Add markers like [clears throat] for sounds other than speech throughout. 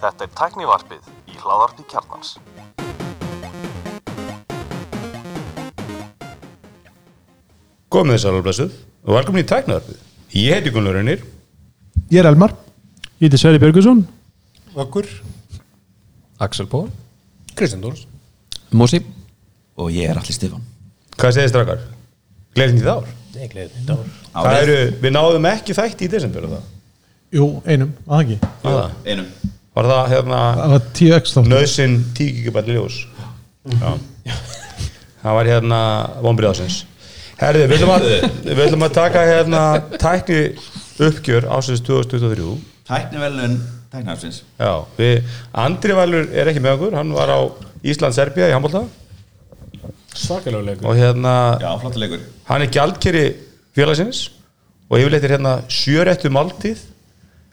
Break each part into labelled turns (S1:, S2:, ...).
S1: Þetta er tæknivarpið í hláðarpi kjarnans.
S2: Komið þið sæl og blessuð og velkomin í tæknaðarpið. Ég heiti Gunnur Reynir
S3: Ég er Elmar
S4: Ég heiti Sverri Björgusson
S3: Okkur
S5: Axel Pól
S3: Kristján Dórs
S5: Mosi
S6: og ég er allir Stefan
S2: Hvað segir strakkar? Gleðin í þár.
S3: Nei, gleðið þetta ár
S2: Það eru, við náðum ekki þætti í desember og það.
S3: Jú, einum, að það ekki
S2: Var það-
S6: Einum
S2: Var það hérna
S3: Það var 10x þá
S2: nöðsinn 10 gigabætt ljós. Já. Það var hérna vonbriðásins. Herðu, við ætlum að, við ætlum að taka hérna tækni uppgjör ásins 2023.
S6: Tæknivelun tæknafsins
S2: Já, við, Andri Valur er ekki með okkur, hann var á Ísland-Serbía í handbólta
S3: Svakalega leikur
S2: og hérna
S6: Já, flottu leikur
S2: hann er gjaldkeri félagsins og yfirleitt er hérna sjörættu máltíð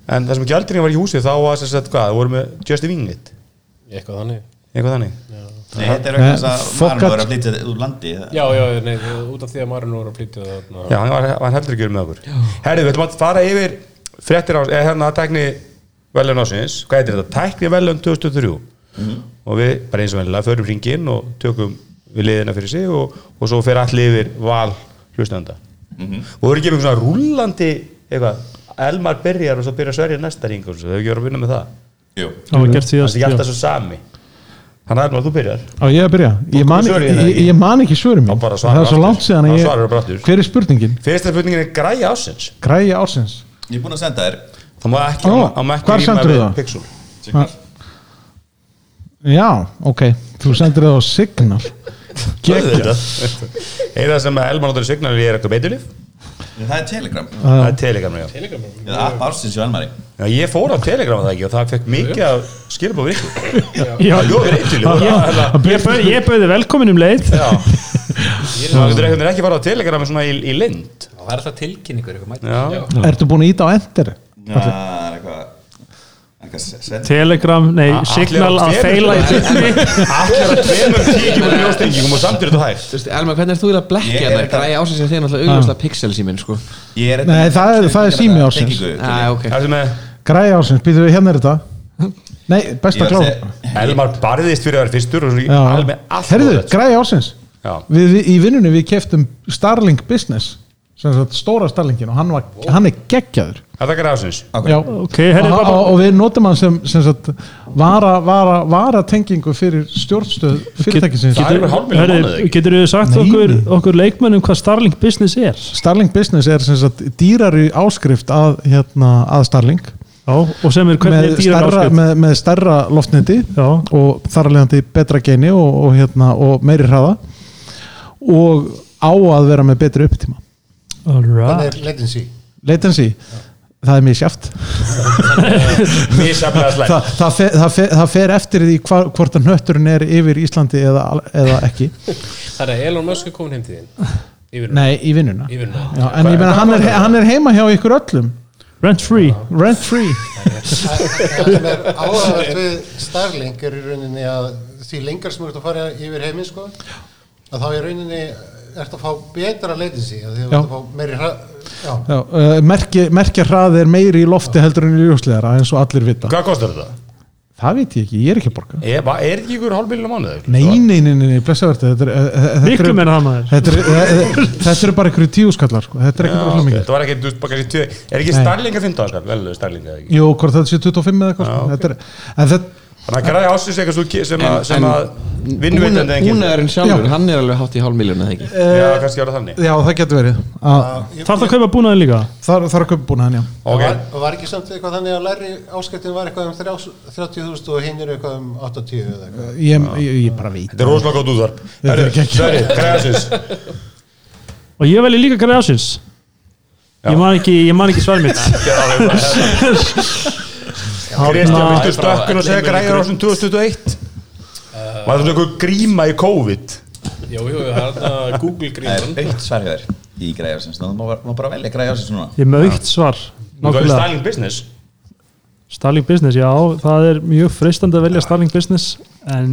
S2: en það sem gjaldkerinn var í húsi þá var þess að hvað, það voru með Just Wingit
S7: Eitthvað þannig
S2: eitthvað þannig
S6: Nei, þetta er vegna þess að
S3: Fokkat.
S6: Marun var að flytja úr landi
S7: Já, já, nei, út af því að Marun voru að flytja það þarna.
S2: já, hann var, var heldur ekki verið með okkur herrið, við ætlum að fara yfir fréttir ás, eða hérna tækni velun ásins hvað heitir þetta, tækni velun 2003 og við bara eins og vennilega förum hringin og tökum við liðina fyrir sig og, og svo fer allir yfir val hlustenda
S6: Mhm.
S2: og við erum ekki með svona rúllandi eitthvað, Elmar byrjar og svo byrjar Sverja næsta ring og svo hefur ekki verið að vinna með það
S6: Jú
S4: Það var gert
S2: það er
S4: síðast
S2: ekki alltaf
S4: já.
S2: svo sami þannig að þú byrjar
S3: Á ég að byrja Ég man,
S2: svör í
S3: ég,
S2: það
S3: ég,
S2: hérna ekki.
S3: ég man ekki svörum
S2: Já,
S3: mín
S2: bara svara
S3: Það er svo
S2: aftur.
S3: langt síðan
S2: Já,
S3: að
S2: svaraðu bara aftur.
S3: ég Hver er spurningin?
S2: fyrsta spurningin er græja ásins
S3: Græja ársins
S6: Ég er búin að senda þér
S2: það má ekki,
S3: Ó,
S2: það má ekki
S3: hvar
S2: ríma
S3: sendurðu
S2: við
S3: það?
S2: pixel
S6: Signal
S3: Já, ok Þú sendir það á Signal Gekk
S2: eða sem að Elmar notur í signal er eitthvað beitulif
S6: Það er Telegram
S2: það er Telegram já.
S6: Eða app ársins hjá Elmari
S2: Já, ég fór á Telegram að það ekki og það fekk mikið að skilabóð ykkur
S4: Já.
S2: það ljóður eitthvað
S4: Ég bauð- Ég bauði velkomin um leið
S2: það getur eitthvað ekki fara á Telegram svona í, í lind
S5: Það er alltaf tilkynningur ykkur mætt
S2: já.
S3: Ertu búin að íta á Enter?
S6: Það er eitthvað Eitthvað senda
S4: Telegram, nei,
S2: A-
S4: Signal
S2: allir á
S4: að
S2: tveimur.
S4: feila í tveimur
S2: allir að tveimur kíkjum og ljóstengingum og samt er þetta hægt
S8: Þú veist, Elmar, hvernig er þú eiginlega að
S6: Ég
S8: blekja
S6: er
S8: það?
S6: þetta-
S8: Græja ásins að þið er náttúrulega auðvitað pixel síminn, sko.
S6: Ég er
S3: Ah. Nei, það er- það er sími ársins.
S8: Æ, ok.
S2: það sem er
S3: Græja ársins, býtum við hérna er þetta Nei,
S6: Ég
S3: besta
S6: var að
S3: klára
S6: segja-
S2: Elmar barðist fyrir að vera fyrstur og
S3: Já.
S2: svo alveg allt
S3: Herðu,
S2: órétt.
S3: græði ársins
S2: Já.
S3: við, við, Í vinnunni við keftum Starlink Business sem sagt stóra Starlinkin og hann, var, hann er geggjaður
S2: Þetta er græðsins
S3: Já,
S4: Ok, herri,
S3: og,
S4: bara-
S3: og, og við notum hann sem, sem sagt, vara, vara, vara tengingu fyrir stjórnstöð fyrirtækisins
S2: Það er yfir hálfmiljón mánuð ekki
S4: Getur þú sagt
S3: Nei,
S4: okkur,
S3: nei.
S4: okkur leikmönnum hvað Starlink Business er?
S3: Starlink Business er sem sagt dýrari áskrift að, hérna, að Starlink
S4: Já, og sem er hvernig
S3: með
S4: er dýrar
S3: stærra,
S4: áskrift?
S3: með, með stærra loftneti
S4: Já.
S3: og þar að leiðandi betra geni og, og, hérna, og meiri hraða og á að vera með betri upptíma
S4: All
S7: Þannig
S4: right.
S7: er latency
S3: latency, það er mjög
S7: [laughs]
S3: sjáft
S2: Mísaflega
S3: Þa,
S2: slæmt
S3: það, fer, það, fer, það fer eftir því hvar, hvort að hnötturinn er yfir Íslandi eða, eða ekki
S7: Það er að Elon Musk er komin heim til þín Yfir
S3: nei, í vinnuna
S7: Yfir nú
S3: Já, en ég meina hann er, hann er heima hjá ykkur öllum
S4: Rent free
S3: rent free
S9: það sem er áhugavert við Starlink er í rauninni að því lengar sem þú ert að fara yfir heiminn sko, að þá í rauninni ert að fá betra latency að því að þú ert
S3: Já.
S9: að fá meiri hra... Já,
S3: Já, uh, merkja, merkja hraði er meiri í lofti heldur en í ljósleðara eins og allir vita
S2: Hvað kostar þetta?
S3: það veit ég ekki, ég er ekki að borga
S2: Er, va- er ekki ykkur hálfmiljón mánuð?
S3: nei, nei, nei, nei, nei blessaverti þetta er, eh, eh, þetta
S4: Miklu
S3: er,
S4: meira það maður
S3: þetta er, eh, eh, þetta er bara ykkur tíuskallar sko. þetta er ekki bara mikið
S2: Það var ekki, þú veist, bara kannski tvö Er ekki
S3: Nei.
S2: starlinga 15 skall? Vel, starlinga ekki
S3: jú, hvort þetta sé 25 eða eitthvað sko.
S2: Já, ok.
S3: Þetta er- en þetta,
S2: Þannig að græði ásins eitthvað svo ki- sem, að- sem að Vinnuvitandi en [laughs] kynni
S8: Búnaðurinn sjálfur,
S3: Já. Eh,
S8: hann er alveg hátt í hálf miljón, eða ekki?
S2: Já, kannski ára þannig
S3: já, það getur verið að,
S4: Þarf það að kaupa búnaðin líka?
S3: þar, þar er köpbúna hann, já
S2: Ok,
S9: var, var ekki samt eitthvað þannig að læri áskiptin var eitthvað um þrjá- 30.000 og hinn er eitthvað um 80 eða eitthvað
S3: ég, ég, ég bara veit
S2: þetta er rosalega góð útvarp
S3: Þetta er
S2: Herru,
S3: ekki-
S2: Sverri, græði ásins
S9: [laughs]
S4: Og ég veli líka græði ásins Ég man ekki, ég man ekki svar
S2: [laughs]
S4: mitt Hérna-
S2: Kristján, viltu stökkun og segja græði ásins 2021? Var þetta eitthvað gríma í COVID?
S7: Jú, jú, það er þarna Google
S6: Það
S7: gríman
S6: er aukt svar hjá þér í græjársins Nú má má bara velja græjársins núna
S4: Ég er með aukt svar
S2: Þú veist,
S4: Nákvæmlega
S2: Starling Business
S4: Starlink Business, já, það er mjög freistandi að velja Starlink Business En,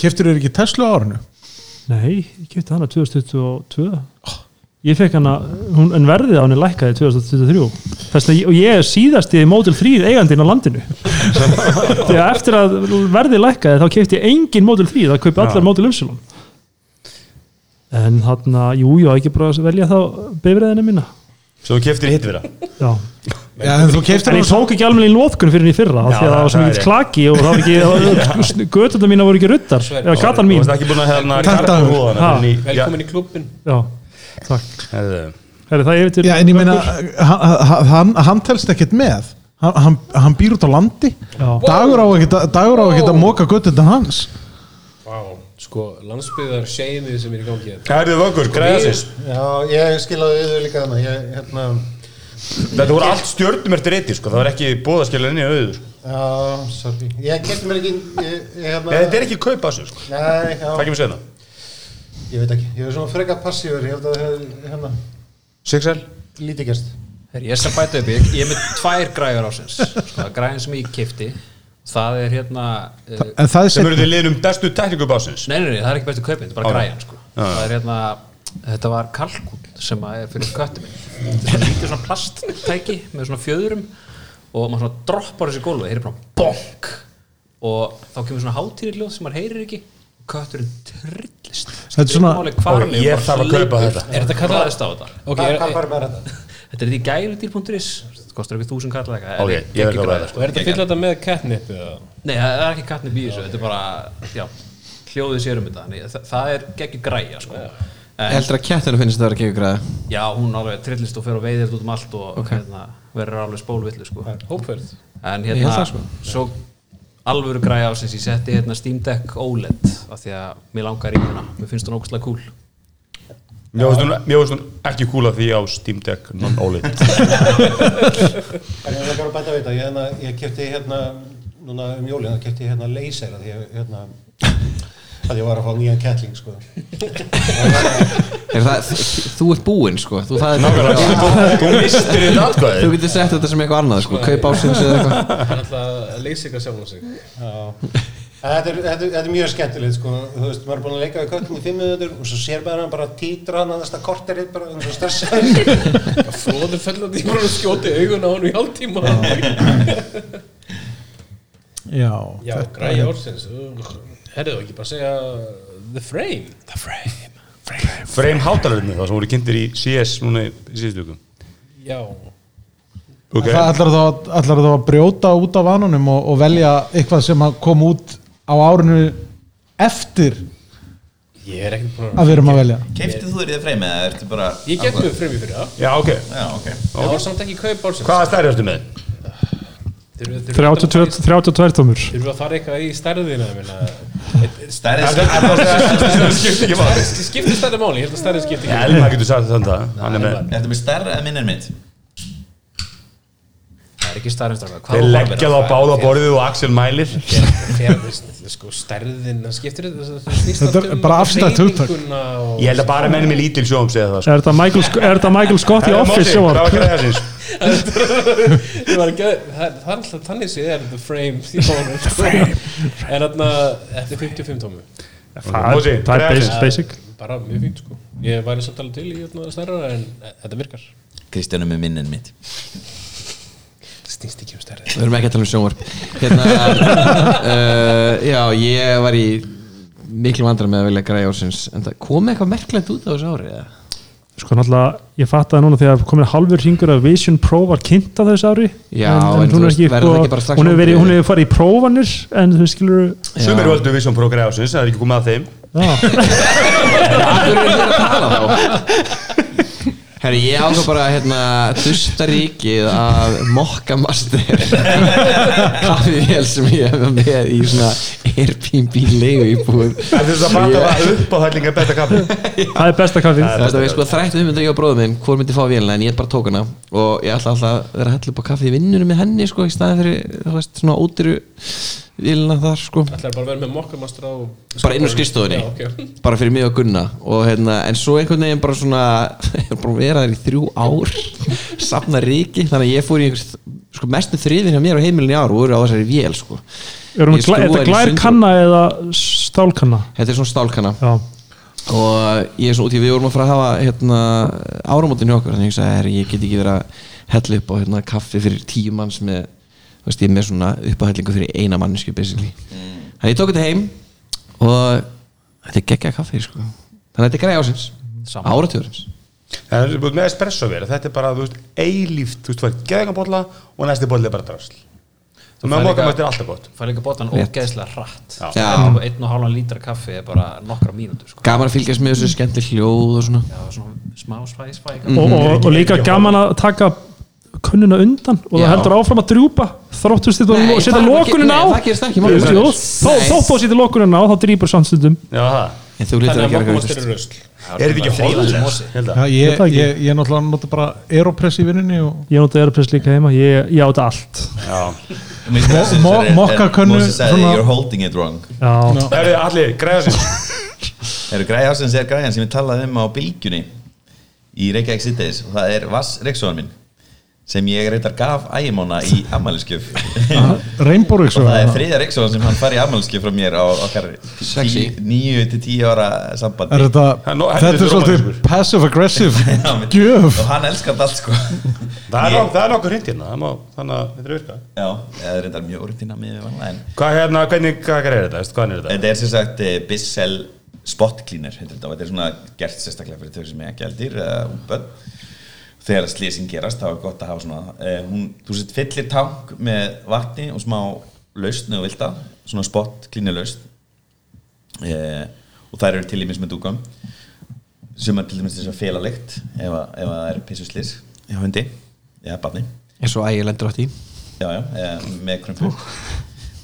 S3: Keftur þér ekki Tesla á árinu?
S4: nei, ég kipti hana 2022 ég fekk hana, hún, en verðið á henni lækkaði 2023 Þess að, ég- og ég er síðast í Model 3 eigandinn á landinu þegar eftir að verðið lækkaði þá keipti ég engin Model 3 það kaupi allar Model Y en þarna, jú, jú, á ekki bara að velja þá bifræðina mína
S2: Svo þú keftir hitt fyrir það
S4: já
S3: Já, en þú keiftir
S4: En ég tók ekki alveg í lóðkun fyrir henni í fyrra af
S2: Já,
S4: því að það var svo
S2: það er
S4: mikið
S2: rétt.
S4: klaki og það var [laughs] ekki götuna mína voru ekki ruddar eða gatan
S2: Þú
S4: mín
S2: varst ekki búin að hérna karpa
S3: Kantaður.
S4: Ha.
S2: húðana fyrr en í-
S7: Velkomin í klubbin
S4: Já, takk
S2: Já, herðu.
S4: Herri, það er yfir til
S3: Já, en ég meina, hann, hann- hann, hann telst ekkert með hann, hann, hann býr út á landi
S4: Já.
S3: dagur á ekkert að- dagur á ekkert að móka göttundan hans
S7: Vá, sko, landsbyðar seimið sem er í gangi hérna.
S2: Herðu vöggur, græða sér
S9: Já, ég skilaði auðvitað líka þannig Ég, hérna,
S2: Þetta voru allt stjörnum eftir reyti sko. Það var ekki bóðaskjöla inn í sko. auður
S9: já, sorry Ég kefti mér ekki ég, ég, hérna,
S2: Nei, Þetta er ekki kaupa sér sko.
S9: Nei,
S2: Það
S9: já,
S2: kemur sérna
S9: ég veit ekki Ég er svona freka passífur Ég held að það hefði, hérna,
S2: 6L
S9: lítið gerst
S5: Herri, ég skal bæta upp, ég, ég er með tvær græður ásins sko, græðin sem ég kifti það er hérna uh,
S3: en það er
S2: Sem eru
S3: sem
S2: þið liðnum bestu teknikubásins
S5: nei, nei, nei, það er ekki bestu kaupin, þetta er bara
S2: Á,
S5: græðin sko. það er hérna, þetta var kalkún sem að er fyrir köttu minn þetta er svona lítið svona plasttæki með svona fjöðurum og maður svona droppar þessi gólfið, heyrir bara bonk og þá kemur svona hátíðljóð sem maður heyrir ekki og kötturinn trillist
S3: Þetta er svona-
S2: Ó, ég þarf að kaupa þetta.
S5: er þetta kallaðist á þetta?
S7: Ok,
S9: Hvað
S7: er,
S9: hvað
S7: er,
S9: fær með þetta?
S5: Þetta er í gæludýr.is Þetta kostar ekki þúsund kall eða eitthvað
S2: Ok,
S5: en
S2: ég verð
S5: ekki
S2: að
S5: græða,
S2: verða,
S5: sko.
S7: og er þetta að fylla þetta með catnip eða?
S5: Nei, það er ekki kattni bíu Þetta er bara, já, hljóðið sér um þetta Þannig, það, það er geggjur græja sko. en,
S8: Heldur að kettinu finnst það að gera græða
S5: Já, hún alveg trillist og fer og veiðir þetta út um allt og hérna, verður alveg spólvillu sko.
S7: Hópferð
S5: En
S8: Ég
S5: hérna,
S8: held það, sko.
S5: svo alvöru græja ásins Ég setti hérna Steam Deck OLED af því að mér langar í hérna Mér finnst hún ógustlega cool
S2: Mér finnst hún- mér finnst hún ekki kúla því á Steam Deck
S9: [laughs]
S2: [laughs] non-OLED
S9: En ég vil bara bæta við þetta, ég, hérna, ég kefti hérna, núna um jólina, kefti ég hérna laser að ég, hérna, að ég var að fá nýjan kettling, sko.
S8: Er það, þú ert búinn sko þú, það er
S2: Nákvæmlega, þú- þú- Þú mistir þetta
S8: Þú
S2: atkvæði
S8: getur sett þetta sem eitthvað annað sko Kaup ásins eða eitthvað
S7: Það er alltaf að leysa ykkur sjálf sig
S9: Já. En Þetta er, þetta, er, þetta er mjög skemmtilegt, sko, þú veist, maður er búin að leika við köttin í fimm minútur og svo sér maður hann bara títra hann að næsta korterið bara um eins og stressaður.
S7: Flóður fellandi í bara skjóti augun á hann í hálftíma [laughs]
S3: já,
S7: Já,
S3: þetta-
S7: græja ársins Herðu ekki bara að segja uh, The Frame The Frame, frame.
S2: Frame hátalarinn það sem voru kynntir í CS núna í síðustu vikum
S7: Já,
S2: Ok,
S3: það ætlar þá, ætlar þá að brjóta út af vanunum og, og velja eitthvað sem að kom út á árinu eftir
S7: ég er ekkert búin að
S3: að við erum að velja
S6: Keiftið þú þér í það freymi eða ertu bara
S7: Ég get mjög fremi fyrir það
S2: já ok
S6: Já, ok
S7: Það var samt ekki kaup ársins
S2: Hvaða stærri ertu með?
S7: Þeir eru- þeir eru-
S4: 32 32 tómur
S7: Þeir eru að fara eitthvað í stærðina ég meina.
S6: Stærri
S2: Skipti ekki máli
S7: Stærð- Skiptir stærði máli, ég held að stærði skipti ekki
S2: Elma getur sagt þann það Hann er með
S6: Ertu með stærri eða minnir mitt?
S5: Það er ekki stærðinstráka
S2: Þeir leggja það á báða borðið og Axel mælir
S7: Fer- fer- sko, stærðin það skiptir þetta það snýst
S3: Þetta er
S7: allt um
S3: bara afstætt hugtak.
S7: hreyfinguna og-
S2: Ég held að bara menni með lítil sjóum segja það sko.
S4: Er þetta Michael, Sc- er þetta Michael Scott í
S2: Herra,
S4: Office
S2: Mósi,
S4: sem
S2: hvað
S4: var?
S2: var að gera þessins?
S7: Ég var ekki að- það það er alltaf þannig séð er the frame í honum, sko. en þarna þetta er 55 tómu
S4: Það
S2: Mósi,
S4: er- það er
S2: hvað er
S4: basic, basic.
S7: bara mjög fínt sko ég væri samt alveg til í hérna, stærra en eh, þetta virkar
S6: Kristjánum er minnir mitt
S7: það snýst ekki um stærði
S8: Við erum ekki að tala um sjónvarp Hérna uh, Já, ég var í miklu vandrar með að vilja græja ársins En það kom eitthvað merklend út á þessu ári eða?
S4: Sko náttúrulega, ég fattaði núna þegar komin halvur hringur að Vision Pro var kynnt á þessu ári
S8: Já,
S4: en,
S8: en
S4: en hún
S8: þú
S4: er
S8: veist,
S4: ekki,
S8: verður
S4: sko,
S8: ekki bara strax
S4: hún hefur verið,
S8: vonbrigði?
S4: hún hefur farið í prófanir en þú skilur
S2: Sumir völdu við sem prógræða ásins Það er ekki komið að þeim
S4: já,
S8: Akkur er þetta að tala þá Herri, ég ákvað bara hérna Dusta ríkið að mokka master Kaffivél sem ég hef með í svona Airbnb leigu íbúð
S2: En þess að bata það upp á hællinga besta kaffi
S4: það er besta kaffið
S8: Þetta veist sko þrættu hugmyndir ég á bróðum minn Hvor myndi fá vélina en ég bara tók hana Og ég ætla alltaf að vera að hella upp á kaffið í vinnunum með henni sko Í staðin fyrir, þú veist, svona ódýru Vélina þar sko
S7: ætlar bara að vera með mokkamastra og
S8: Bara inn á skrifstofunni
S7: Já, ok.
S8: Bara fyrir mig og Gunna og, hérna, En svo einhvern veginn bara svona [laughs] Ég er bara að vera þær í þrjú ár [laughs] Safna ríki Þannig að ég fór í einhvers sko, Mestu þriðin hjá mér á heimilin í ár Og voru á þessari vél sko
S4: Er hún
S8: Ég
S4: glæ- er þetta
S8: skrúfaði í sundur-
S4: glærkanna eða stálkanna?
S8: Þetta er svona stálkanna
S4: Já,
S8: og ég er svo út í við vorum að fara að hafa hérna, áramótin hjá okkur þannig að ég sagði, herri, ég get ekki verið að hella upp á hérna, kaffi fyrir tíu manns með, þú veist, ég er með svona uppahellingu fyrir eina mannsku basically þannig ég tók þetta heim og þetta er geggja kaffi sko. þannig að þetta er græði ásins, áratjórins
S2: Það er búin með espresso vel, þetta er bara, þú veist, eilíft, þú veist, þú er geðingan bolla og næsti bolli er bara drasl. Þú með
S5: fær
S2: mótum
S5: líka-
S2: þetta er alltaf gott.
S5: fær líka bóttan
S8: Rétt.
S5: ógeðslega hratt
S2: Já.
S8: Já.
S5: og einn og hálfan lítra kaffi er bara nokkra mínútur sko.
S8: gaman að fylgjast með þessu skemmtileg hljóð og svona
S5: Já, svona smá svæði svæði
S3: Mhm.
S4: og, og, og líka gaman að taka könnuna undan og það
S8: Já.
S4: heldur áfram að drjúpa þróttust þetta
S8: Nei,
S4: og setja
S8: það-
S4: lókunin
S8: nei,
S4: á
S8: það gerist ekki, málið er-
S4: Jú, þó
S8: Nei.
S4: þó þú setja lókunin á þá drýpur samstundum
S2: Já, það.
S8: en þú lítur
S7: Þannig
S8: að
S7: að
S8: gera
S7: mokkumast
S8: eitthvað
S7: eru rusl
S2: Er þetta ekki hollens? Held að.
S3: Já, ég,
S4: Þetta ekki.
S3: ég, ég náttúrulega nota bara Aeropress í vinnunni og
S4: ég nota Aeropress líka heima, ég, ég á þetta allt
S2: Já.
S3: mo- mokka könnu
S6: Mósi sagði,
S3: svona-
S6: you're holding it wrong
S4: já,
S2: Er þetta allir
S6: [laughs]
S2: græða sinns?
S6: Eru græði ásins er græðan sem ég talaði um á bylgjunni í Reykjavík Sittis og það er Vass Reykjavík minn sem ég reyndar gaf ægimóna í
S3: [laughs]
S6: ammæliskjöf
S3: Ah,
S6: og [laughs]
S3: Rainbow
S6: það er
S3: Rixo
S6: þriðja Reykjavík sem hann fari í ammæliskjöf frá mér á okkar
S8: Sexy.
S6: 9-10 ára sambandi
S3: Er þetta,
S2: Það er nú-
S3: þetta
S2: helviti
S3: er svolítið
S2: rómantískur.
S3: passive-aggressive
S6: Já, menn-
S3: gjöf
S6: og hann elskar það allt sko
S2: Það er
S6: Ég-
S2: nokk- það er nokkur hrind hérna, það má- þannig að þetta er virka.
S6: já, það er reyndar mjög úrtina með við vanlega en
S2: Hvað hérna, hvernig, hvað er þetta? Veistu, Hvað er þetta?
S6: þetta er sem sagt eh, Bissell Spot Cleaner heitir þetta, og þetta er svona gert sérstaklega fyrir þau sem er gældir eða umböð þegar slýsing gerast þá er gott að hafa svona eh, hún, þú sett fyllir tank með vatni og smá lausn og vilda svona spot cleaner lausn eh, og þær eru til í minns með dúkum sem er til dæmis þess að fela lykt ef, að- ef að það er pissuslýs hjá hundi eða barni
S8: eins og ægir lendur átt í
S6: já, já, eh, með krumpu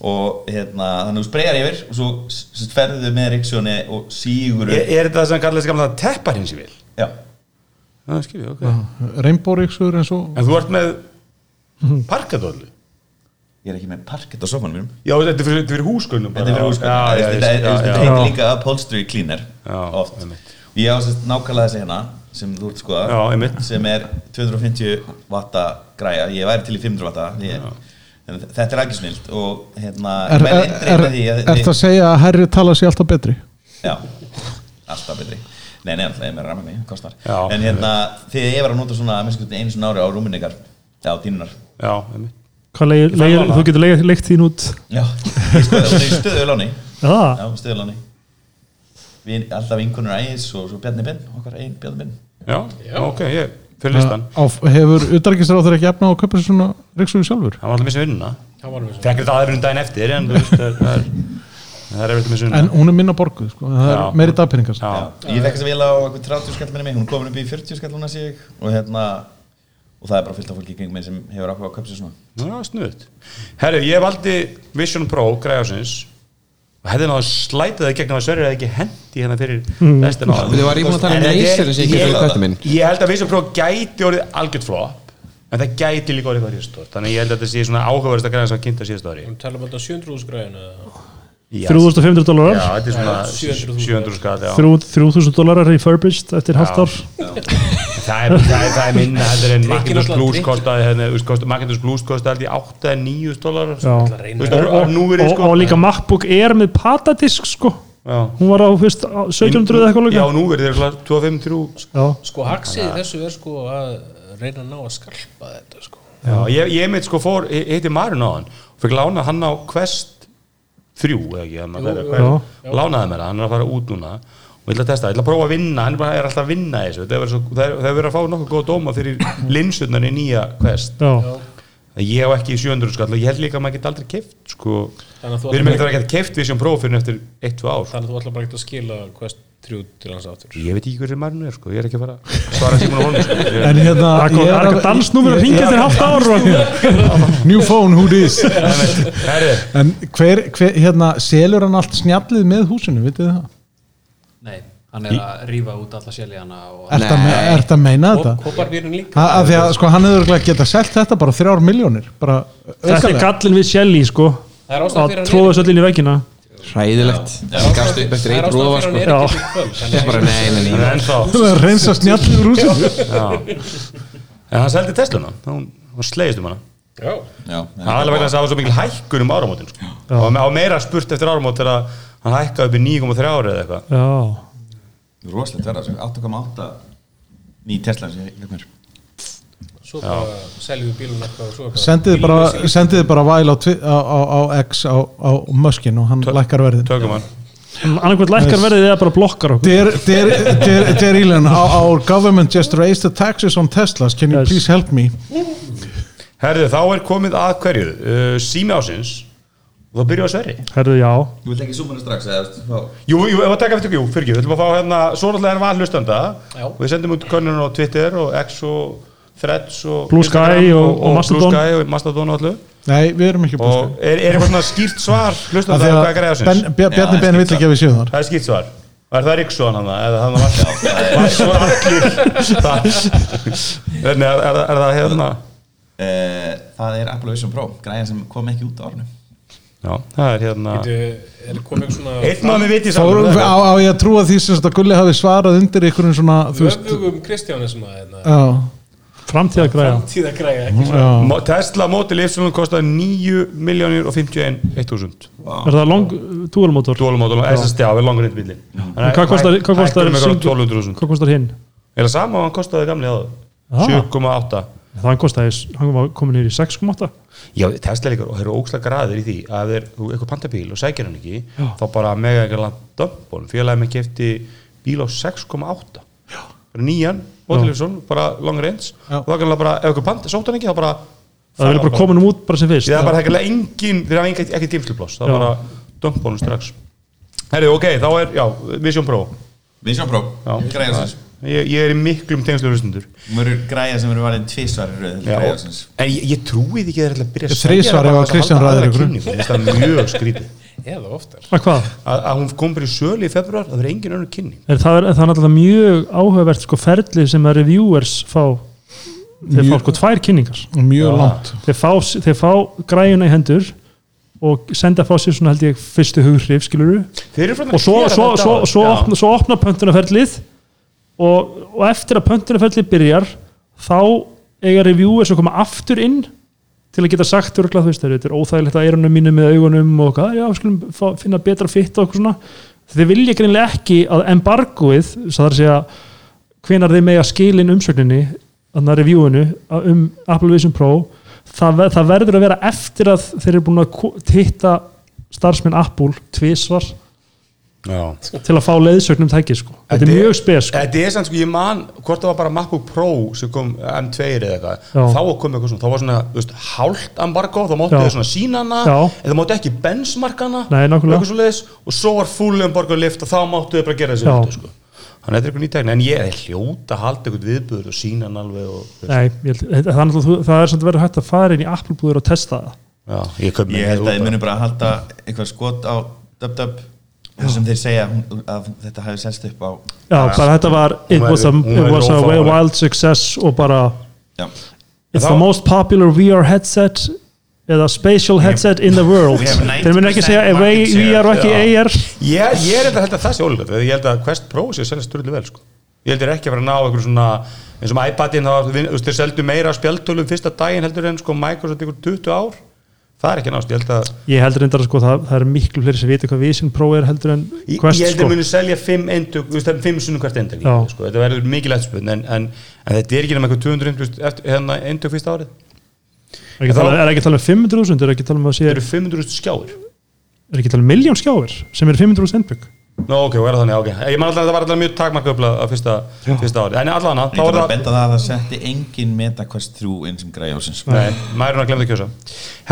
S6: og hérna, þannig að þú spreyjar yfir og svo s- s- ferðu með Ríksjóni og sígur
S2: Er er þetta það sem kallar þessi gamla teppar hins í vil?
S6: já,
S2: Já, skil ég, ok.
S3: Rainbow Rixo er eins og
S2: En þú ert með parkadollu?
S6: ég er ekki með parkett á sofanum mínum
S2: Já, þetta er fyrir- þetta er fyrir húsgögnum
S6: þetta er fyrir húsgögn
S2: Já, já,
S6: þetta
S2: já,
S6: þetta
S2: já, já.
S6: heitir líka upholstery cleaner
S2: Já,
S6: oft
S2: einmitt.
S6: og ég á sérst nákvæmlega þessi hérna sem þú ert að skoða
S2: Já, einmitt.
S6: sem er 250 watta græja ég væri til í 500 watta ég, en þetta er ekki snilt og hérna
S3: Er,
S6: menn
S3: er,
S6: eindreið
S3: er,
S6: með því að-
S3: er það að segja að herri tala sér alltaf betri?
S6: Já, alltaf betri Nei, nei, alltaf, ég með ramminni, kostar
S2: Já.
S6: En hérna, þið ég var að nota svona að minnst hvernig einu svona ári á rúminni ykkar Já, dínunar
S2: Já, einmitt.
S4: Hvað leigir- leigir- þú getur leigir- leigt þín út
S6: Já, [laughs] ég skoði, hún er í stöðu láni
S4: já,
S6: Já, stöðu láni Við, alltaf vinkonur ægis og svo Bjarni Binn Okkar einn Bjarni Binn
S2: Já, ok, ég, fyrir listan.
S3: Á, hefur utarikisráður ekki efna á að kaupa sér svona Rixo sjálfur?
S2: Það var alltaf missa vinnuna.
S7: Það var alveg
S2: Fekk þetta aðeins um daginn eftir, en þú veist, það er- það er það er eftir missa
S3: En
S2: vinnuna.
S3: hún er minna borguð, sko. en það
S2: Já.
S3: er meiri dagpenningast
S2: Já,
S6: Ég fekk þess að vila á eitthvað 30 skall minni mig Hún er komin upp í 40 skall hún að sig Og hérna, og það er bara fyllt af fólki í gengum sem hefur ákveð að köpsa svona
S2: já, snuðt. Herru, ég valdi Vision Pro græðarsins og hefði náðu slætið það í gegn að Sverrir hefði ekki hendi hérna fyrir
S4: Hmm.
S2: restin á
S8: Þú var ég búinn að tala
S2: En
S8: um
S2: þetta er-
S8: Razer sem ég keypti fyrir köttinn minn.
S2: Ég held að Vision Pro gæti orðið algjört flop en það gæti líka orðið hvað rýstort þannig að ég held að þetta sé svona áhugaverðasta græðar sem að kynnta síðast ári
S7: Hún tala um þetta 700 græðina
S2: Já,
S4: 3500
S2: Já,
S4: dólarar
S2: þetta er svona
S7: Já, 700.000.
S2: 700 skall, já
S4: 3000 dólarar refurbished eftir halvt ár
S2: Það er, það er, það er minna heldur en Macintosh
S7: náttúrulega
S2: Blues
S7: drikkin.
S2: kostaði hérna, þú veist, kostaði- Macintosh Blues kostaði alltaf 8-9 dólar
S4: Já.
S2: Þú veist, á- á núverið
S4: og,
S2: sko
S4: og líka MacBook Air með patadisk sko
S2: Já.
S4: hún var á fyrst á 1700 eða eitthvað
S2: Já,
S4: líka
S2: núverið er 2-5-3
S4: já,
S7: Sko haxið í þessu er sko að reyna að ná að skalpa þetta sko
S2: Já, ég, ég mitt sko fór, ég- ég heiti Marun á hann og fekk lána hann á Quest 3 eða ekki, hann að vera Quest, lánaði mér það, hann er að fara út núna og ég ætla að testa, ég ætla að prófa að vinna hann er bara- er alltaf að vinna í þessu, það er verið svo- það er- það er verið að fá nokkuð góða dóma fyrir linsunar í nýja Quest
S4: já,
S2: ég á ekki 700 skall og ég held líka að maður geti aldrei keift sko.
S7: Þannig að þú
S2: við erum
S7: ætlar-
S2: eitthvað að geta keift við sem prófum eftir 1-2 ár sko.
S7: Þannig að þú ætla bara ekkert að skila Quest 3 til hans aftur
S2: ég veit ekki hverju marinu er sko. ég er ekki að fara að svara Simon Holmes
S3: [laughs]
S2: sko.
S3: En
S2: Ég-
S3: hérna,
S4: það kom
S3: ég
S4: það er
S3: er
S4: eitthvað dansnúmer að ringja eftir halvt ár sko. og-
S2: sko.
S3: að [laughs] New phone, who this?
S2: Herri,
S3: En hver, hver, hérna, selur hann allt snjallið með húsinu, vitið þið það?
S5: Nei, hann er að rífa út alla séljana og
S3: Ertu að me- ertu að meina þetta?
S7: Kóparvírun líka
S3: Ha- af því að sko hann hefur örugglega getað selt þetta bara þrjár miljónir bara
S4: þetta er
S3: aukalega.
S4: gallin við Shelly sko
S7: Það er ástæðan
S4: að
S7: fyrir hann
S4: tróða
S7: er-
S4: þessu öll inn í veggina
S8: hræðilegt það gafst upp eftir eitt rofa
S7: fyrir
S8: sko.
S7: hann
S8: Ég
S7: er ekki til kvöld Þannig
S8: bara nei, nei,
S2: en
S8: nei
S2: ennþá
S3: Það er að reynsa snjallið úr húsinu
S2: já. en hann seldi Tesluna hún, hún slegist um hana
S7: að- Já.
S6: Já,
S2: aðalega vegna þess að það var svo mikil hækkun um áramótin sko. og á meira spurt eftir áramót þegar hann hækkaði upp í 9,3 ára eða eitthvað
S4: já,
S6: rosalegt verða,
S8: sko.
S6: 8,8 ný Tesla sem ég hef mér
S7: Svo bara seljum við bílum eitthvað og svo er bara
S3: Sendið þið bara,
S7: bílleysi.
S3: sendið þið bara væl á, tvi- á, á, á X á, á möskin og hann lækkar verðin
S2: tökum hann
S4: annarkvæmt lækkar verðið eða bara blokkar okkur
S3: Dear, dear, dear, dear Elon, our, our government just raised the taxes on Teslas. Can you
S4: Yes.
S3: please help me?
S2: herðu þá er komið að hverju uh, sími ásins og það byrjuðu að sverri
S4: herðu já,
S6: Þú vilt ekki súma hana strax eða þú veist, fá-
S2: Jú, jú, ef að taka eftir, jú, fyrir ekki, við ætlum að fá hérna, svo náttúrulega er val hlustanda
S7: Já.
S2: og við sendum út könnun á Twitter og X og Threads og
S4: Blue Sky
S2: Instagram
S4: og- og Mastodon.
S2: Blue Sky og Mastodon og allu
S3: Nei, við erum ekki
S2: og
S3: búin
S2: er, er eitthvað svona skýrt svar hlustanda hvað er greiða sinns?
S3: Bjarni
S6: Já,
S3: Ben vill
S6: skýrt
S3: ekki að við séum þar
S2: Það er skýrt svar og er það Ríksson hann eða hann var var svo allir það Hvernig, er, er, er það hérna?
S6: Eh, Það er Apple Vision Pro, græja sem kom ekki út á árinu
S2: Já, það er hérna
S7: Bíddu, Er komið eitthvað
S2: Einn
S7: svona
S2: mann við vitið
S3: Fórum,
S2: saman
S3: á, á ég að trúa því sem sagt að Gulli hafi svarað undir einhverjum svona Ah, þú veist
S7: Vöfugum Kristjánism að hérna
S3: já,
S4: framtíðagræða
S7: Tíða græja ekki
S3: já.
S2: Mo- Tesla mótil yfsum kostaði 9 miljónir og 51 1000
S4: er það long dualmotor
S2: Dólumótil og
S4: Já.
S2: SSD á við langur eitt bílinn
S4: En hvað kostar- hvað kostar
S2: Hækkar með
S4: single-
S2: 1200.000
S4: hvað kostar hinn?
S2: Er það sama og hann kostaði gamli áður
S4: Ah.
S2: 7,8
S4: það kostaði, hann var komin niður í 6,8
S2: Já, Tesla er líka, og þeir eru ókslega graðir í því að ef þeir, þú eitthvað panta bíl og sækir hann ekki þá bara mega ekki langt dömpun félagið með kefti bíl á 6,8 bara nýjan, Bóttilífsson, bara long range
S3: Já.
S2: og það er bara, ef eitthvað panta, sótt hann ekki þá bara,
S4: það er vel bara komin um út bara sem fyrst
S2: það er bara ekki engin, þeir hafa ekkert ekki geimsluploss, það
S4: Já.
S2: er bara dömpunum strax Herri, ok, þá er, já, Vision Pro
S6: Vision Pro,
S2: Já.
S6: græja sem
S2: ég, ég er í miklum tengslurustundur
S6: Hún verður græja sem verður valin tvisvar í röð til græja sem
S2: En ég, ég trúið ekki að þeir ætla að byrja að
S3: Þrisvar
S2: selja það bara
S3: ef að
S2: til að
S3: Kristján
S2: halda
S3: ræður
S2: aðra
S3: ykkur.
S2: kynningu. Mér finnst það mjög skrítið
S7: Eða oftar
S4: Að hvað?
S2: að, að hún kom bara í sölu í februar það verður engin önnur kynning
S4: Er það, er, það er náttúrulega mjög áhugavert sko ferli sem að reviewers fá þeir fá sko tvær kynningar
S3: mjög langt
S4: þeir fá, þeir fá græjuna í hendur og senda frá sér svona held ég fyrstu hughrif skiluru og svo, svo, svo, svo, opna, svo opna pöntunarferlið og, og eftir að pöntunarferlið byrjar þá eiga reviewers að koma aftur inn til að geta sagt örglað, þú veist, þeir, þetta er óþægilegt að eyrunum mínum með augunum og hvað, já, við skulum fá, finna betra fitt og okkur svona þeir vilja greinlega ekki að embargoið svo það er að segja hvenar þeir mega skilin umsögninni þannig að reviewinu að- um Apple Vision Pro það, ver- það verður að vera eftir að þeir eru búin að ko- hitta starfsmenn Apple tvisvar
S2: þetta
S4: til að fá leiðsögnum tæki sko. þetta er mjög spes sko.
S2: þetta er sann sko ég man hvort það var bara MacBook Pro sem kom M2 eða eitthvað
S4: Já.
S2: þá kom eitthvað svona þá var svona þú veist, hálft embargo þá móttu
S4: Já.
S2: þau svona sínana
S4: Já.
S2: en það móttu ekki benchmarkana
S4: Nei, nákvæmlega.
S2: eitthvað svoleiðis, og svo var full embargo lift og þá máttu þau bara gera þessi
S4: Já.
S2: hluti, sko. þannig að þetta er eitthvað nýtækni en ég er hljóta að halda eitthvað viðbúður og sínan alveg og, þú veist.
S4: Nei, ég, held- þetta- það, er náttúrulega- þú- það er samt verið hægt að fara inn í Apple-búður og testa það
S2: já, ég, kaup mér
S6: Ég held að
S2: þetta út
S6: þið
S2: bara.
S6: munum bara að halda eitthvað skot á DubDub þar sem þeir segja að hún- að þetta hafi selst upp á
S4: Já, bara þetta var it
S2: Hún
S4: was a,
S2: verður-
S4: it
S2: hún verður
S4: was a
S2: ófáanleg.
S4: wild success og bara
S6: Já,
S4: it's
S2: Þá-
S4: the most popular VR headset eða spatial headset in the world
S6: We have
S4: þeir mun ekki segja
S6: 90%
S4: away
S6: market share.
S4: VR og ekki E AR
S2: Ég, ég er þetta held að það sé ólíklegt því ég held að Quest Pro sé að selja styrlu vel sko. ég held að þeir ekki að fara að ná einhverjum svona eins og með iPadin þá þú veist, þeir seldu meira spjaltölum fyrsta daginn heldur en sko Microsoft ykkur 20 ár það er ekki að nást, ég held að
S4: ég heldur reyndar að sko, það, það er miklu fleiri sem vita hvað Vision Pro er heldur en
S2: Ég,
S4: Quest
S2: ég held að
S4: sko.
S2: þeir muni selja 5 endug, þú veist það er 5 sunnum hvert endug
S4: Já.
S2: sko. þetta verður mikil eftirspun en, en, en þetta er ekki nema eitthvað 200 endug eftir, hérna, endug fyrsta árið
S4: er ekki að tala- er ekki að tala um 500.000 er ekki að tala um að sé
S2: þetta
S4: er
S2: eru 500 skjáir
S4: ekki að tala um miljón skjáir sem er 500.000 endbygg
S2: Nú ok, og er það þannig, ok Ég man alltaf að þetta var alltaf mjög takmarköfla á fyrsta, fyrsta árið En allan
S6: ég ætla bara að benda það að það setti engin MetaQuest 3 inn sem græja ásins
S2: Nei, mærunar glemdi að kjósa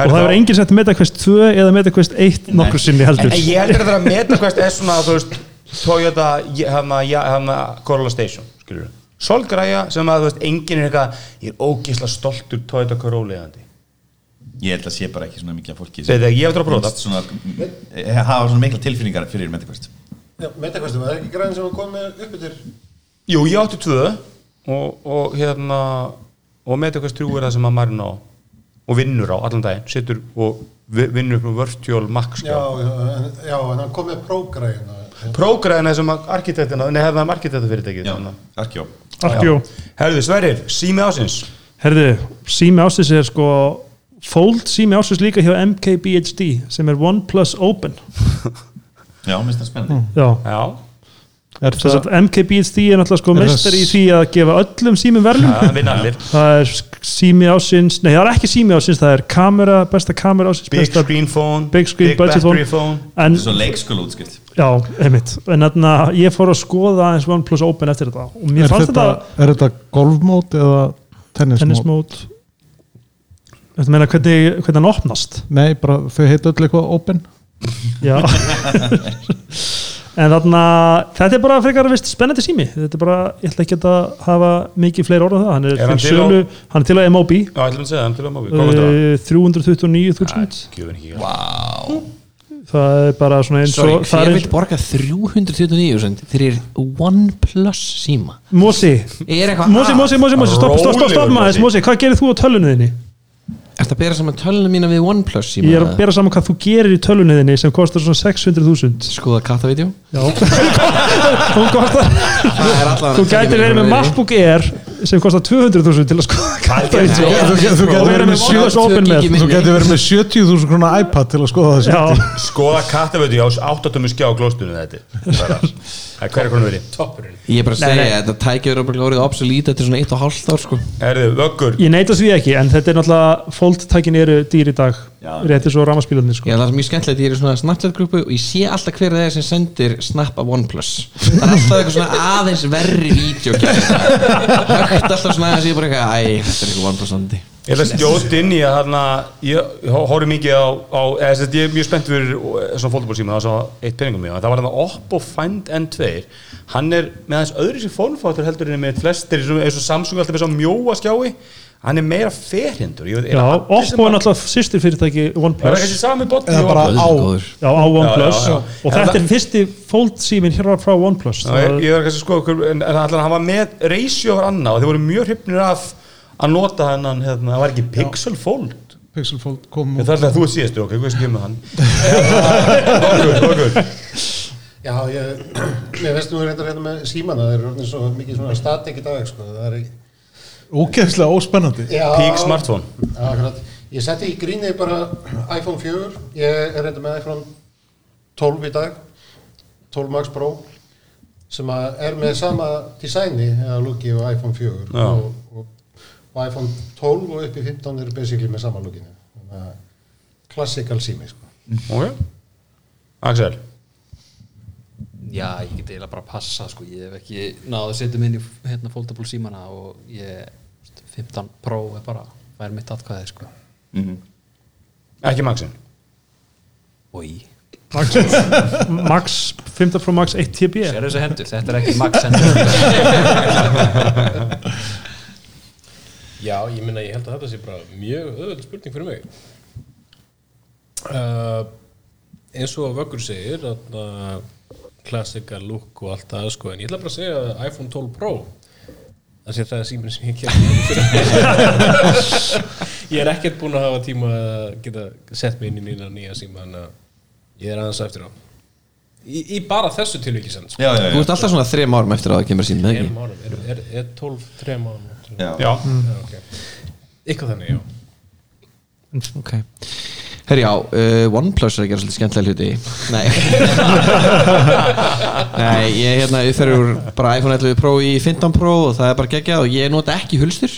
S4: og það er enginn sett MetaQuest 2 eða MetaQuest 1 nokkur sinni heldur
S2: En en ég heldur að það að MetaQuest er svona þú veist, Toyota hana, ja, hana, Corolla Station skilur við Solgræja sem að þú veist, enginn er eitthvað ég er ógisla stoltur Toyota Corolla eigandi
S6: Ég held að sé bara ekki svona mikið að fólki
S2: Þetta er ekki, ég eftir að prófa
S6: finnst
S2: það
S6: svona, eh, hafa svona mikla tilfinningar fyrir MetaQuest
S9: Já, metakvæstum, það er ekki græðin sem að koma með uppbyttir
S2: Jú, ég átti tvö og, og hérna og MetaQuest 3 er það sem að marinn á og vinnur á allan daginn situr og vi- vinnur upp um virtual max
S9: Já, já, en- já, en hann kom með prógræðina
S2: Prógræðina sem að arkitektina nei, um hefði hann arkitekta fyrirtækið
S6: Já, Arkjó
S4: Arkjó.
S2: Herðu, Sverrir, sími ásins
S4: Herðu, sími ásins er sko Fold sími ásins líka hjá
S2: [laughs]
S4: MKBHD sem er OnePlus Open
S6: Já, mér finnst það spennandi
S4: Já,
S2: Já,
S3: Er
S4: Mm. Þess
S3: það,
S4: að MKBHD er náttúrulega sko
S3: Er það
S4: meistari í því að gefa öllum símum verðlum
S2: Það vinna allir
S4: það er sk- sími ásins nei það er ekki sími ásins, það er kamera besta kamera ásins,
S2: Big
S4: besta
S2: screen phone
S4: Big screen budget phone.
S2: battery phone
S4: en,
S6: Svo leikskóla útskipt
S4: já, einmitt en þarna, ég fór að skoða eins OnePlus Open eftir þetta og mér
S3: er,
S4: fannst
S3: þetta,
S4: þetta
S3: er þetta golfmót eða tennismót?
S4: tennismót þetta meina hvernig, hvernig hann opnast
S3: Nei, bara þau heita öll eitthvað open
S4: já en þarna, þetta er bara frekar vist spennandi sími, þetta er bara ég ætla ekki að hafa mikið fleiri orð á það hann er,
S2: Er hann
S4: til
S2: til á-
S4: sölu, hann er til að MOB
S2: Já, ætlum að segja, hann til að móbi Hvað kostar það?
S4: uh, 329.000
S2: Gjöfum ekki
S4: það er bara svona eins
S8: Sorry,
S4: og það
S8: hver
S4: er
S8: vil borga 329 sem fyrir OnePlus síma
S4: Mosi,
S8: Er eitthvað
S4: Mosi, Mosi, Mosi, Mosi stopp, stopp, stopp, stopp
S2: Rólegur,
S4: maður,
S2: Mosi.
S4: Mosi, hvað gerir þú á tölunni þinni?
S8: Er þetta að bera saman tölunum mína við OnePlus síma?
S4: Ég er að bera saman hvað þú gerir í tölunni þinni sem kostar svona 600.000
S8: Skoða kattavídeó
S4: Já, hún kostar
S8: Það er allavega
S4: Þú gætir verið með MacBook Air sem kostar 200.000 til að skoða karta í
S3: Þú,
S4: tjó
S3: þú, þú
S4: Og
S3: getur
S4: verið
S3: verið
S4: með
S3: með,
S8: sjö-
S4: OnePlus Open með
S8: Tökum í-
S3: þú getur verið [laughs] með 70.000 krona iPad til að skoða þessu
S4: Já,
S2: Skoða kattavötu, já, áttatum skjá á glóstunum [laughs] þetta Það er- það er hverja konum verið
S7: toppurinn
S8: Ég er bara að
S4: Nei,
S8: segja,
S4: nei.
S8: þetta tækið er óbúinlega orðið obsolete til svona 1,5 ár sko
S2: Erðu, vöggur
S4: ég neita því ekki en þetta er náttúrulega foldtækin eru dýr í dag
S6: Já.
S4: rétti svo rammaspílarnir sko
S8: Já, það er mjög skemmtilegt, ég er í svona Snapchat-grúpu og ég sé alltaf hver það er sem sendir snap af OnePlus Það er alltaf eitthvað svona aðeins verri vídeo
S4: [laughs]
S8: Högt alltaf svona aðeins, ég er bara eitthvað, æ, þetta er eitthvað OnePlus andi
S2: Ég ætla að skjóta inn í að þarna ég horfði mikið á, á eða, sem sagt, ég er mjög spennt fyrir eh, svona fólkbólsíma það var svo eitt peningum mjög, en það var þarna Oppo Find N2 hann er með aðeins öðru sér formfáttur heldur en með flestir svona- eins og Samsung alltaf með svo mjóa skjái hann er meira ferhindur Ég veit, er
S4: Já,
S2: allir sem
S4: Oppo er
S2: að-
S4: náttúrulega systir fyrirtæki
S2: er það
S4: OnePlus
S2: kannski sami botni
S3: eða
S2: og-
S3: bara á
S4: Já, á OnePlus
S2: já, já.
S4: og þetta er fyrsti foldsímin hérna frá OnePlus
S2: Já, ég, ég var kannski að sko en, en allan hann var með ratio var annað og þeir voru mjög hrypnir af að nota hennan, hérna, það var ekki pixel fold
S3: Pixel Fold kom
S2: Ég
S3: út.
S2: þarf að þú sést, ok, hvað skil
S3: [laughs]
S2: með hann Okkur, okkur
S9: Já, ég, [clears throat] mér finnst nú reyndar hérna með símana, það er orðin svo mikið svona statik í dag, sko. Það er, í-
S3: Ógeðslega óspennandi
S9: já,
S2: Peak smartphone
S9: Akkurat. Ég setti í gríni bara iPhone 4, ég er reyndar með iPhone 12 í dag, 12 Max Pro, sem að er með sama designi að lúki og iPhone 4
S2: Já.
S9: og, og, og iPhone 12 og upp í 15 eru basically með sama lúkinu. Klassikal sími, sko.
S2: Ok Axel
S5: Já, ég get eiginlega bara að passa sko. ég hef ekki náð að setja mig inn í hérna, foldable símana og ég 15 pro er bara væri mitt atkvæði sko.
S2: Mhm. Ekki Maxin
S5: og í,
S4: Max, Max 15 frá Max 1 TB
S5: sér þessu hendur þetta er ekki
S4: [laughs]
S5: max hendur
S7: [laughs] Já, ég minna, ég held að þetta sé bara mjög öðvöld spurning fyrir mig. Uh, eins og Vöggur segir, þarna klassikar lúk og allt það, sko, en ég ætla bara að segja að iPhone 12 Pro, það sé það er síminn sem ég kemur. [laughs] ég er ekkert búinn að hafa tíma að geta sett mig inn í nýna nýja síma, þannig að ég er aðeins á eftir á. Í, í bara þessu tilviki sem, sko.
S6: Já, já,
S8: Þú ert alltaf svona þrem árum eftir að það kemur síma, eða
S7: Er,
S8: ekki?
S7: mánum, er, er, er 12, 3 mánum?
S6: já, já.
S2: Já
S7: Já, ok. Eitthvað þannig, já.
S8: Ok Herri já, uh, OnePlus er að gera svolítið skemmtilega hluti Nei [laughs] Nei, ég hérna, ég fer úr bara iPhone 11 Pro í 15 Pro og það er bara geggjað og ég nota ekki hulstur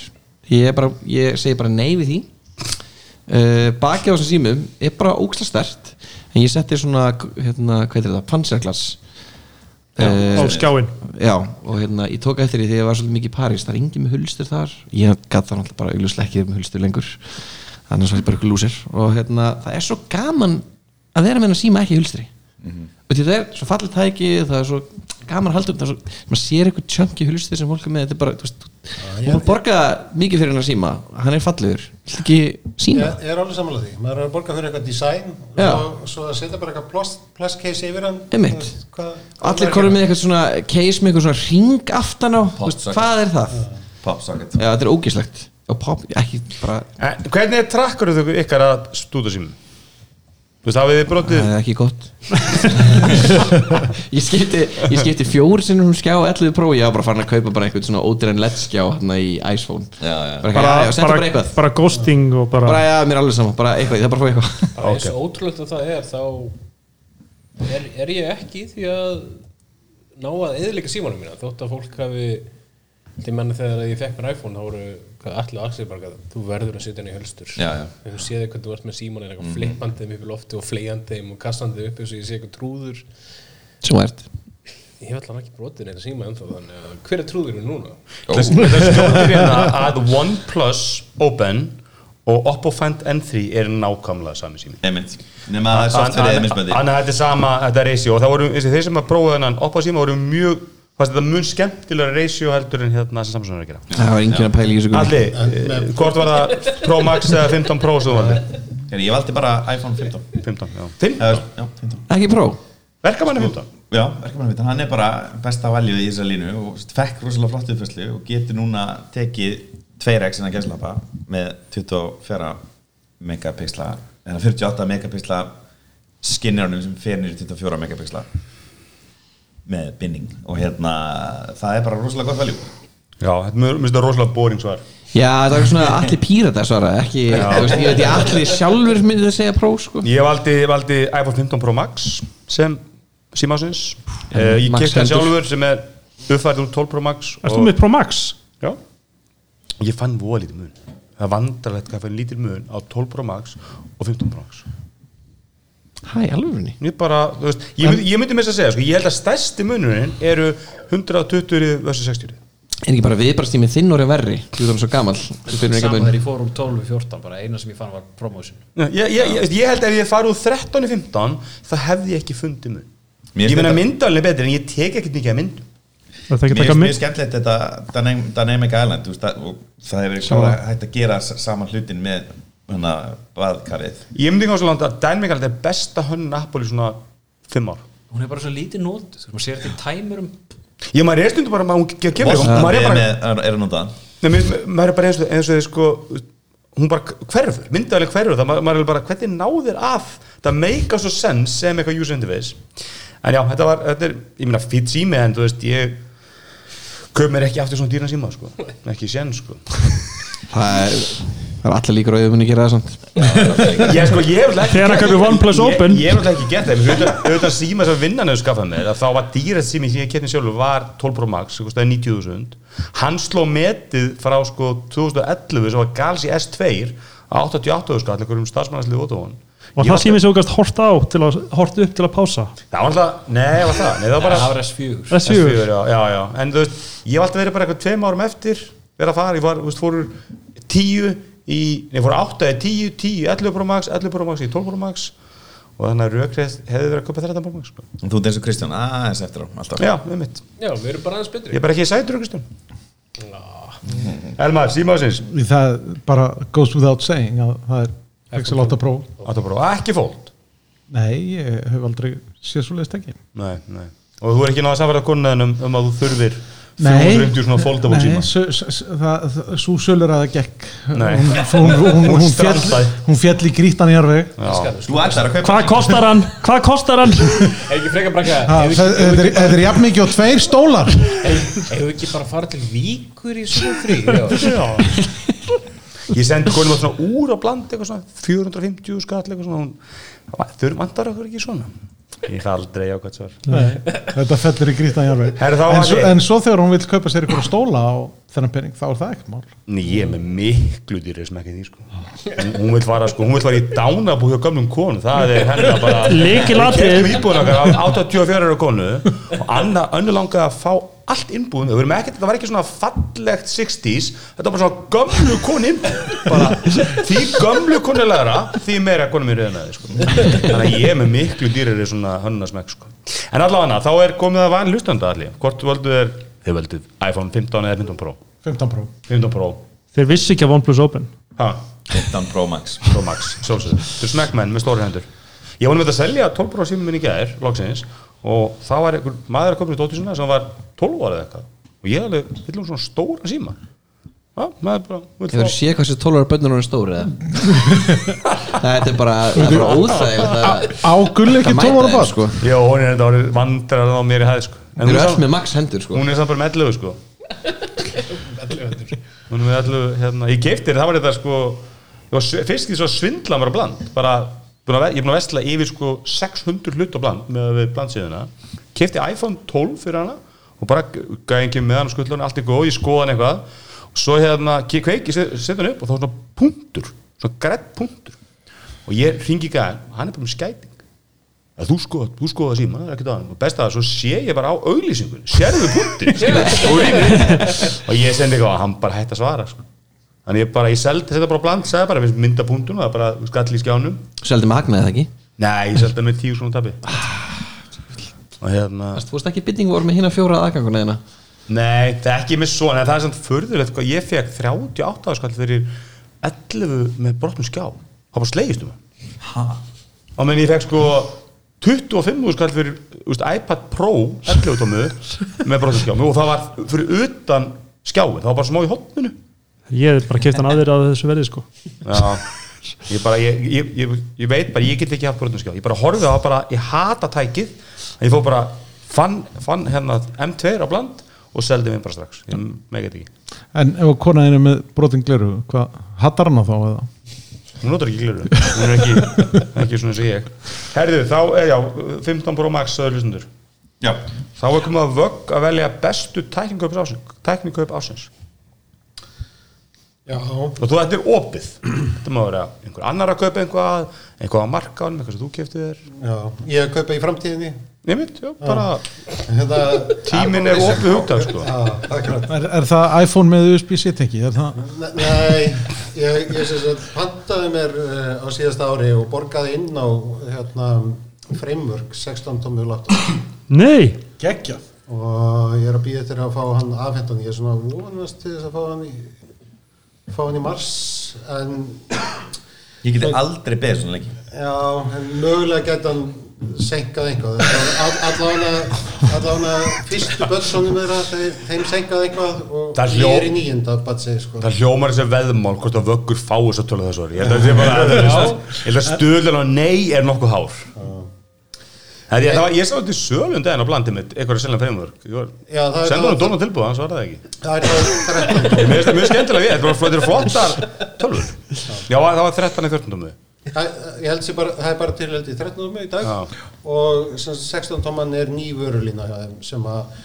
S8: Ég, er bara, ég segi bara nei við því uh, Bakið á þessum símum er bara óksla stert en ég setti svona, hérna, hvað er þetta, panserglass
S4: á skjáin
S8: Eh, Já, og hérna, ég tók eftir því þegar ég var svolítið mikið í París, það er engin með hulstur þar [laughs] ég gat það náttúrulega bara augljóslega ekki með hulstur lengur annars var ég bara ykkur lúsir og hérna, það er svo gaman að vera með hennar síma ekki í hulstri
S2: Mhm.
S8: og því það er svo fallið tæki það er svo gaman að halda um það er svo, maður sér eitthvað tjöngi hulstri sem fólk er með þetta er bara, þú veist, þú ja, borga mikið fyrir hennar síma, hann er fallegur Viltu ekki síma,
S9: Ég, ég er alveg samanlega því, maður er að borga fyrir eitthvað design
S8: Já.
S9: og svo að setja bara eitthvað plast, plastcase yfir hann
S8: Einmitt.
S9: Þú veist, hvað- hvað
S8: allir
S9: merkir
S8: korfum
S9: hann?
S8: með eitthvað svona case með eitthvað svona ring aftan á, þú veist,
S6: Pottsaka.
S8: hvað er það?
S6: Popsocket
S8: Já, þetta er ógislegt og pop, ekki bara
S2: En Hvernig er trakkur þau ykkar að stúta símum? Þú veist, hafið þið brotið
S8: Það er ekki gott [laughs] Ég skipti, ég skipti fjóri sinnum um skjá 11 prófi, ég var bara farin að kaupa bara einhvern svona ódýran LED skjá hérna í iPhone
S6: Já, já.
S8: Bara, bara,
S4: bara,
S8: já, já, sendu bara
S4: bara,
S8: eitthvað
S4: bara ghosting og bara,
S8: Bara, já, mér er alveg sama, bara eitthvað, ég þarf bara að fá eitthvað
S7: bara eins og ótrúlegt að það er þá er, er ég ekki því að ná að eðlika símanum mína þótt að fólk hafi til menna þegar ég fekk mér iPhone þá voru hvað allir aðsir bara að þú verður að setja henni í hölstur
S6: Já, já.
S7: við höfum séð hvernig þú ert með símanum eitthvað mm. flippandi þeim upp í lofti og fleigjandi þeim og kastandi upp eins og ég sé eitthvað trúður
S8: Svo ert
S7: ég hef allan ekki brotið neitt síma ennþá þannig að hver er trúðurinn núna?
S2: Það skjóttir hérna að OnePlus Open og Oppo Find N3 er nákvæmlega sami sími
S6: Einmitt. nema að það er softverið eða mismöndi
S2: Þannig að þetta er sama, þetta er ratio og það voru, þessi, þeir sem að prófa þennan Oppo síma voru mjög, fannst þetta mun skemmtilega ratio heldur en hérna sem Samsung er að gera
S8: Það var enginn að pæla í þessu
S2: Alli, eh, hvort var það Pro Max eða 15 Pro sem þú valdi?
S6: ég valdi bara iPhone 15
S2: 15, já 15?
S6: Eða, já, 15
S8: Ekki pró
S2: Verka manni 15?
S6: Já, verkefnarvitan, hann er bara besta valjuð í þessar línu og fekk rosalega flott uppfæslu og getur núna tekið 2x innan gæslappa með 24 megapixla eða 48 megapixla skinnjarnum sem fer niður í 24 megapixla með binning og hérna, það er bara rosalega gott valjú
S2: Já, þetta mér finnst þetta rosalega boring svar
S8: Já, það var svona allir pírata svara Ekki, þú veist, ég veit ég allir sjálfur myndi að segja pró, sko
S2: Ég valdi, valdi iPhone 15 Pro Max sem símasins uh, Ég
S8: Max
S2: kipti hann
S8: heldur.
S2: sjálfur sem er uppfærið úr 12 Pro Max
S4: Erst
S2: og-
S4: þú með Pro Max?
S2: Já Ég fann voða lítið mun Það er vandralegt hvað ég fann lítið mun á 12 Pro Max og 15 Pro Max
S8: Hæ, alvörni
S2: Ég bara, þú veist, ég, mynd, ég myndi með þess að segja sko, Ég held að stærsti munurinn eru 120 vs 60
S8: Er ekki bara viðbrastími þinn orðið verri Þú erum svo gamall Þú finnur ekki að
S5: Saman
S8: mun
S5: þegar ég fór úr 12 í 14 bara eina sem ég fann var promotion
S2: ég, ég, ég, ég held að ef ég farið úr 13 í 15 það hefði ég ekki fundið mun
S6: Mér
S2: Ég meina
S6: finnst
S2: myndanlega betri en ég tek ekkert mikið að myndum
S4: Það er ekki að taka
S6: Mér finnst mjög
S4: mynd
S6: skemmtilegt þetta Dynam- Dynamic Island þú veist, það- og það hefur klára hægt að gera s- saman hlutin með hana, baðkarið
S2: Ég myndi ekki á svo langt að Dynamic Island er besta hönnun Apple í svona 5 ár
S5: hún er bara svo lítið nót þú maður sér þetta í tæmurum
S2: Ég maður er stundum bara maður ge- kemur
S6: Boston
S2: maður er
S6: er,
S2: bara,
S6: með- er, er að nota hann
S2: nei, mér- maður er bara eins og, eins og þið sko hún bara hverfur, myndaðalega hverfur það maður, maður er bara hvernig náðir af það make svo sense sem eitthvað user interface en já, þetta var, þetta er, ég meina fýtt sími en þú veist, ég köp mér ekki aftur svona dýran síma sko ekki sén sko
S8: Það er, það er allir líkur á að þau muni gera það samt
S2: ég sko, ég hef ekki
S4: Þegar hann kaupir OnePlus
S2: Ég-
S4: Open.
S2: ég hef náttúrulega ekki gett það, auðvitað, auðvitað síma sem vinnan hefur skaffað mér, að þá var dýrið sími sem ég kefti sjálfur var 12 Pro Max, sem kostaði 90.000 hann sló metið frá sko 2011 sem var Galsi S2 á 88 skall, einhverjum starfsmannarslið Vodafone
S4: Og
S2: Ég
S4: það
S2: var-
S4: símið sem þú gast hort á til að hort upp til að pása
S2: það var alltaf, nei, það var það nei, það var bara
S5: það var S4
S4: S4
S2: S4, já, já, já, en þú veist ég hef alltaf verið bara eitthvað tveim árum eftir verið að fara, ég var, þú veist, fóru tíu í, nei, fóru átta í tíu, tíu 11 Pro Max, 11 Pro Max í 12 Pro Max og þannig að rökrið hefði verið að köpa 13 Pro Max, sko.
S6: En Þú ert eins og Kristján aðeins eftir á alltaf
S2: já, um mitt,
S7: Já, við erum bara aðeins
S2: ég
S7: betri
S2: er bara ekki sætur Kristján Elmar, símaðsins
S3: það bara goes without saying að það er Pixel 8 Pro
S2: 8 Pro, ekki fóld
S3: nei, ég hef aldrei séð svo leiðist ekki
S2: nei, nei, og þú er ekki náða samverða konan um, um að þú þurfir
S3: Nei.
S2: 450 svona foldable síma
S3: svo sölur að það gekk
S2: Nei.
S3: hún, hún, hún, hún,
S2: [laughs] Hún
S3: fjall,
S2: strandaði.
S3: hún fjall í grítan í arveg
S2: já,
S6: Þú ætlar að kaupa
S4: Hvað kostar hann? Hvað kostar hann?
S7: Ekki frekar brakka
S3: það
S7: Hefur
S3: það- þetta er- þetta er jafn mikið og tveir stólar
S7: hefur ekki bara farið til víkur í sumafrí? Já,
S2: ég sendi konum á svona úr á bland eitthvað svona 450 skall eitthvað svona hún, þurr vantar okkur ekki svona ég hef aldrei ákvæmt svar
S3: þetta fellir í grítan í arveg
S2: Herra, þá
S3: en,
S2: var
S3: svo,
S2: ég-
S3: en svo þegar hún vil kaupa sér ykkur stóla á þennan pening þá er það ekkert mál
S2: Nei, ég er með miklu dýrið sem ekki því sko. Hún- hún vil fara sko, hún vil fara í dánabú hjá gömlum konu, það er henni að
S3: [laughs]
S2: bara
S4: Lykilatriði.
S2: Við keyptum íbúðina okkar á 84 ára konu og Anna önnu langaði að fá allt innbúðum, það, var ekki, það var ekki svona fallegt 60s, þetta var bara svona gömlu konu innbúð, bara því gömlu konu er læra, því meira konu mér reynaði sko. þannig að ég er með miklu dýrið svona hönnasmekk sko. en allavega þá er komið að van hlustanda allir, hvort völdu er þið völdu iPhone 15 eða 15 Pro
S3: 15 Pro
S2: 15 Pro,
S4: Þeir vissi ekki að OnePlus Open
S2: ha
S6: 15 Pro Max
S2: Pro Max, sjálfsögðu. Þetta er snackmenn með stóri hendur. Ég var með að selja 12 brá símum minn í gæðir, loksins, og það var einhver maður að koma í dóttisuna sem var 12 ára eða eitthvað. Og ég alveg, við erum svona stóra síma. Já, maður bara, vill
S8: Hefur þú
S2: fá-
S8: séð hvað þessi 12 ára bönnur hún er stór eða? það er bara, það er bara óþægilegt að-
S3: á gull
S8: að
S3: ekki
S8: mæta
S3: 12 ára
S8: þeim,
S3: barn
S8: sko.
S2: Já, hún er þetta árið vandrar á mér í hæð, sko. En
S8: Þeir
S2: hún
S8: eru
S2: er,
S8: öll
S2: samt,
S8: með max hendur sko.
S2: hún er samt bara með 11, sko. Hún er með 11, hérna, ég keiftir, það var þetta, sko, ég var sve- fyrst í svo svindla mér á bland, bara, búin að, ve- ég er búin að vestla yfir, sko, 600 hlut á bland með blandsíðuna, kefti iPhone 12 fyrir hana og bara gæði ekki með hann og skullun allt er góð, ég skoða hann eitthvað og svo hérna, ke- kveiki, set- setja hann upp og þá svona punktur, svona grætt punktur og ég ringi í gæðan og hann er bara með skæting að þú skoða, þú skoða síma, það er ekkert á hann og best að það, svo sé ég bara á auglýsingunni sérðu punktin og, rýmið. og ég sendi eitthvað, hann bara hætti að svara sko. þannig ég bara, ég seldi þetta bara á bland, sagði bara, við mynda punktum og það bara skall í skjánum
S8: Seldi með hagnaði það ekki
S2: nei, ég seldi það með tíu svona tapi og hérna
S8: Þú veist ekki bytting voru með hérna fjóra aðganguna þeirna
S2: nei, það er ekki með svona, en það er samt förðulegt hvað ég fekk 38 skall fyrir 11 með brotnum skjá það bara slegist um hann og menn ég fekk sko 25 skall fyrir úst, iPad Pro 11 tómu með brotinskjámi og það var fyrir utan skjáin, það var bara smá í hotninu
S4: ég er bara keft hann aðeir að þessu verði sko
S2: Já, ég bara ég, ég, ég, ég veit bara, ég get ekki haft brotinskjá ég bara horfið á það bara, ég hata tækið en ég fór bara, fann, fann hérna M2 á bland og seldi mér bara strax, ég mega þetta ekki
S3: en ef konaðin er með brotin gleru hvað hattar hann á þá eða?
S2: hún notar ekki glöru, hún er ekki, ekki svona sem ég herðu, þá er já 15 Pro Max, það er hlustendur
S6: Já,
S2: Þá er komið að vögg að velja bestu tækningkaup ásins, tækningkaup ásins.
S9: Já,
S2: og þú þetta er opið þetta má vera einhver annar að kaupa einhvað einhvað að marka honum, eitthvað sem þú keftið þér
S9: já, ég kaupa í framtíðinni
S2: nefnt, já, bara
S9: Þetta
S2: tíminn er opið hugtað sko.
S9: Já, akkurat
S3: Er, er það iPhone með USB-C tekki? Er það
S9: Ne- Nei, ég, ég sem sagt pantaði mér uh, á síðasta ári og borgaði inn á hérna, framework 16 tómmu laptop
S4: nei,
S3: geggjað?
S9: og ég er að býða eftir að fá hann afhendan ég er svona vonast til þess að fá hann í, fá hann í mars en
S6: ég geti aldrei beðið svona lengi
S9: já, en mögulega gæti hann senkað eitthvað allavega allavega fyrstu börnsónum er að þeir, þeim senkað eitthvað og
S2: Það er
S9: ég
S2: hljó-
S9: er í nýjenda batsi sko.
S2: það hljómar þessi veðmál hvort að vöggur fá þess að tala þessu orði. ég held að það sé bara ég held að stöðlan á nei er nokkuð hár Það er, það var, ég sá þetta í sölund en á blandið mitt, eitthvað að selja fremvörk
S9: Já, það er-
S2: sendur hann Donald tilbúð, hann svaraði ekki
S9: það er það 13
S2: Mér finnst það mjög skemmtilega við, þetta eru flottir- flottar tölvur Já, það var 13 í 14 tómuði
S9: Það- ég held sér bara, það er bara tilhælt í 13 tómi í dag
S2: Já.
S9: og sem sagt, 16 tóman er ný vörulína hjá þeim sem að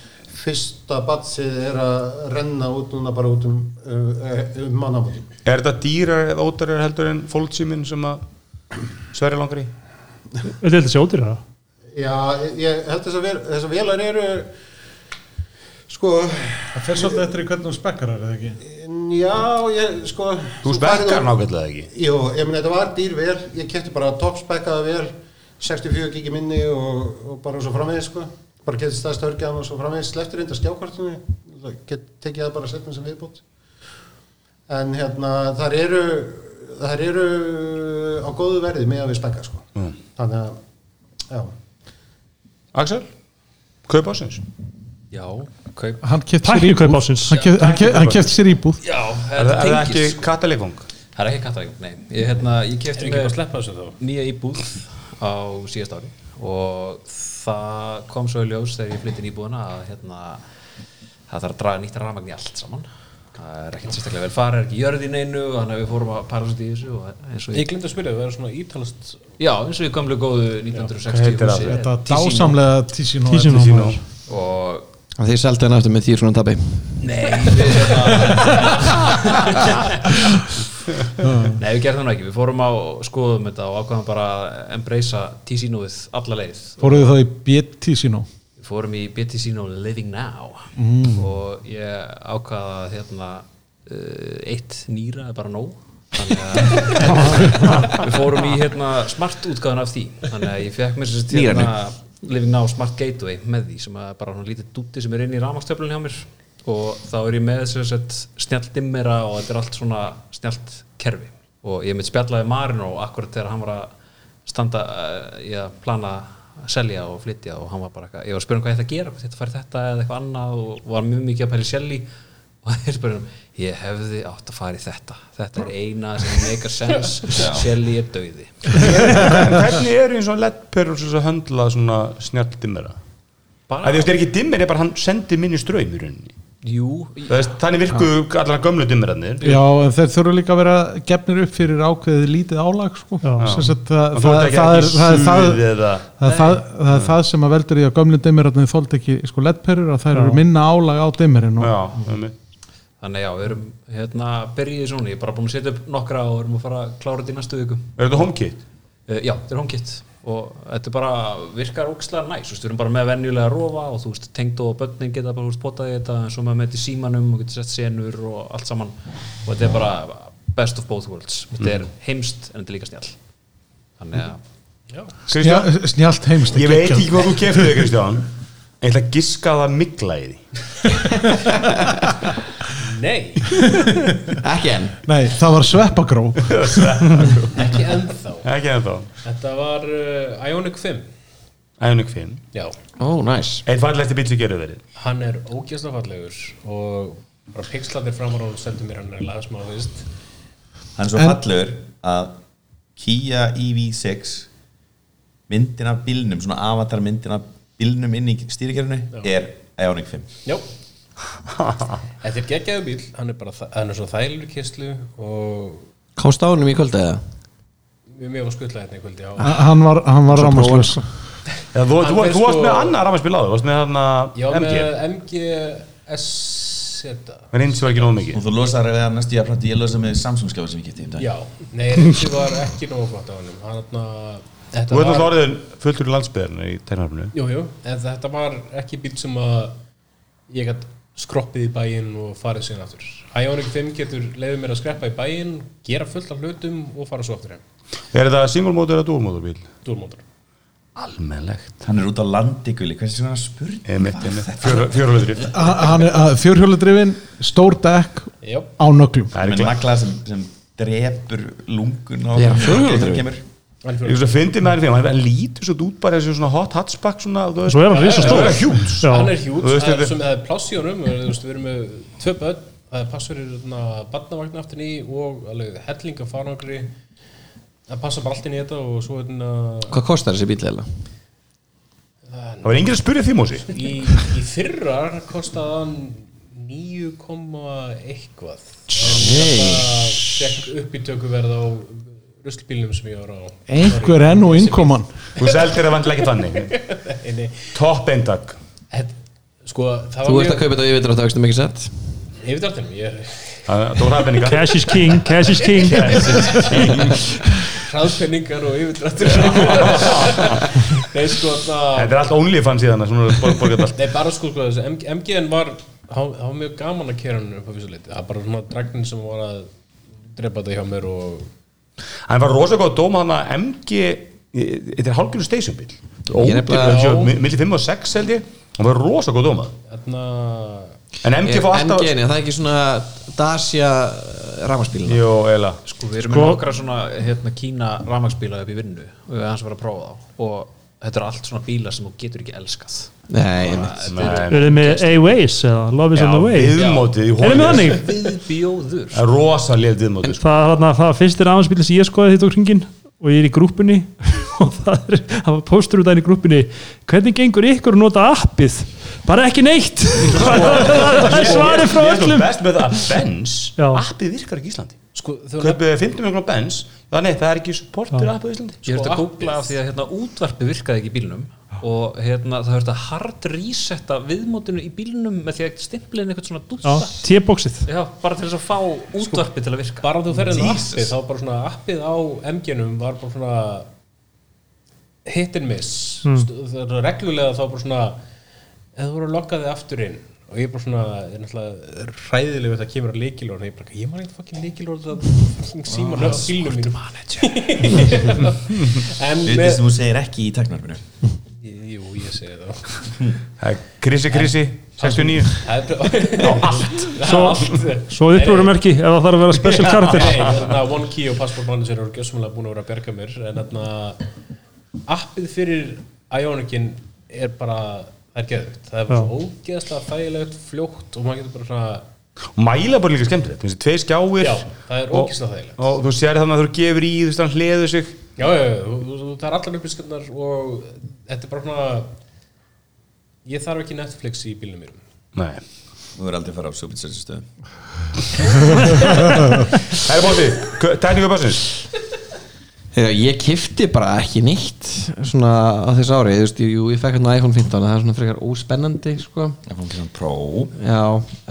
S9: fyrsta batsið er að renna út núna bara út um, uh, um mannamótum
S2: Er þetta dýrar eða ódýrar heldur en fólksýmin sem að sverja langar í?
S4: þetta er þetta sé ódýra
S9: já, ég- ég held þess að vel, þess að velar eru sko
S3: Það fer svolítið eftir í hvernig þú spekkar það, eða ekki?
S9: já, ég sko
S2: Þú spekkar nákvæmlega ekki.
S9: jú, ég meni þetta var dýr vel, ég kefti bara toppspekkaða vel 64 gigi minni og, og bara svo framvegis sko bara getið staðstörgjaðan og svo framvegis sleftur reynda skjákvartinu, Það get, tekið það bara setnum sem viðbót en hérna þar eru þar eru á góðu verði með að við spekka sko
S2: Mm.
S9: þannig að já,
S2: Axel, kaup ásins.
S5: já, kaup
S3: Hann keft sér
S4: Tækni
S3: íbúð.
S4: kaup ársins.
S3: Hann keypt- hann keypt- Hann keft sér íbúð.
S5: já,
S2: Er, það- er það
S5: tengist,
S2: ekki
S5: sko.
S2: katalífung?
S5: það er ekki kattarík nei, ég, hérna, ég kefti
S7: ekki bara að sleppa þessu þá
S5: nýja íbúð á síðast ári og það kom svo í ljós þegar ég flytti inn íbúðuna að hérna, það þarf að draga nýtt rafmagn í allt saman það er ekkert sérstaklega vel fara, er ekki jörð í neinu og þannig að við fórum að para svolítið í þessu og eins og
S7: Ég
S5: ég,
S7: glemt að spyrja, það er svona ítalast
S5: já, eins og ég gamlu góðu
S2: Hvað
S5: 1960
S2: heitir það?
S5: húsi,
S3: Þetta
S5: Ticino.
S3: dásamlega Ticino.
S4: Ticino.
S2: Sýnum.
S5: og
S8: Af Því ég seldi hann aftur með tíu svona tabi
S5: Nei við, [laughs] Nei, við gerðum það nú ekki Við fórum á skoðum þetta og ákvæðum bara að embracea T-sínóið alla leið
S3: Fóruðu þá í B-Ticino?
S5: Við fórum í BT-sínó Living Now og ég ákvaða hérna uh, eitt nýra er bara nóg þannig að við fórum í hérna smart útgáðan af því þannig að ég fekk mér sérst hérna Living Now Smart Gateway með því sem að er bara svona lítið dúti sem er inn í rafmakstöflun hjá mér og þá er ég með sérst snjallt dimmera og þetta er allt svona snjallt kerfi og ég mitt spjallaði Marino akkurat þegar hann var að standa uh, í að plana að selja og flytja og hann var bara eitthvað, ég var að spyrja um hvað ég ætla að gera, hvort ég ætla að fara í þetta eða eitthvað annað og var mjög mikið að pæli selji og þeir spurði um, ég hefði átt að fara í þetta þetta er eina sem meikar sens
S2: [laughs]
S5: selji er dauði
S2: Hvernig eru eins og leddperur sem að höndla svona snjall dimmera?
S5: Bara-
S2: Það er ekki dimmir, ég bara hann sendir minni ströym í rauninni.
S5: Jú,
S2: Það veist, Þannig virku allar gömlu dimmirarnir
S3: Já, en þeir þurfa líka að vera gefnir upp fyrir ákveðið lítið álag sko. Sem sagt,
S2: Og
S3: það,
S2: þú
S3: það,
S2: ert ekki
S3: það,
S2: að
S3: er,
S2: gera
S3: það,
S2: ekki
S3: er, það,
S2: suðið eða
S3: það, er, það, það er það sem að veldur í að gömlu dimmirarnir þóldi ekki sko, leddperur að þær eru minna álag á dimmirinn og,
S2: [laughs] Já, einmitt.
S5: þannig já, við erum hérna byrjið svona, ég er bara búin að setja upp nokkra og erum að fara að klára þetta í næstu viku
S2: er þetta homekit?
S5: uh, Já, þetta er homekit og þetta er bara virkar ókslega næs, þú veist, við erum bara með venjulega rofa og þú veist, tengd og börnin geta bara, þú veist, potaði þetta en svo með með þetta í símanum og getur sett senur og allt saman og þetta er bara best of both worlds þetta
S8: Mm.
S5: er heimst en þetta er líka snjall þannig að
S8: Mm.
S3: Já,
S2: Kristján,
S3: snjált heimst
S2: ég veit ekki hvað þú keftir þig Kristján Ég ætla að giska að það mikla í því
S7: [laughs] Nei,
S8: Ekki enn
S3: Nei, það var sveppagró
S2: [laughs]
S7: ekki ennþá
S2: Ekki ennþá
S7: Þetta var uh, Ionic 5
S2: Ænug finn
S7: Já,
S8: Ó, næs
S2: Eitt fallegasti bíl sem gerur verið
S7: hann er ógjast fallegur og bara pixlaðir framar og sendur mér hann er laðsmá, veist
S6: hann er svo
S3: En-
S6: fallegur að Kia EV6 myndin af bílnum svona avatar myndin af bílnum inn í stýrikerfinu er Ioniq 5
S7: Jó Þetta er geggjaðu bíl, hann er bara þa- hann er svo þælur kistlu og
S8: Komst á honum í kvölda eða?
S7: við mér var skutlað hérna í kvöldi já.
S3: Hann var, hann var rámaslaus
S8: sko.
S2: Já, Þú,
S7: Hann
S2: þú,
S7: er
S2: þú varst
S7: sko-
S2: með annað rafmarspil áður, þú varst með þarna
S7: Já,
S2: MG
S7: með MG S þetta.
S2: Það reyndi sem var ekki nóg mikið
S6: og þú losar við það næstu jafnframt ég losa með Samsung skjáður sem ég geti í dag
S7: Já, nei, þetta var ekki nógu flott á honum hann þarna- þetta
S2: Þú ert
S7: var-
S2: náttúrulega orðin fullur í landsbyðinu í tegnarfinu
S7: Jú, jú, en þetta var ekki bíl sem að ég gætt skroppið í bæinn og farið síðan aftur. Ioniq 5 getur leiðið mér að skreppa í bæinn, gera fullt af hlutum og fara svo aftur heim.
S2: Er þetta single motor eða dual motor bíl?
S7: Dúlmótor.
S2: Almennlegt
S6: hann er út á landi gulli hversu svona spurning
S2: Fjörulöðrif
S3: Fjórhjóludrifin, stór dekk
S7: Jú,
S3: á nöglum
S2: Það er
S6: með
S2: ekki
S6: nagla sem, sem drepur lungun á
S8: Já, fjórhjólaður.
S6: þegar kemur
S7: hann
S2: Ég
S7: fyrir.
S2: svo fyndi með hann fyrir, hann- hann lítur svo út bara eins og svona hot hatchback svona, þú veist
S4: Svo er hann risa
S2: Það
S4: stór
S2: er hjúts
S4: Já.
S7: Hann er hjút,
S2: Þú veist,
S7: það er
S2: þetta-
S7: sem það er pláss í honum, og þú veist, við erum með tvö börn, það er pláss fyrir hérna barnavagn aftur í og alveg helling af farangri. Það passa bara allt inn í þetta og svo hérna
S8: Hvað kostar þessi bíl eða?
S2: Það var enginn að spyrja því músi
S7: í, í fyrra kostaði hann 9, eitthvað hérna
S8: Hey.
S7: Það fekk uppítökuverð á ruslbílnum sem ég var á
S3: Einhver enn og innkoman
S2: Þú seldir það vantilega ekki þannig
S7: [laughs] Inni,
S2: Topp eindag
S7: het, sko, það
S8: Þú ert að
S7: var mjög
S8: kaupa þetta yfirdrátt að ekki sett
S7: yfirdrættinum, ég er
S2: Það var hraðbenningar
S4: Cash is king, cash is
S7: [laughs]
S4: king
S7: hraðpenningar og
S2: [laughs]
S7: yfirdrættinum Nei, sko, það
S2: Þetta er allt OnlyFans í þannig Svona borg- borgar þetta allt
S7: Nei, bara sko, sko, þessi M- MGN var það var mjög gaman að kera hann upp á vissu leiti það var bara svona dragnin sem var að drepa þetta hjá mér og
S2: Hann var rosalega góð að dóma hann að MG Þetta er hálfgjörn station bíl
S8: Ég er nefnilega-
S2: Millir 5 og 6 held ég Hann var rosalega góð
S4: [laughs]
S2: að dóma
S7: þarna
S2: En MG fá alltaf
S8: MG-ni, það er ekki svona Dacia eh, ramaspílina
S2: Jó, eila
S5: Sko, við erum með nokkra svona hérna, kína rafmagsbíla upp í vinnu og við erum aðeins að fara að prófa þá og þetta er allt svona bíla sem þú getur ekki elskað
S8: Nei, einmitt
S4: Eru þið með A-Ways eða Love is on the way
S2: Viðmótið í
S4: Erum við
S2: honum.
S4: þannig?
S5: Viðbjóður
S2: Það er rosalega viðmótið sko.
S4: það, þarna, það var fyrstir aðansbíl sem ég skoði þetta á kringin og ég er í grúpunni [laughs] og það, er, það var póstur út af henni í grúpunni hvernig gengur ykkur að nota appið bara ekki
S2: [laughs]
S4: neitt það er svarið frá
S2: Ég er svo
S4: öllum
S2: best með það að Benz
S4: Já.
S2: Appið virkar ekki í Íslandi
S7: sko, þau
S2: Kaupið 50 mjög Benz Já, nei, það er ekki supportur appið í Íslandi Sko,
S5: Ég höfði að
S7: appið.
S5: googla af því að hérna, útvarpi virkaði ekki í bílnum og hérna, það höfði að hard resetta viðmótinu í bílnum með því að stimpla inn eitthvað svona dúsa
S4: T-boxið
S5: Já, bara til þess að fá útvarpi til að virka
S7: bara þú ferðin á appið þá bara svona appið á MG-num var bara svona hit and miss
S2: Hmm.
S7: mm. það er reglulega þá bara svona eða þú voru að lokka þig aftur inn og ég bara svona, er náttúrulega hræðileg við það kemur að leikilorð ég bara, ég maður eitthvað fokkin leikilorð það fucking síma nöfn
S2: [laughs]
S7: sílum
S5: [laughs]
S7: mínu en
S6: þetta
S7: með
S6: sem þú segir ekki í teknarfinu
S7: jú, ég segi það
S2: Það er Krissi, Krissi, 69
S7: á [laughs] allt
S4: Svo- svo upprúrumörki ef það þarf að vera special karakter
S7: Nei, þarna One Key og Passport Manager eru gjössamlega búin að vera að berga mér en þarna appið fyrir Ionikin er bara það er geðvögt, það er bara
S4: Já.
S7: svo ógeðslega þægilegt, fljótt og maður getur bara svona
S2: Og Mæla bara líka skemmtilegt, þú veist, tvei skjáir
S7: já, það er
S2: og,
S7: ógeðslega þægilegt
S2: og þú sér þannig að þú gefur í, þú veist, hann hliður sig
S7: já, já, já, þú- þú- þú- það er allar upplýskarnar og þetta er bara svona ég þarf ekki Netflix í bílnum mér
S2: Nei,
S6: Þú verður aldrei að fara á
S2: [laughs]
S6: súbitselstöðu
S2: Herri Bóti, tækningu bassins
S8: Þegar ég kifti bara ekki neitt svona á þess ári, þú veist, jú, ég fekk hérna iPhone 15 það er svona frekar óspennandi, sko
S6: Það fór svona pró
S8: Já,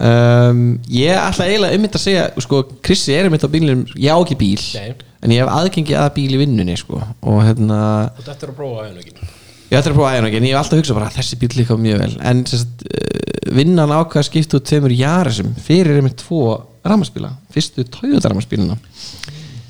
S8: um, ég ætla eiginlega einmitt að segja, sko, Krissi er einmitt á bílinum, ég á ekki bíl
S7: Nei.
S8: en ég hef aðgengi að bíl í vinnunni, sko og hérna,
S7: og þetta er að prófa aðeins ekki
S8: ég ætla að prófa aðeins en ég hef alltaf hugsað bara, "Ah, þessi bíl líka mjög vel en sem sagt, eh, vinnan ákvað að skipta út tveimur jarisum fyrir einmitt tvo ramaspíla, fyrstu Toyota ramaspílina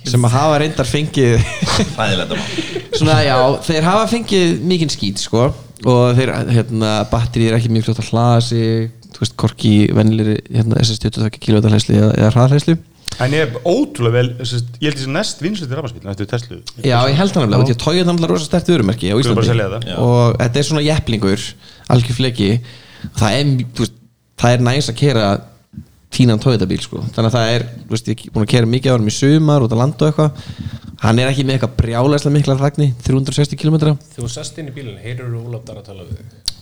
S8: sem að hafa reyndar fengið [laughs]
S6: Hræðilegt að
S8: svona já, þeir hafa fengið mikinn skít sko og þeir, hérna, batterið er ekki mjög fljótt að hlaða sig, þú veist, korki venlir, hérna, SS22 kWh hlæslu eða, eða hraðhlæslu
S2: En ég er ótrúlega vel, sem sagt, ég held þessi næst vinslutir rafmarsbíl Þetta er Tesla
S8: Já, ég held það nefnilega, því að Toyota er náttúrulega rosa sterkt vörumerki á
S2: Skulum bara
S8: Íslandi
S2: selja það.
S6: Já.
S8: og þetta er svona jepplingur algjör fleki það er, þú veist, það er næs að kera tínan Toyota bíl sko þannig að það er, þú veist, ég er búin að kera mikið á hann í sumar út að landa og eitthvað hann er ekki með eitthvað brjálæslega mikla þagni 360 km
S7: þú sest inn í bílun, heyrir þú Ólaf Dar að tala við þig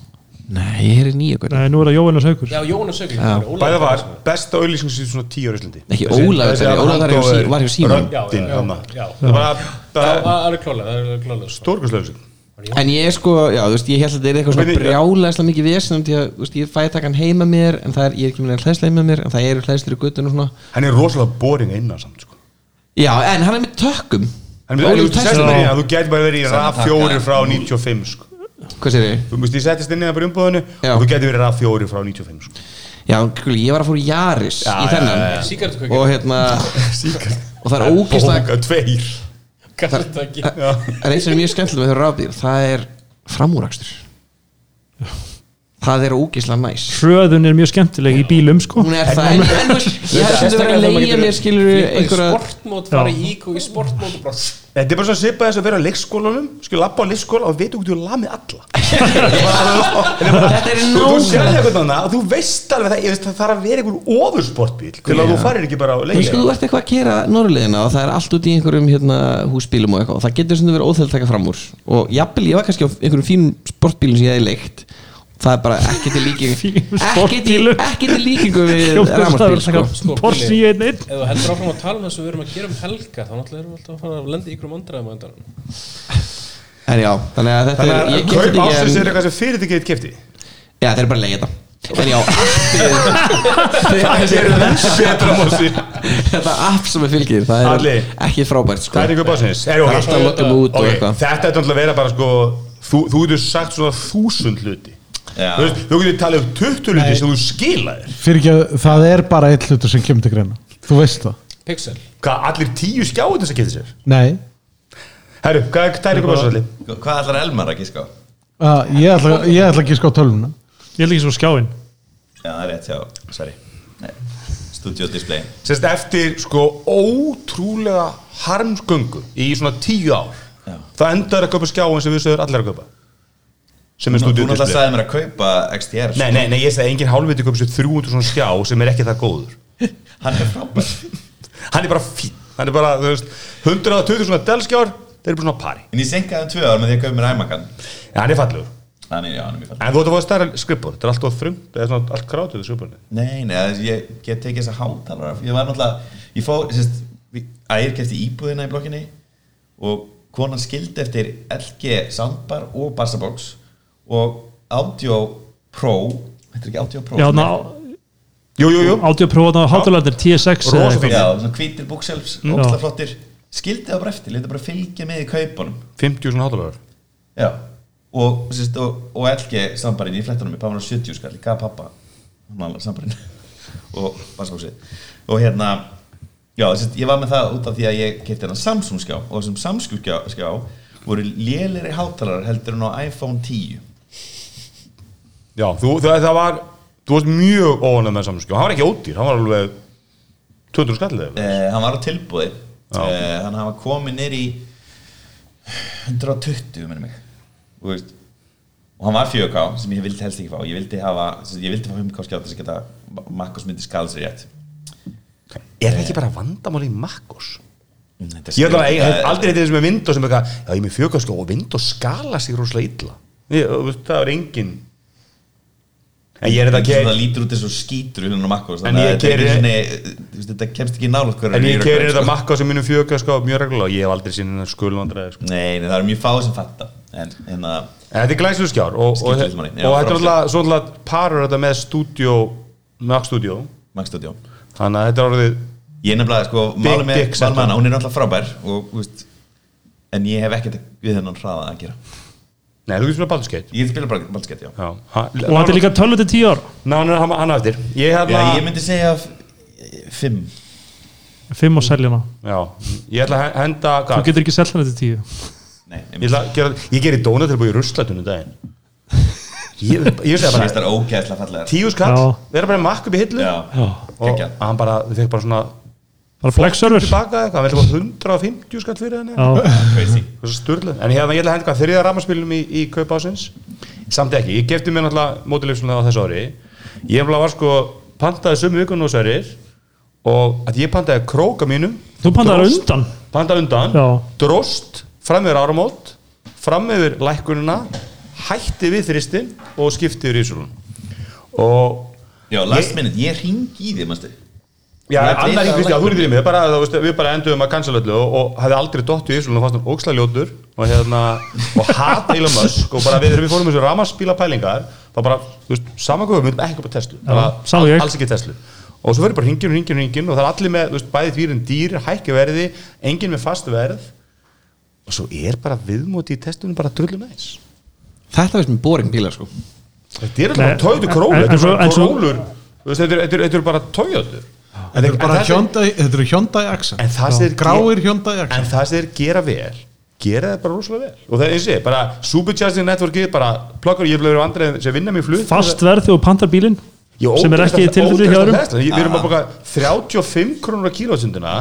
S8: Nei, ég er í nýja eitthvað
S4: Nei, nú er það Jóhannes Haukur
S7: já, Jónas Sögli,
S2: Bæða var besta auðlýsing síðan svona tíu ára Íslandi
S8: Ekki Ólafur Darri, Ólafur Darri var hjá- var hjá Símanum.
S2: Röndin, hann
S7: já.
S2: Það var bara-
S7: það
S2: bara
S7: var alveg klálega það er alveg klálega sko.
S2: stórkustlega auðlýsing
S8: En ég er sko, já, þú veist, ég held að þetta er eitthvað svona
S2: Hvernig-
S8: brjálæslega mikið vesen því að, þú veist, ég fæ að taka hann heima mér en það er, ég er ekki með neina hlæðslega heima mér en það eru hlæðslega í guttun og svona
S2: Hann er rosalega boring innan samt sko
S8: Já, en hann er með tökkum
S2: En við erum
S8: Ólík
S2: sest
S8: Tesla.
S2: mér í að þú gæti bara verið í RAV4 frá 95 sko
S8: Hvað sér ég?
S2: Þú veist, ég settist inn í það bara í umbúðinu
S8: Já.
S2: og þú gæti verið RAV4 frá 95 sko
S8: Já, kul, ég var að fóra í Jaris í þennan
S7: síkartukökja
S8: og
S2: [laughs]
S8: hérna og það er ógislega
S2: Bóka tveir
S7: Garðtaki.
S8: það er eins sem er mjög skemmtilega með þau rafbíl það er framúrakstur það er ógislega næs
S4: Hröðun er mjög skemmtileg í bílum sko
S8: hún er það en, en, þú veist, ég hef sem verið að leigja mér skilur
S7: Flippa í
S8: einhverja
S7: sportmót, fara í ík og í sportmót og bara
S2: Þetta er bara svo svipað þess að vera á leikskólanum skil lappa á leikskóla og veit okkur þú lamið alla [laughs] Þetta er bara-
S8: þetta er
S2: Þú, þú
S8: nákvæmlega
S2: sérði eitthvað annað og þú veist alveg það, ég veist, það þarf að vera einhver ofursportbíl til að þú farir ekki bara á
S8: Þú veist,
S2: leikja
S8: þú ert eitthvað að kera norrliðina og það er allt út í einhverjum hérna, húsbílum og eitthvað og það getur sem þau verið óþægilegt að taka fram úr og jafnvel, ég var kannski á einhverjum fínum sportbílum sem ég hefði leikt það er bara ekki til
S2: [laughs]
S8: líkingu
S4: Fínum
S8: ekki til,
S4: sportbílum.
S8: ekki til líkingu við
S4: Hljómsveitaður
S8: ramarsbíl
S4: taka
S8: sko.
S7: Sko,
S4: Porsche
S7: Gulli.
S4: 911
S7: Ef þú heldur áfram að tala um það sem við erum að gera um helga þá náttúrulega erum við alltaf að fara að lenda í ykkur um andraðum á endanum
S8: en já, þannig að þetta
S2: Þannig
S8: er
S2: að
S8: ég
S2: kaup
S8: kefti
S2: ásins er
S8: ekki en,
S2: eitthvað sem fyrir þig gett kefti
S8: já, þeir eru bara að leigja þetta en já,
S2: Það
S4: [laughs]
S2: er þess betra mósi
S8: þetta app sem við fylgir það er
S2: Alli.
S8: ekki frábært sko.
S2: Það er einhver básins er,
S8: Það er alltaf að loka mig út og eitthvað.
S2: Þetta er náttúrulega að vera bara sko Þú, þú getur sagt svona þúsund hluti
S6: Já.
S2: Þú veist, Þú getur talið um 20 hluti sem þú skilaðir
S3: fyrir ekki að það er bara eitt hlutur sem kemur til greina þú veist það
S7: Pixel
S2: Hvað, allir tíu skjáðin sem getur sér
S3: nei
S2: Herru, hvað er tæri ykkur básins allir?
S6: Hvað ætlar Elmar að gíska á?
S3: Uh, ég, ætla, ég ætla ekki að ská tölvuna
S4: Ég líka svo skjáin
S6: Já, það er rétt hjá, sorry Studio display
S2: Sérst eftir sko ótrúlega harmsgöngu í svona tíu ár
S6: Já.
S2: Það endar að köpa skjáin sem við sögur allir að köpa sem er
S6: Nú, Þú
S2: stúdíu
S6: náttúrulega sagði mér að kaupa XDR
S2: Nei, nei, nei, ég segi að engin hálfviti köpa sér 300 svona skjá sem er ekki það góður
S6: [laughs] Hann er frábær
S2: [laughs] Hann er bara fín Hann er bara, þú veist, 120 svona delskjár Þeir eru bara svona á pari
S6: En ég senkaði um tvö ár með því að kaupa mér æmakan
S2: En hann er fallegur
S6: Þannig, já, hann er mjög fallið
S2: En þú ætti að fá stærra skrippur Þetta er allt of þröngt, Það er svona allt krátið í skrippunni
S6: Nei, nei, það- ég get tekið þess að hátalara Ég var náttúrulega, ég fór sérst, við- Ægir kefti íbúðina í blokkinni Og konan skildi eftir LG soundbar og bassabox Og Audio Pro Þetta er ekki Audio Pro
S4: Já,
S6: sem
S4: ná,
S6: er-
S2: Jú, jú, jú
S4: áttu að prófa það á hátalarnir TSX eða
S2: Rosa
S4: eitthvað.
S2: fín.
S6: Já, svona hvítir búkselfs,
S4: Já.
S6: ógstlega flottir Skildi það bara eftir, leta bara fylgja með í kaupunum
S2: 50 svona hátalagur
S6: Já, og, sérst, og, og LG sambarinn í flettunum, ég pappa hann á 70 skall, ég gaf pappa hann sambarinn [laughs] og basbóksið og hérna, já, sérst, ég var með það út af því að ég kefti hann Samsung skjá og þessum Samsung skjá, skjá voru lélegri hátalarar heldur hann á iPhone 10
S2: Já, þú, það, það var Þú varst mjög óanæð með samskjá Hann var ekki ódýr, hann var alveg 200 skallið eða eitthvað.
S6: eh, hann var á tilbúði
S2: Já.
S6: eh, hann hafa komið nýr í 120 minnum mig og, veist, og hann var 4K sem ég vildi helst ekki fá ég vildi, hafa, sem sagt, ég vildi fá 5K skjátt þess að geta Makkos myndi skala sér rétt
S2: Er það ekki bara vandamál í Makkos?
S6: Mm, Þetta er
S2: Ég ætla að
S6: skrifað-
S2: eiga hef aldrei þetta sem er Windows sem er eitthvað Já, ég er með fjökarskjó og Windows skala sig rosalega illa ég, þú veist, Það er engin En ég er þetta
S6: Svo það
S2: ke-
S6: lítur út eins og skítur hún á makkos
S2: En ég geri-
S6: þetta kemst ekki nála okkur
S2: En ég gerir þetta makka sem minnum fjöka sko mjög reglulega og ég hef aldrei sín skulvandræði sko.
S6: Nei, nei, það er mjög fáið sem fatta En, en að,
S2: En þetta er glæslu skjár og, og, og,
S6: Skiptir
S2: og
S6: manni, já,
S2: þetta er
S6: frábært.
S2: alltaf svona parur þetta með stúdíó Mac Studio
S6: magstudjó
S2: Þannig að þetta er orðið
S6: Ég er nefnilega, sko,
S2: Big
S6: málum með
S2: dick setup.
S6: Valmanna, hún er náttúrulega frábær og, þú veist, En ég hef ekkert við hennan hraða að gera
S2: Nei, þú getur spilað baldurskeitt
S6: Ég spila bara baldskett, já
S2: Já,
S4: og þetta er líka 12 til 10 ára
S2: Nánar hann, hann á eftir Ég
S6: Já,
S2: hérna- hefla
S4: Hérna-
S6: ég myndi segja f- Fimm
S4: 5 og seljana,
S2: Já, ég ætla að henda
S4: þú
S2: gat.
S4: getur ekki selja hana til 10
S6: Nei, ég
S2: Ég,
S6: myndi
S2: ætla að gera, ég gerir dónatilbúi í ruslatunum daginn Ég, ég
S6: segja
S2: segja
S6: Það
S2: bara
S6: er ógeðslega fallegar
S2: Tíu skall,
S4: Já.
S2: vera bara makk upp í hillu
S6: Já,
S4: Já.
S2: Og
S6: geggjað.
S2: hann bara, þau fekk bara svona
S4: bara flex server já,
S2: Tilbaka eitthvað, hann vil fá 150 skall fyrir henni
S6: crazy
S2: Þessu sturlu En hérna, ég hefði ég ætla að henda hvað þriða rammarspilum í, í kaupásins Samt ekki, ég gefti mér náttúrulega mótilegslega á þessu ári Ég hefði var sko pantaði sömu vikun og særir Og að ég pantaði króka mínum
S4: þú pantaðar
S2: dróst-
S4: undan
S2: panta undan,
S4: Já.
S2: dróst fram yfir áramót, fram yfir lækkunina, hætti við þristinn og skipti yfir ísulun og
S6: Já, last minute, ég ring í þig, manstu
S2: Já,
S6: Þú ert
S2: annar
S6: við
S2: hinn
S6: það
S2: Kristján, þú
S6: lækkunina.
S2: erum í mig bara, það, veist, við bara enduðum að cancel öllu og, og hefði aldrei dott í Íslanda og fannst hann ókslaljótur og, hérna, og hata Elon Musk og bara við erum við fórum þessu ramaspíla pælingar þá bara, þú veist, samankofa við myndum ekki upp á Tesla bara,
S4: sama ég.
S2: alls ekki Tesla og svo verður bara hringin og hringin og hringin og það er allir með, þú veist, bæði dýrin dýr, hækki verði engin með fast verð og svo er bara viðmóti í testunum bara drullu næs
S8: Þetta veist mér boring bílar sko
S2: þetta er bara
S4: Nei,
S2: tóðu królu,
S4: en- en
S2: þetta er
S4: svo- en
S2: bara
S4: svo-
S2: królur þú veist, þetta er- þetta er- þetta eru bara tójöður
S3: Þetta eru bara Hyundai, þetta eru Hyundai Accent
S2: En það sem þeir-
S3: Gráir Hyundai Accent
S2: en það sem þeir gera vel gera það bara rosalega vel og það er eins og ég, bara supercharging networkið bara plökkur, ég vil vera vandræðin sem vinna mér í flug
S4: fast verð þegar þú pantar bílinn
S2: Ég
S4: sem er
S2: ógeðslega-
S4: ekki tilfelli hjá
S2: ógeðslega
S4: öðrum Ah.
S2: hræðsla. Ég- við erum að boka 35 krónur á kílósundina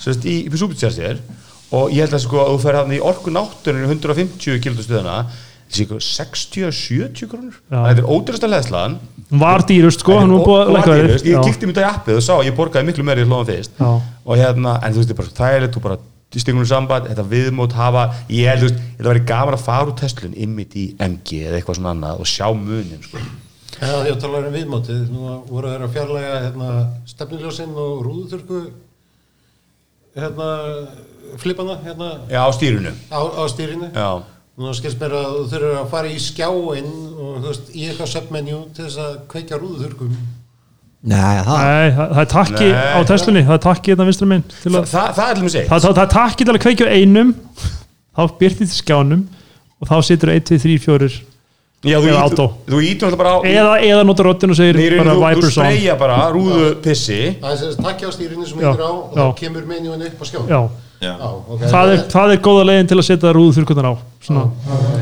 S2: sem sagt í, í supercharging og ég held að sko að þú fer hann í orku náttuninu 150 kílósundina þessi ykkur 60-70 krónur
S4: Já.
S2: þetta er ódurasta leðslan
S4: Hún var dýrust sko, hann var búið að lækka verið
S2: ég kíkti mér í appið og sá að ég borgaði miklu meira í hlóðan fyrst
S4: Já.
S2: og hérna, en þú veist, það er bara svo þægilegt þú bara stingunum samband, þetta viðmót hafa ég held, þú veist, þetta væri gaman að fara úr Teslun ymmit í MG eða eitthvað svona annað og sjá munin, sko
S9: Já, ég talar um viðmótið, nú voru þeir að fjarlæga hérna, stefniljósinn og rúðuturku hérna, flipana hérna,
S2: Já, á stýrunu
S9: á, á stýrinu.
S2: Já.
S9: Nú skilst mér að þú þurfur að fara í skjáinn og þú veist, í eitthvað submenjú til þess að kveikja rúðuturkum.
S8: Nei, það
S4: Nei, það það er takki
S2: Nei.
S4: á Teslunni það er takki þetta vinstra minn til
S2: Þa,
S4: að,
S2: það, það er til mig segi
S4: það, það, það er takki til að kveikja á einum þá byrti til skjánum og þá situr 1, 2, 3, 4
S2: Já, þú
S4: Eða
S2: ítur-
S4: átó.
S2: Þú ítur alltaf bara á
S4: eða, eða nota röddin og segir
S2: Nei, í rauninni,
S4: bara
S2: þú, þú
S4: Vipers on
S2: spreyja bara rúðupissi
S9: Það er sem sagt takki á stýrinu sem
S4: Já,
S9: yfir á og
S4: já.
S9: þá kemur menjúin upp á skjáinn.
S4: Já,
S6: Já,
S9: Já, ok.
S4: það er,
S9: Ég-
S4: það er góða leiðin til að setja rúðu þurrkutan á Svona.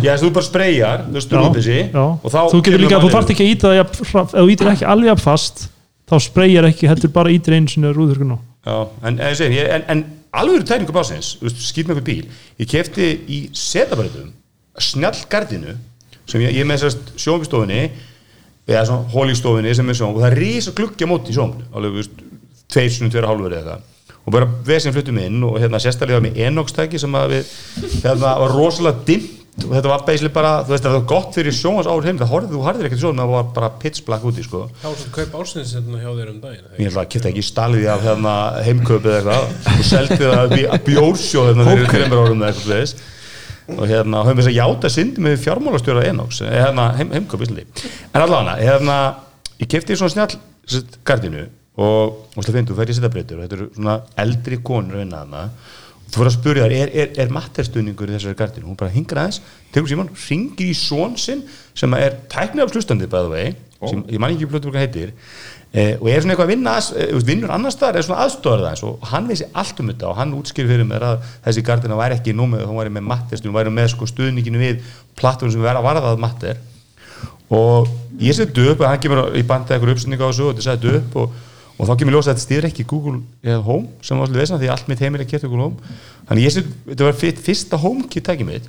S2: Já, þú bara spreyjar, þú veist,
S4: Já,
S2: rúðupissi
S4: já.
S2: og þá
S4: Þú getur
S2: kemur
S4: líka, þú
S2: manninn.
S4: þarft ekki að íta það jafn hra- ef þú ítir ekki alveg jafn fast þá spreyjar ekki, heldur bara ítir einu sinni rúðu þurrkun á
S2: Já, en, en, ég segi, ég, en, en alveg eru tækningu básins, skýt með fyrir bíl ég kefti í setabræðum snjallgardinu sem ég, ég er með sérst sjónvistofinni eða svona hólíkstofinni sem er sjón og það er risa gluggi á móti í sjón alveg þú veist, tveir sinni, tveir og hálfur eða eitthvað og bara vesinn fluttum inn og hérna sérstaklega með enokstæki sem að við hérna var rosalega dimmt og þetta var beisli bara, þú veist, það var gott fyrir sjónans ári heim, það horfði, þú harðir ekkert sjón það var bara pitch black úti, sko
S7: Þá var svo kaup ársins hérna hjá þér um daginn
S2: Ég ætla að geta ekki stalið því af hérna heimkaupið eða eitthvað og seldi það upp í bjórsjóð hérna fyrir þreymur árum eða eitthvað leðis og hérna höfum við að játa syndi með fjármálastjóra Enox, eh, hérna heim, heimkaup Íslandi. En allavega, hérna ég kefti svona snjall sett, gardinu og, og slið finnum, þú fer í setabreytur og þetta eru svona eldri konur vinna þarna og þú verður að spyrja þar, er, er, er matterstuðningur í þessari gardinu? Hún bara hingar aðeins, tegur síman, ringir í són sinn sem er tæknafslustandi bæðu vei, sem ég man ekki plötu hvað heitir eh, og er svona eitthvað að vinna að, eh, þú veist, vinnur annar staðar er svona aðstofar það og hann vissi allt um þetta og hann útskýr fyrir mér að þessi gardina væri ekki númið hún væri með matterstuðning, hún væri með sko stuðninginu við plattum sem verða að varðað matter og ég seti upp að hann kemur í bandið eitthvað uppsendinga á þessu og þetta seti upp og, og þá kemur ljósa að þetta stýðir ekki Google eða Home sem var svolítið vesna því að allt mitt heimil er kert Google Home þannig ég seti, þetta var fyr- fyrsta HomeKit tækið mitt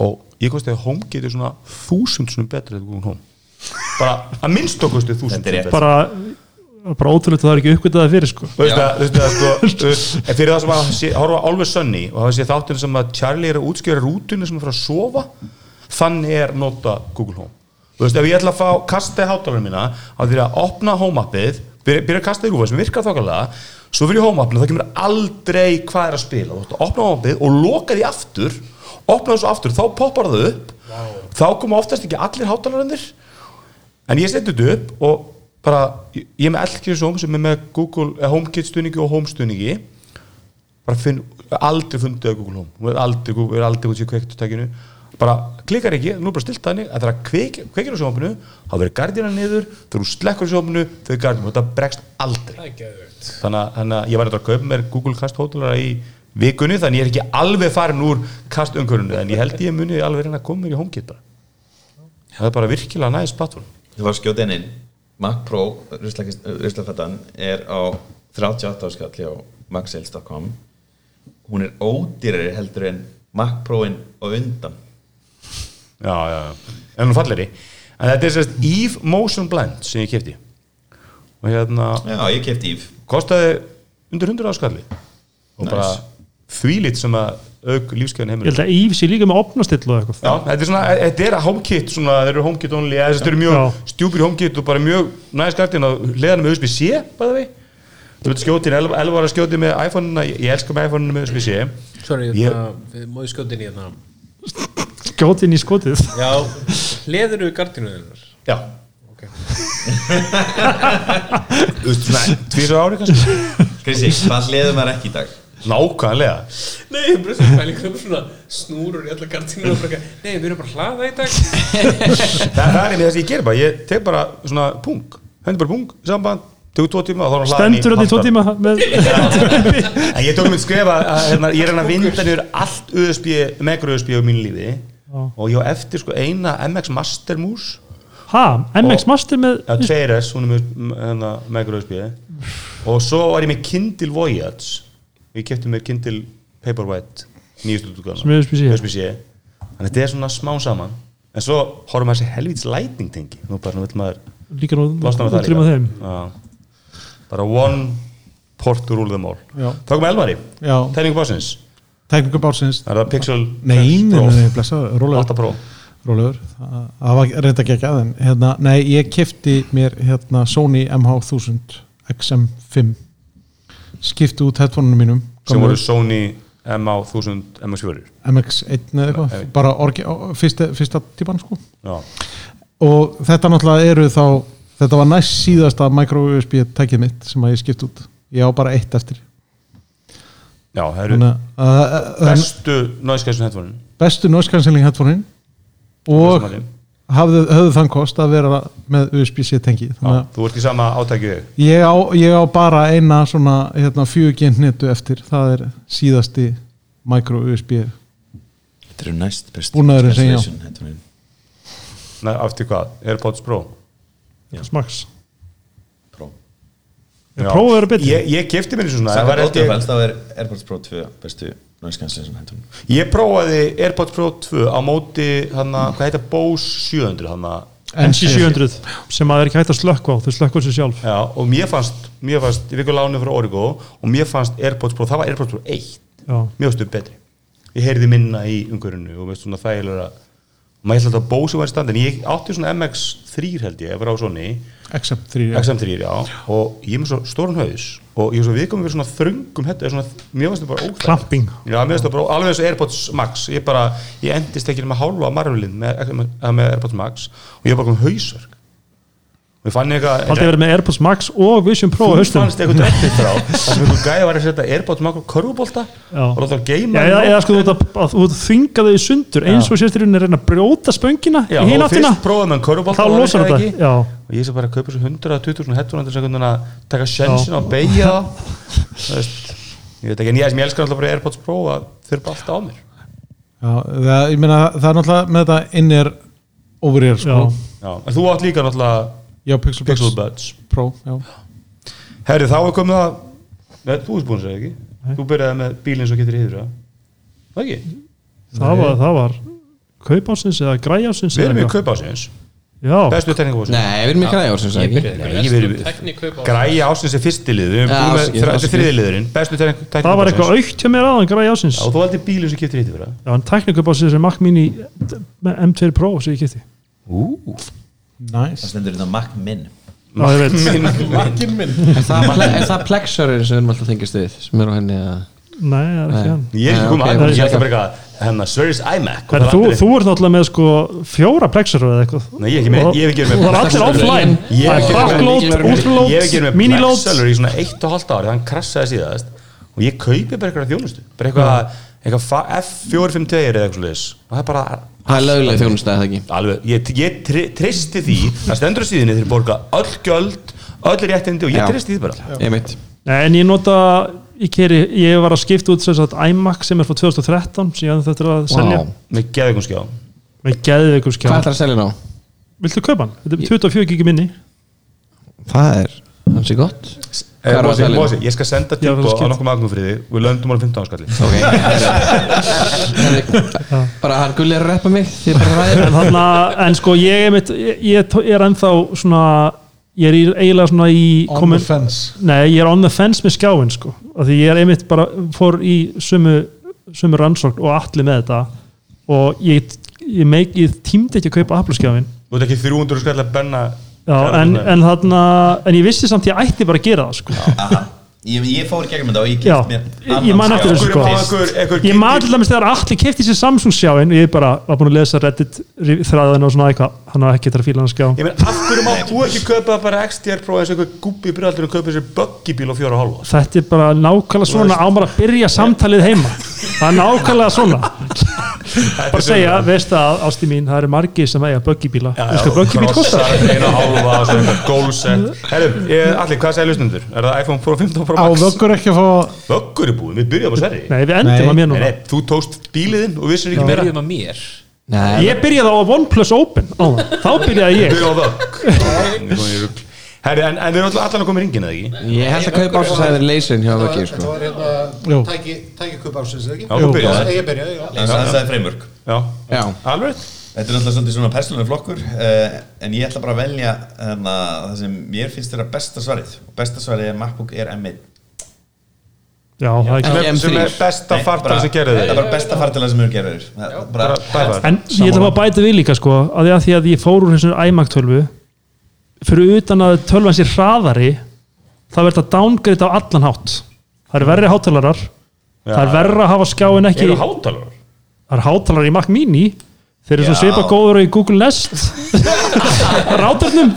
S2: og ég kosti að HomeKit er svona þúsund svona betra en Google Home bara að minnst okkustu þúsund
S6: Þetta er rétt.
S2: sinnum betra.
S4: bara, bara ótrúlegt að það er ekki uppgötaði fyrir sko.
S2: Þú veist að- þú veist að
S4: [laughs]
S2: sko þú veist, en fyrir það sem að sé, horfa alveg sönni og hafa sé þáttinu sem að Charlie er að útskjöra rútinu sem er frá að sofa þannig er nota Google Home Þú veist, ef ég ætla að fá kasta í hátalunum mína þá því að opna hómappið byrja, byrja að kasta í rúfa sem virkar þokkalega svo fyrir hómappinu, það kemur aldrei hvað er að spila, þú ætla að opna hómappið og loka því aftur, opna þessu aftur þá poppar það upp þá koma oftast ekki allir hátalunir en ég seti þetta upp og bara, ég ég er með elkjusum sem er með Google, eh, HomeKit stuðningi og Home stuðningi bara finn, aldrei fundið að Google Home hún er aldrei, Google, er aldrei út í kveiktutækinu bara klikkar ekki, nú er bara stilt þannig að það er að kveik, kveikir á sjónvapinu þá verður gardina niður, þegar þú slekkur sjónvapinu þau er gardina, þetta bregst aldrei þannig að, þannig að ég var eitthvað að kaupa mér Google Cast Hotelara í vikunni þannig ég er ekki alveg farin úr kastungurinu en ég held ég muni alveg reyna að koma mér í HomeKit bara það er bara virkilega næst plattform
S6: Ég var að skjóta inn inn Mac Pro, ruslafættan er á 38 áskalli á maxsales.com hún er ódýrari heldur en Mac Pro-in og undan
S2: já, já, já, en hún falleri en þetta er sérst Eve Motion Blend sem ég kefti og hérna
S6: Já, ég kefti íf
S2: kostaði undir 100 áskalli og bara þvílitt sem að auk lífskeiðin
S4: Ég
S2: heimil
S4: held að Yves sé líka með opnastill og eitthvað
S2: Já, þetta er svona, e, þetta er að HomeKit svona, þeir eru HomeKit only, eða þessi, þetta eru mjög
S4: Já.
S2: stjúpir HomeKit og bara mjög næst gardin að leiðan með USB-C, bæða við Þú veit skjótin, 11 11 ára skjótin með iPhone-una, ég ég elska með iPhone-una með USB-C
S7: Sorry, hérna-
S2: Ég-
S7: yeah. má ég skjóta inn í hérna
S4: Skjótin í skotið
S7: Já, leður við gardinu þennar
S2: Já
S7: Ok.
S2: Þú veist, svona, tvísar ári kannski
S6: Krissi, hvað leður maður ekki í dag?
S2: Nákvæmlega
S7: Nei, ég brúst að pæling um svona snúrur í alla gardinu og bara eitthvað, Nei, við erum bara að hlaða í
S2: [laughs]
S7: dag
S2: [laughs] Það það er með þess að ég ger bara, ég tek bara svona pung, hendur bara pung, samband, tegur tvo tíma og þá er hann hlaðin í
S4: Stendur þetta í tvo
S2: hálftan.
S4: tíma með
S2: En ég tók mér skrifa að hérna, ég er hann að vinda niður allt USB, megur USB á mínu lífi og ég á eftir sko eina MX Master Moose
S4: Ha, MX Master með
S2: eða 2S, hún er með m, hérna, megur USB og svo var ég með Kindle Voyage ég kefti mér Kindle Paperwhite nýjustu útgáfuna.
S4: Sem er USB-C.
S2: USB-C en þetta er svona smá saman en svo horfum að þessi helvíts lightning tengi nú bara nú vill maður
S4: líka nú
S2: losna með það
S4: útrýma þeim
S2: Já. bara one port to rule them all
S3: Já.
S2: Tókum við Elmari,
S3: Já.
S2: tælingu básins
S3: tekningu bársins
S2: Er það Pixel
S3: Nei, nei,
S2: Pro?
S3: nei, nei, blessa, rólegur
S2: 8 Pro
S3: Rólegur, það það var reynda ekki ekki aðeins hérna, Nei, ég kefti mér hérna, Sony MH1000 XM5 skipti út headphoneunum mínum
S2: sem
S3: gömlu
S2: voru Sony MA1000 MX4
S3: MX1 eða eitthvað,
S2: Nei.
S3: bara orgi, ó, fyrsta, fyrsta típan sko
S2: Já.
S3: og þetta náttúrulega eru þá þetta var næst síðasta micro USB tækið mitt sem að ég skipti út ég á bara eitt eftir
S2: Já, það eru
S3: Þannig að, að, að, að,
S2: bestu náðskæðsum headphone
S3: bestu noise cancelling headphonein og hafði, höfðu þann kost að vera með USB-C tengi þannig að
S2: Þú ert í sama átækju ég
S3: ég á, ég á bara eina svona hérna, 4G hnetu eftir það er síðasti micro USB
S6: Þetta eru næst best
S3: Búnaðurinn sem ég á.
S6: sem ég
S2: Nei, aftur hvað, AirPods Pro
S4: Smax
S6: Pro
S2: Já.
S4: Pro eru betri.
S2: Ég, ég kefti mér eins og svona það
S6: Sækka
S2: var
S6: bótið
S2: ekki-
S6: fælst þá er AirPods Pro 2 bestu náðskanslega sem hættum
S2: Ég prófaði AirPods Pro 2 á móti hana, hvað heita Bose 700 hana,
S4: NC700 sem að er ekki hægt að slökka á þau slökka á sér sjálf
S2: Já, og mér fannst, mér fannst, ég fikk að lána frá Origo og mér fannst AirPods Pro, það var AirPods Pro 1
S4: Já.
S2: mjög stuð betri ég heyrði minna í umhverfinu og veist svona þægilega maður held að Bose var í standi en ég átti svona MX3 held ég, ég var á Sony
S3: XM3
S2: XM3 já, og ég er með svo stórun haus og ég er svo viðkomið fyrir svona þröngum þetta er svona, mér finnst það bara óþægt
S4: Klamping.
S2: já, mér finnst það bara, ó- alveg eins og Airpods Max ég bara, ég endist ekki nema hálfa marvulinn með, eða með Airpods Max og ég var bara um hausverk og ég fann eitthvað
S4: Aldrei verið með AirPods Max og Vision Pro á
S2: þú
S4: haustum [laughs]
S2: fannst eitthvað dreppið frá það sem einhver gæði var að setja Airpods Max og körfubólta
S4: Já.
S2: og láta það
S4: [laughs] Já,
S2: geima
S4: eða, eða sko þú ert að- að þú ert að þvinga þau í sundur eins og sérst í rauninni að reyna að brjóta spöngina
S2: Já,
S4: í hinn
S2: og
S4: áttina
S2: fyrst prófaði með körfubólta
S4: þá losar þetta já,
S2: og ég sé bara að kaupa svo 120 svona headphone sem hvernig að taka sjensin og beigja það Þú veist, ég veit ekki, en ég, sem ég elskar alltaf bara Airpods Pro að þurfa alltaf á mér
S3: Já, það, ég meina, það er náttúrulega með þetta innir over ear
S4: já.
S3: sko.
S2: já. en þú átt líka náttúrulega
S3: já, Pixel,
S2: Pixel Buds
S3: Pro já.
S2: herri þá er komið að Nei, þú ert búin að segja ekki þú byrjaði með bílinn sem getur yfir það ekki,
S4: það var, það var kaupásins eða græjásins
S2: við
S4: eða
S2: erum í
S4: eitthvað.
S2: kaupásins
S4: já,
S2: bestu tekningabásins
S8: Nei, við erum í græjár sem
S7: Ég
S8: sagði ekki
S7: byrjaði
S2: Nei, ég
S7: eitthvað
S2: verið-
S7: verið Teknikaup á
S2: græja ásins er fyrsti lið við erum
S8: Já,
S2: búin með,
S8: afsakið,
S2: þrjá- þetta er
S8: afsakið.
S2: þriði liðurinn bestu tekningabásins
S4: það var eitthvað aukt hjá mér aðan græjásins
S2: og þú valdi bílinn sem getur yfir það
S4: já, en teknikaupásins er Mac Mini M2 Pro sem ég kipti
S3: Næs
S6: það stendur þetta Mac Min
S4: Ná, ég veit,
S6: [laughs]
S3: Makkin minn
S8: Er það, ple er það plexurinn sem við erum alltaf tengist við sem er á henni að
S4: nei, það er ekki hann
S2: Ég er
S8: Nei,
S2: ekki komið
S8: ok,
S2: að, ég
S8: ég-
S2: ætla bara eitthvað hennar Sverris iMac og
S4: Herra,
S2: það er
S4: þú,
S2: aldrei-
S4: þú ert náttúrulega með sko fjóra plexur eða eitthvað
S2: Nei, ég er ekki með-
S4: Og-
S2: ég er ekki með-
S4: og það er allir offline það
S2: Ég hef
S4: er
S2: ekki verið
S4: backload,
S8: með-
S2: Ég hef ekki
S4: útload,
S2: verið með
S4: miniload
S2: Blackseller í svona eitt og halvt ári, hann krassaði síðast og ég kaupi bara eitthvað þjónustu bara eitthvað, eitthvað fa- F452 eða eitthvað svoleiðis og það er bara
S8: það er lögulega þjónust eða ekki
S2: alveg, ég, ég tri, tristi því að stendur á síðinni þeir borga öll gjöld öll réttindi og ég
S8: Já.
S2: tristi því bara
S8: ég veit
S4: Nei, en ég nota ég, keri, ég var að skipta út sem sagt iMac sem er frá 2013 sem ég hefði þetta að selja
S8: Vá.
S2: með geðveikum skjá
S4: með geðveikum
S8: hvað
S4: skjá
S8: ætlar að selja ná?
S4: Viltu kaupa hann? Þetta er 24 gigi minni
S8: það er hansi gott hvað
S2: Eh,
S8: er að
S2: Mosi,
S8: selja?
S2: Mosi, ég skal senda
S4: Já, það
S2: tilbúið á
S4: skil.
S2: nokkuð magnum fyrir þig við löndum alveg 15 áskalli
S8: ok
S2: [laughs]
S8: Herri, bara hann gullir að reppa mig því bara ræðir
S4: en, þarna, en sko ég er, mitt, ég, ég tó- er ennþá svona ég er í- eiginlega svona í
S3: On
S4: komin-
S3: the fence
S4: Nei, ég er on the fence með skjáin sko. af því ég er einmitt bara fór í sumu, sumu rannsókn og allir með þetta og ég, ég, meik, ég tímdi ekki að kaupa Apple skjáin
S2: þú veit ekki 300 skall að benna
S4: Já, en, en, þarna, en ég vissi samt ég ætti bara að gera það sko.
S6: Aha. ég, ég fór í gegnum þetta og ég
S4: Já,
S6: kýtt mér
S4: ég- ég man
S6: annan
S4: eftir
S6: skjá.
S4: þessu, sko. Ég maður til dæmis þegar allir kefti sér Samsung skjáin og ég bara var búin að lesa Reddit þræðin og svona eitthvað, hann var ekki þetta að fíla hann skjá
S2: Ég meina, af hverju mátt þú ekki kaupa bara XTR Pro eins og einhver gubbi í brjóðaldinu og kaupa sér böggibíl á fjóra og hálfa?
S4: Þetta er bara nákvæmlega svona á maður að byrja samtalið heima Það er nákvæmlega
S2: [laughs]
S4: svona bara segja, veist það, ásti mín það eru margir sem eiga böggibíla Þú sko, böggibíl kostar
S2: Einu hálfa
S4: [laughs]
S2: og svo einhver gólsett Herru, ég- allir, hvað segir lusnundur? Er það iPhone Pro 15 Pro
S3: Á
S2: Max?
S3: vöggur ekki að fá
S2: Böggur er búið, við byrjum á Sverri
S4: Nei, við endum
S3: Nei.
S4: að mér
S2: Nei,
S4: núna
S2: nei, þú tókst bíliðinn og vissir ekki meira
S5: Byrjum að mér
S8: Nei,
S4: Ég byrjaði á OnePlus Open áðan. Þá byrjaði ég
S2: Byrjum á vögg Herru, en, en við erum allan að koma í ringin eða ekki?
S8: ég held að kaupa ásæðir leysin hjá
S9: Þetta
S8: Vöggi
S9: var- þetta
S8: sko.
S9: var
S3: Jú.
S9: hérna tæki, tæki kaup ársins, eða
S2: Já,
S9: ekki?
S2: þú byrjaði
S9: Ég byrjaði, já.
S6: Þannig að það er framework
S2: Já,
S8: já,
S2: alveg rétt.
S6: Þetta er náttúrulega svolítið svona persónuleg flokkur uh, en ég ætla bara að velja hana, það sem mér finnst þeirra besta svarið og besta svarið er MacBook Air M1
S4: Já, það er ekki
S8: Já.
S4: með
S2: Sem- sem er besta
S6: Nei,
S2: fartar
S6: bara-
S2: sem gerði
S6: Þetta
S2: þig
S6: er bara besta fartala sem eru gerðir Það- bara-
S2: Bara- bara-
S4: En ég ætla bara að bæta við líka sko að því að, því að ég fór úr þessu iMac 12 fyrir utan að tölvan sér hraðari þá verður þetta downgrade á allan hátt Það eru verri hátalarar Það er verra að hafa skjáin ekki
S2: Eru
S4: [laughs]
S2: hátalar?
S4: Það eru hátalar í Mac Mini Þeir eru svo
S6: Já.
S4: svipa góður og í Google Nest Rátarnum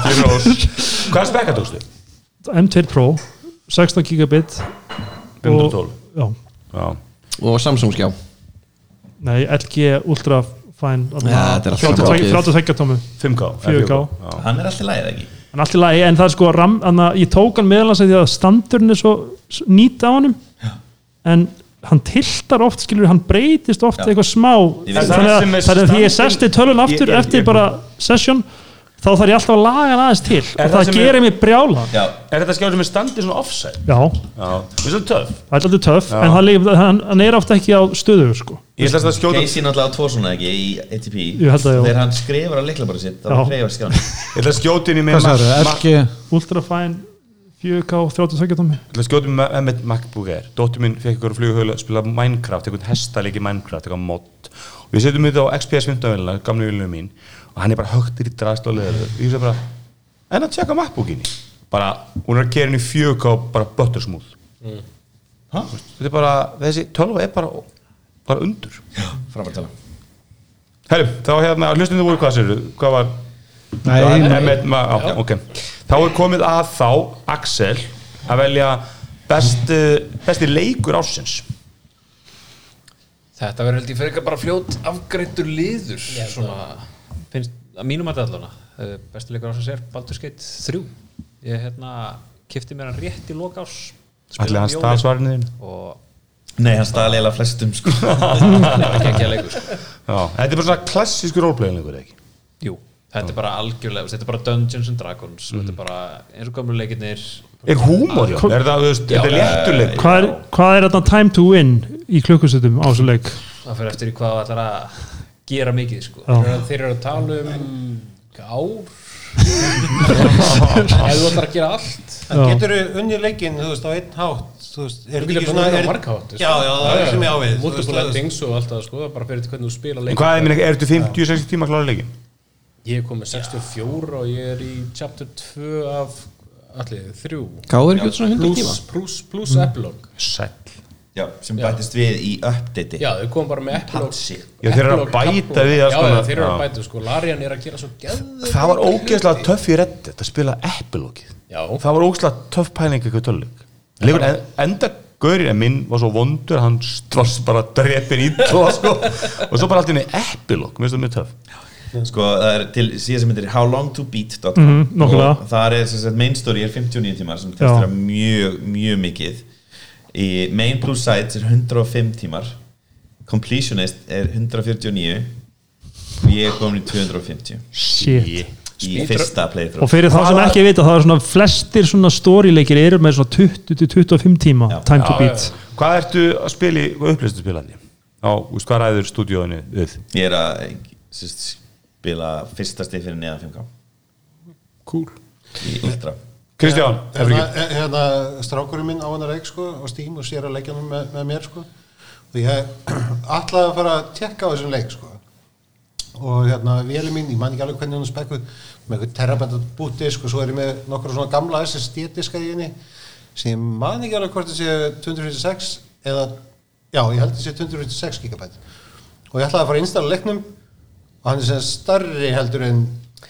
S2: Hvað spekka tókstu?
S4: M2 Pro 16 gigabit
S2: 512.
S4: og- Já,
S2: Já
S8: og Samsung skjá
S4: nei, LG Ultra Fine
S8: Já, þetta er allt saman
S4: 32
S8: ágæðið.
S4: 32 tómi
S2: 5K
S4: 4K.
S2: Já.
S6: Hann er alltaf lægið ekki
S4: en allt í lagi, en það er sko ram, anna, ég tók hann meðalans að því að standurinn er svo s- nýt á honum en hann tiltar oft, skilur, hann breytist oft
S6: Já.
S4: eitthvað smá þannig
S6: Ég veit.
S2: Það sem
S4: að
S2: er
S4: þannig að því ég
S2: standin-
S4: sesti tölun aftur
S2: Ég- ég-
S4: eftir
S2: ég-
S4: bara session þá þarf ég alltaf að laga hann aðeins til
S2: Er
S4: og
S2: það
S4: það,
S2: sem
S4: gerir mig brjála
S6: Já,
S2: Er þetta skjáð sem er standið svona offset?
S4: já,
S2: Já Við erum töff
S4: það er alltaf töff
S2: Já.
S4: en það, líka- hann, hann er ofta ekki á stöðu sko.
S2: Ég ætla að skjóta
S6: Casey náttúrulega á tvo svona ekki í ATP
S4: Ég held að já.
S6: Þegar hann skrifar á leiklaborðu sitt
S4: Já.
S6: þá hreyfar skjáni
S2: [laughs] Ég ætla að skjóta inn í mig
S3: Hvað
S2: Mac-
S3: sagður,
S2: Mac-
S3: LG
S4: Ultrafine 4K 32 tómi
S2: Ég ætla að skjóta inn í mig með mitt MacBook Air Dóttir minn fekk ykkur að fluguhölu að spila Minecraft eitthvað hestaleik í Minecraft eitthvað mod og við setjum þetta á XPS 15 vilina gamlu vilinu mín og hann er bara högtir í drast og leður ég hugsa bara en að tjekka MacBookinni bara hún er að kera henni í 4K bara buttersmooth mm. þetta er bara þessi tölva er bara bara undur
S6: Frábærtala
S2: Herru, þá hérna, hlustinu voru hvað sér hvað var
S3: Nei,
S2: Nei, með- ma- á, ok. Þá er komið að þá Axel að velja best, eh, besti leikur ásins
S5: Þetta verður held ég fyrir bara fljót afgreittur liður svona, finnst, að mínum að allana Eh, bestu leikur ásins er Baldur's Gate 3 ég hérna kifti mér hann rétt í lokás
S2: Allir hans staðsvarnir
S5: og
S6: Nei, hann staði eiginlega flestum sko
S5: [laughs] það var ekki að leikur sko.
S2: Þetta er bara svona klassískur roleplaying leikur eða ekki
S5: Jú, þetta er bara algjörlega þetta er bara Dungeons and Dragons þetta er bara eins og gamlu leikinnir
S2: Mm. Er húmor hjá? honum? Er það, þú veist, þetta er léttur leikur
S4: hvað er, hvað er þarna time to win í klukkustutum á þessu leik
S5: það fyrir eftir í hvað það ætlar að gera mikið sko.
S4: Já.
S7: Þeir eru að tala um ár Ef þú ætlar að gera allt
S4: Já.
S9: Getur þú unni leikinn, þú veist, á einn hátt, þú veist, er
S7: Þú
S9: þetta
S7: getur
S9: ekki
S7: bara
S9: svona...
S7: verið á
S9: er-
S7: marga sko. hátt,
S9: Já, já, það er sem ég ávið.
S7: Multiple endings og allt það sko Það bara fyrir til hvernig þú spila
S2: En
S7: leik
S2: hvað er, minna, er þetta 50-60 tíma að klára leikin?
S7: Ég er komið 64 og ég er í chapter 2 af allir, 3
S8: Káður ekki út svona 100 tíma
S7: plus, plus, plus epilog
S2: Sæll
S6: já, sem bættist við í update
S7: Já, þau komum bara með epilog
S6: Patsi.
S2: Já, þeir eru að
S7: Epilogue,
S2: bæta
S7: epilogue.
S2: við alls
S7: Já,
S2: konar-
S7: já, þeir eru að
S2: já.
S7: bæta, sko, Larian er að gera svo geðveikt
S2: Það var
S7: hluti.
S2: ógeðslega töff í reddi að spila eppilókið
S7: Já.
S2: Það var ógeðslega töff pæling eitthvað tölvleik Leikur en- enda gaurinn en minn var svo vondur hann strass bara drepin í tóa sko. og svo bara allt inn í eppilók mér finnst það mjög töff
S6: sko, það er til síðan sem heitir howlongtobeat.com
S4: Mhm, nokkulega.
S6: og það er sem sagt, main story er 59 tímar sem testar
S4: Já.
S6: mjög, mjög mikið í main plus sites er 105 tímar completionist er 149 og ég er komin í 250
S4: Shit.
S6: í fyrsta
S4: Og
S6: playthrough
S4: fyrir þá sem ekki vita, það er svona flestir svona storyleikir eru með svona 20-25 tíma
S6: Já.
S4: time to beat.
S2: Hvað ertu að spila í hvað upplistu spilandi? Já, úst, hvað ræður stúdíóinu við?
S6: ég er að eh, sérst, spila fyrsta stið fyrir neðan 5k cool í ultra
S2: Kristján, hefur
S9: hérna,
S2: ekki
S9: eh, hérna strákurinn minn á hennar reik sko á Steam og sér að leggja hann með, með mér sko og ég [clears throat] ætlaði að fara að tekka á þessum leik sko og hérna vélum mín, ég man ekki alveg hvernig hann er spekkuð með eitthvað terabæta bútdisk og svo er ég með nokkra svona gamla SSD-diska í henni sem ég man ekki alveg hvort það sé 256 eða, já, ég held það sé 256 gigabæt og ég ætlaði að fara að installa leiknum og hann er sem sagt starri heldur en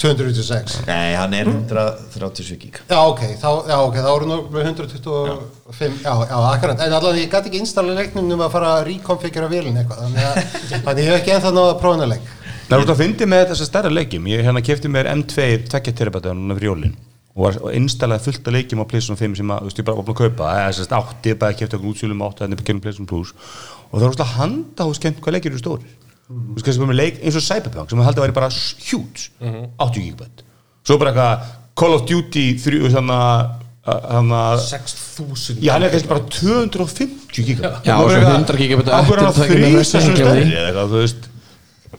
S9: 256
S6: nei, hann er 137 gig
S9: Já, ok, þá, já, ok, þá voru nú með 125, já, já, akkurat, en allavega ég gæti ekki installa leiknum um að fara að rekonfigura vélinn eitthvað, þannig að, [laughs] þannig að ég hef ekki ennþá náða að prófa hennar leik.
S2: Það er út að fyndi með þessa stærra leikjum Ég hérna kefti mér M2 tvekja terabæta núna fyrir jólin og var og installaði fullt af leikjum á Playstation 5 sem að, þú veist, ég bara var búin að kaupa eða þess að átti, ég bara kefti okkur útsjölum átti þannig að kemur Playstation Plus og það var úrslega handa hús kemd hvað leikir eru stóri þú veist, kannski bara með leik eins og Cyberpunk sem að haldi að væri bara s- huge
S7: Mhm.
S2: 80 gigabætt svo bara eitthvað Call of Duty 3 þannig að þannig að
S7: 6000
S2: Já, hann er kannski bara 250 gigabætt
S8: Já, svo 100 gigabyte
S2: að Akkur er hann
S8: eftir, það er ekki
S2: þrýsa
S8: með versta
S2: svona
S8: heimkjafti.
S2: stærri eða eitthvað, þú veist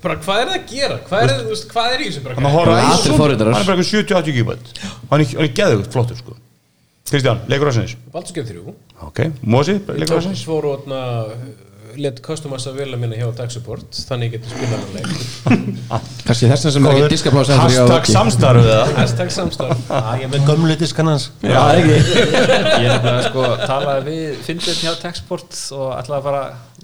S7: bara hvað er það að gera hvað er, þú veist, hvað er í þessu
S2: Hann er
S7: bara
S8: Allir
S2: Horizon, hann er
S8: forritarar.
S2: bara eitthvað 70-80 gigabætt Hann er, hann er geðugt flottur sko Kristján, leikur ásins
S7: Baldurskjöf 3
S2: Ok, Mosi, leikur
S7: Tók
S2: ásins
S7: fóru og let customers að vilja minna hjá Tag Support þannig ég geti spilað hann leik
S2: [laughs]
S8: Kanski þess vegna sem er ekki diskaplása
S2: Hashtag samstarfið
S8: [laughs]
S2: það
S7: [laughs] Hashtag samstarf
S9: Já, ég er með gömlu diskan hans.
S8: Já, ekki
S5: Ég er
S8: [laughs]
S5: bara sko talaði við Finnbjörn hjá Texport og ætlaði að fara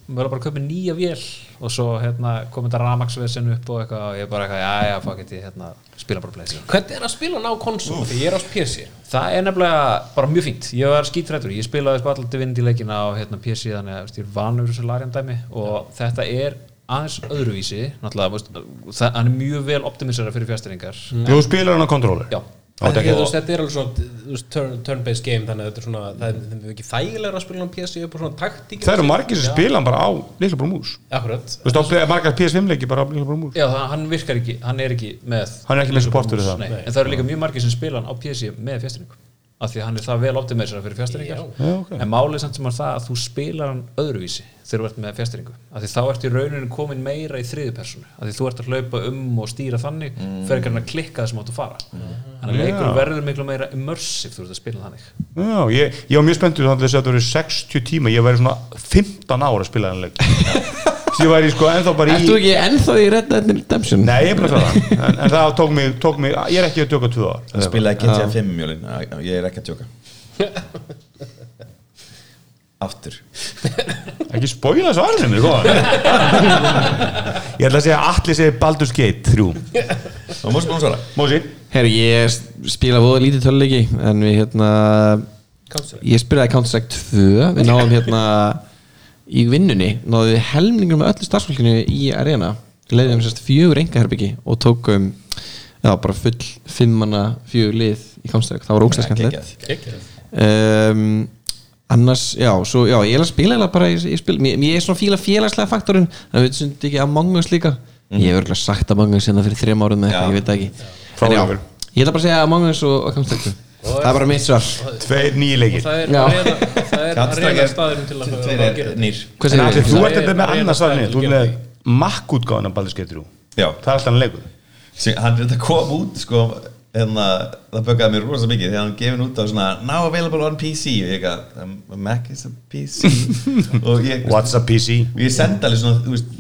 S5: mjög bara að köpa nýja vél og svo hérna kom þetta ramagsvesen upp og eitthvað og ég bara eitthvað, já já, fuck it, ég hérna spila bara pleysir.
S7: hvernig er að spila hann á konsol því ég er á PC
S5: Það er nefnilega bara mjög fínt, ég var skítrættur, ég spilaði sko alltaf vind í leikina á hérna PC þannig að þú veist, ég er vanur þessu larjum dæmi og þetta er aðeins öðruvísi, náttúrulega, þú veist, það, hann er mjög vel optimisera fyrir fjastæringar.
S2: Þú spilar hann á kontróler
S5: Já,
S7: En
S2: þetta
S7: því
S2: er
S7: að þú
S2: ekki-
S7: veist, þetta er alveg svona þú veist, turn- turn-based game þannig að þetta er svona það er það er ekki þægilega að spila hann á PC upp á svona taktík
S2: Það eru margir sem spila hann bara á Lilla bara mús
S7: Akkurat
S2: Þú veist, á margar PS5 leiki bara á Lilla bara mús
S5: Já, það, hann virkar ekki, hann er ekki með
S2: Hann er ekki með support fyrir það.
S5: Nei, En það eru líka mjög margir sem spila hann á PC með fjastringu af því að hann er það vel optimisera fyrir fjastringar
S2: Já, ok.
S5: en málið samt sem er það að þú spilar hann öðruvísi þegar þú ert með fjastringu af því þá ert í rauninu komin meira í þriðu personu af því þú ert að hlaupa um og stýra þannig mm. fyrir ekki hann að klikka það sem áttu að fara
S2: Mm.
S5: þannig að leikur verður miklu meira immersive þú ert að spila hann þannig
S2: Já, ég, ég var mjög spenntur þannig að þess að þetta voru 60 tíma Ég væri svona 15 ára að spila hann leik Því ég væri sko ennþá bara í
S8: Ertu ekki ennþá í Red Dead Redemption?
S2: Nei, ég er bara að klára hann en, en það tók mig, tók mig, ég er ekki að döka tvö ár
S6: hann spilaði GTA 5 mjölin ég er ekki að tjóka aftur
S2: Ekki spóila þessu aðrið mér, góðan Ég ætla að segja að Atli segir Baldur's Gate 3
S6: og múst búin svara
S2: Mósi
S8: Herri, ég spila voða lítið töluleiki En við hérna Ég spilaði Counter-Strike 2 Við náðum hérna Í vinnunni Náðum við helmingum með öllu starfsfólkinu í arena Leiðum sérst fjögur engaherbyggi Og tókum Já, bara full Fimmanna fjögur lið Í Counter-Strike Það var ógstæð skemmtilegt um, annars, já, svo, já ég er að spila eiginlega bara, ég, ég, spil, ég, ég er svona fíla félagslega faktorinn, þannig að við sundum ekki Among Us líka, ég hef örgulega sagt Among Us hérna fyrir þrem árum með
S6: Já.
S8: eitthvað, ég veit það ekki en já,
S2: Frálegur.
S8: ég ætla bara að segja Among Us og, og Counter Strike það er bara mitt svar
S2: Tveir nýju leikir
S7: Það er
S8: Já.
S7: arena, það er arena staðurinn til að
S6: Tveir
S7: að
S6: er
S7: gera
S6: nýr
S8: hvað
S2: En
S8: segir
S2: Atli,
S8: þið?
S2: þú
S7: Það
S2: ert
S7: er-
S2: þetta með
S7: það er
S2: annars aðrið Þú ert með
S7: stærri.
S2: makkútgáðan af Baldur's Gate 3
S6: Já.
S2: Það er alltaf hann leikur
S6: Sem- hann er þetta kom út sko en það böggaði mér rosa mikið þegar hann gefin út á svona now available on PC og ég eitthvað um, Mac is a
S2: [laughs]
S6: PC og ég,
S2: What's a PC?
S6: ég sendi alveg svona þú veist,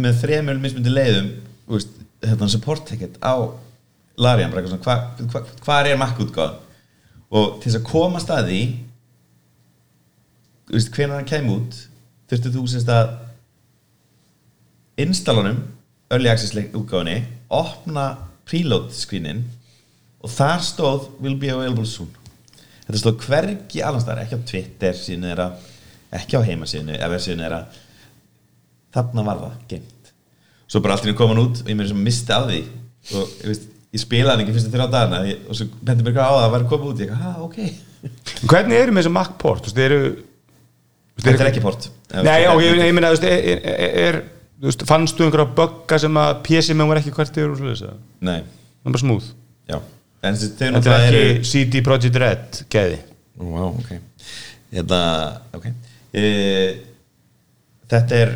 S6: með þremur mismundi leiðum þú veist, hérna support ticket á Larian, bara eitthvað svona, hva- hva- hvar er makkútgáð og til þess að koma staði þú veist, hvenær hann kæm út þurftu þú sérst að installanum early access leik- útgáfunni opna preload screenin og þar stóð will be available soon þetta stóð hvergi allan staðar, ekki á Twitter síðan er að, ekki á heimasíðinu eða síðan er að þarna var það, geimt svo bara allt í henni kom hann út og ég mér sem misti af því og ég veist, ég spilaði hann ekki fyrst þrjá dagana ég- og svo benti mér hvað á það að vera komið út ég, ha, ok,
S2: Hvernig eru með þessi Mac port? Þú veist, eru þú veist,
S6: þetta er ekki port
S2: Nei, og ég, ég meina, þú veist, er, er, er þú veist, fannstu einhverja bögga sem að PC með var ekki hvert yfir og svoleiðis eða?
S6: Nei,
S2: Það er bara smúð
S6: já En þessi- þau
S2: Þetta
S6: náttúrulega
S2: er
S6: eru
S2: ekki CD Projekt Red gæði
S6: Wow, ok Þetta, ok e, Þetta er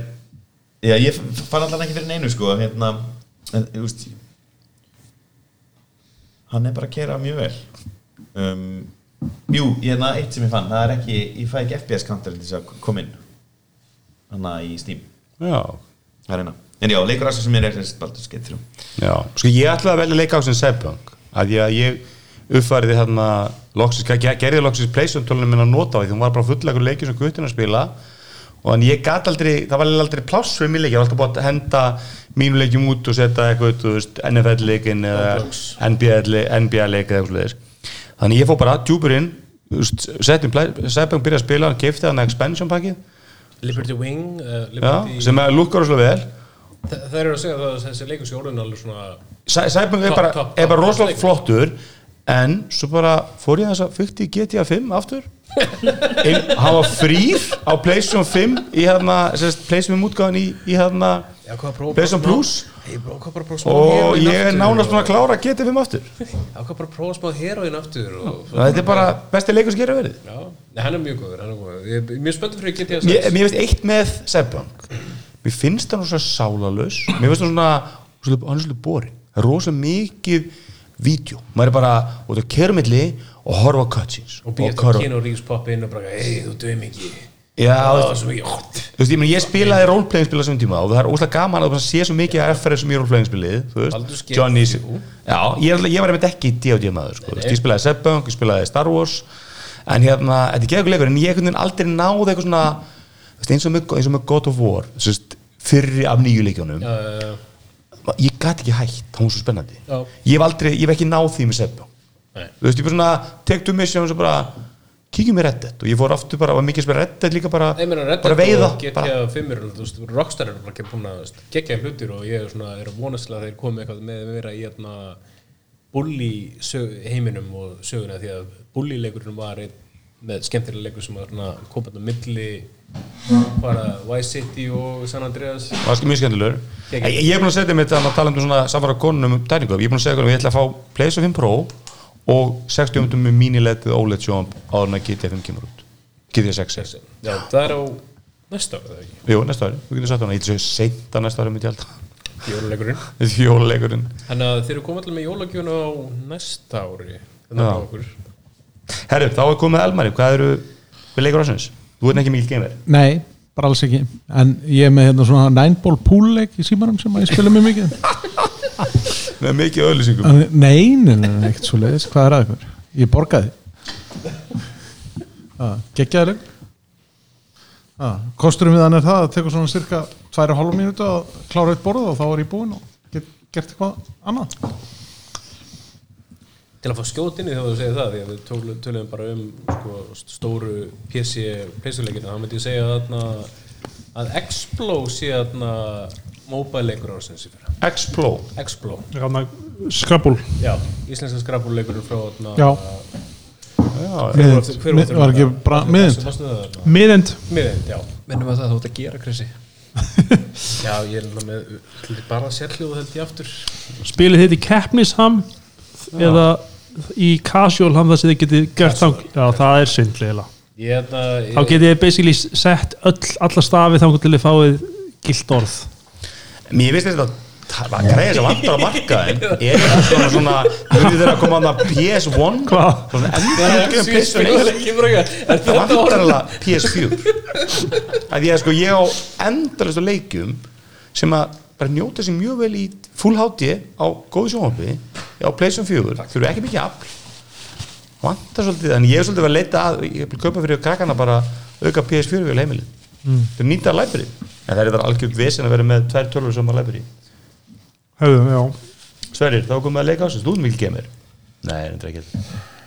S6: Já, ég f- fann allan ekki fyrir neinu sko Hérna, en, þú veist Hann er bara að kera mjög vel um, Jú, hérna eitt sem ég fann Það er ekki, ég fæ ekki FPS counter til þess að koma inn Hanna í Steam
S2: Já,
S6: Það er hérna En já, leikur aðsins sem er ekki Baldur skeitt þrjum
S2: já Sko ég ætlaði að velja leika á sem Cyberpunk að ég, að ég uppfæriði þarna loksins, ger- gerði loksins Playstation tólunum minna að nota á því, því hún var bara fulllegur leikið sem guttin að spila og en ég gat aldrei, það var eiginlega aldrei pláss fyrir mér leikið, ég var alltaf búin að henda mínu leikjum út og setja eitthvað þú veist, NFL leikin eða NBA, le- NBA leik eða eitthvað svoleiðis. þannig ég fór bara djúpur inn þú veist, settum Play- Cyberpunk byrja að spila hann keifti hann expansion pakkið
S7: Liberty Wing uh,
S2: já,
S7: Liberty,
S2: sem að lukkar svo vel
S7: Þa- Það eru að segja það að þessi leikur sé orðin alveg svona
S2: Cy- Cyberpunk er
S7: Topp,
S2: bara,
S7: topp,
S2: er bara
S7: topp,
S2: rosalega
S7: topp.
S2: flottur en svo bara fór ég þess að fyrkti GTA 5 aftur Ein- hann var frýr á Playstation 5 í hérna, sérst, Playstation 5 útgáðan í, í hérna
S7: Já, hvað prófa
S2: Playstation Plus
S7: Ég bara- hvað bara prófa smá
S2: og
S7: heroin
S2: ég er
S7: aftur
S2: nánast búin
S7: og-
S2: að klára GTA 5 aftur
S7: Já, hvað bara prófa smá heroin aftur og
S2: þetta er bara besti leikur sem gera verið
S7: Já, nei, hann er mjög góður, hann er góður Ég er mjög spenntur fyrir GTA 6
S2: mér, mér finnst eitt með Cyberpunk mér finnst hann svona sálalös mér finnst hann svona, svona hann er svona boring það er rosa mikið vídeo maður er bara út á kerumilli og horfa á cutscenes
S7: Og býja
S2: horfa-
S7: þetta Keanu Reeves poppa inn og bara Ei, þú dömi ekki
S2: Já,
S7: Það
S2: þú
S7: var
S2: veist,
S7: svo mikið
S2: þú veist, ég, meni, ég spilaði roleplaying spil á þessum tíma og það er óslega gaman að það sé svo mikið að FRS sem um í roleplaying spilið, þú
S7: Baldur's
S2: veist
S7: Gate
S2: Johnny's,
S7: þrjú.
S2: já, ég, er alltaf- ég var einmitt ekki D.O.D. maður, sko, þú veist, ég spilaði Sebbunk, ég spilaði Star Wars en hérna, þetta er geðugur leikur en ég einhvern veginn aldrei náði eitthvað svona þú veist, eins og með, eins og með God of War þú veist, fyrri af nýju leikjónum
S7: Uh,
S2: ég gat ekki hægt, það var svo spennandi
S7: Já.
S2: ég hef aldrei, ég hef ekki náð því með Sebbunk
S7: Nei.
S2: þú veist, ég bara svona, take two missions og bara kíkjum í Red Dead og ég fór aftur bara, var mikið að spila Red Dead líka bara,
S7: Nei, meina, Red
S2: bara
S7: Dead
S2: veiða
S7: og
S2: bara.
S7: GTA 5 er, þú veist, Rockstar eru bara ekki búin að um gegja hlutir og ég er svona, er að vonast til að þeir komi eitthvað með meira í hérna bully sög, heiminum og söguna því að bully leikurinn var einn með skemmtilega leikur sem var svona komið á milli bara Vice City og San Andreas
S2: Það var sko mjög skemmtilegur
S7: Geggjað.
S2: Ég, ég er búin að setja mig þetta að tala um svona samfara konunum um tækningum, ég er búin að segja hvernig ég ætla að fá PlayStation 5 Pro og 60 umtum með mínilegtið OLED sjónum E áður en að GTA 5 kemur út GTA 6 er.
S7: Já, það er á næsta ára, það er
S2: Jú, næsta ári, þú getur sagt hana, ég ætla að segja seinta næsta ári myndi [laughs] ég alltaf
S7: ekki, jóluleikurinn
S2: Þetta er jóluleikurinn
S7: Þannig að þeir eru komið allir með jólagjöfuna á næsta ári Þannig
S2: Já.
S7: að okkur
S2: Herru, þá er komið Elmari, hvað eru við leikur ásins? Þú ert ekki mikil gamer
S3: Nei, bara alls ekki En ég er með hérna svona nænból púlleik í símanum sem að ég spila mjög mikið
S2: Með mikið öðlýsingum
S3: En Nei, nei, nei, nei, ekkert svo leiðis Hvað er að ykkur? Ég borgaði Ah, Gekkjaður Kosturum Ah, við hann er það að tekur svona cirka 2,5 mínútu að klára eitt borð og þá er ég búinn og get gert eitthvað annað
S7: Til að fá skjót inn í þegar þú segir það, því að við tölum, tölum bara um sko, stóru PC pleysuleikina, þá myndi ég segja þarna að Explo sé þarna mobile leikur ársins í fyrra.
S2: Explo
S7: Explo,
S4: skrabbul
S7: já, íslenska skrapuleikurinn frá þarna...
S3: Já.
S2: Já,
S7: Hver var aftur- hver var
S3: Mið-
S7: aftur-
S3: Var ekki bara miðind?
S7: Varstu það þarna?
S4: miðend
S7: Miðind, já.
S5: minnum að það þú ert að gera Krissi
S7: [laughs] Já, ég er náttúrulega með bara sérhljóðu held ég aftur.
S4: spilið þitt í keppnisham eða í casual ham það sem þið getið gert þá já það er syndlega
S7: Ég er þarna...
S4: þá getið þið basically sett öll, alla stafi þá til þið fáið gilt orð
S2: Mér finnst þetta það var greið sem vantar að marka er þetta svona svona munið þeirra að koma að PS1
S4: Hvað?
S2: svona endur um PS1 það vantar alveg PS4 að ég sko ég á endalist á leikjum sem að bara njóta sér mjög vel í full HD á góðu sjónvarpi á Playstation 4 þurfa ekki mikið afl vantar svolítið, en ég er svolítið að leita að ég vil kaupa fyrir krakkana bara auka PS4 við heimilið, mm. þau nýta læbri en það er þetta algjörg vesen að vera með tvær tölur sem að læbri
S4: Hefðum, já.
S2: Sverir, þá komum við að leika ásins, þú er mikil gemir Nei, þetta er ekki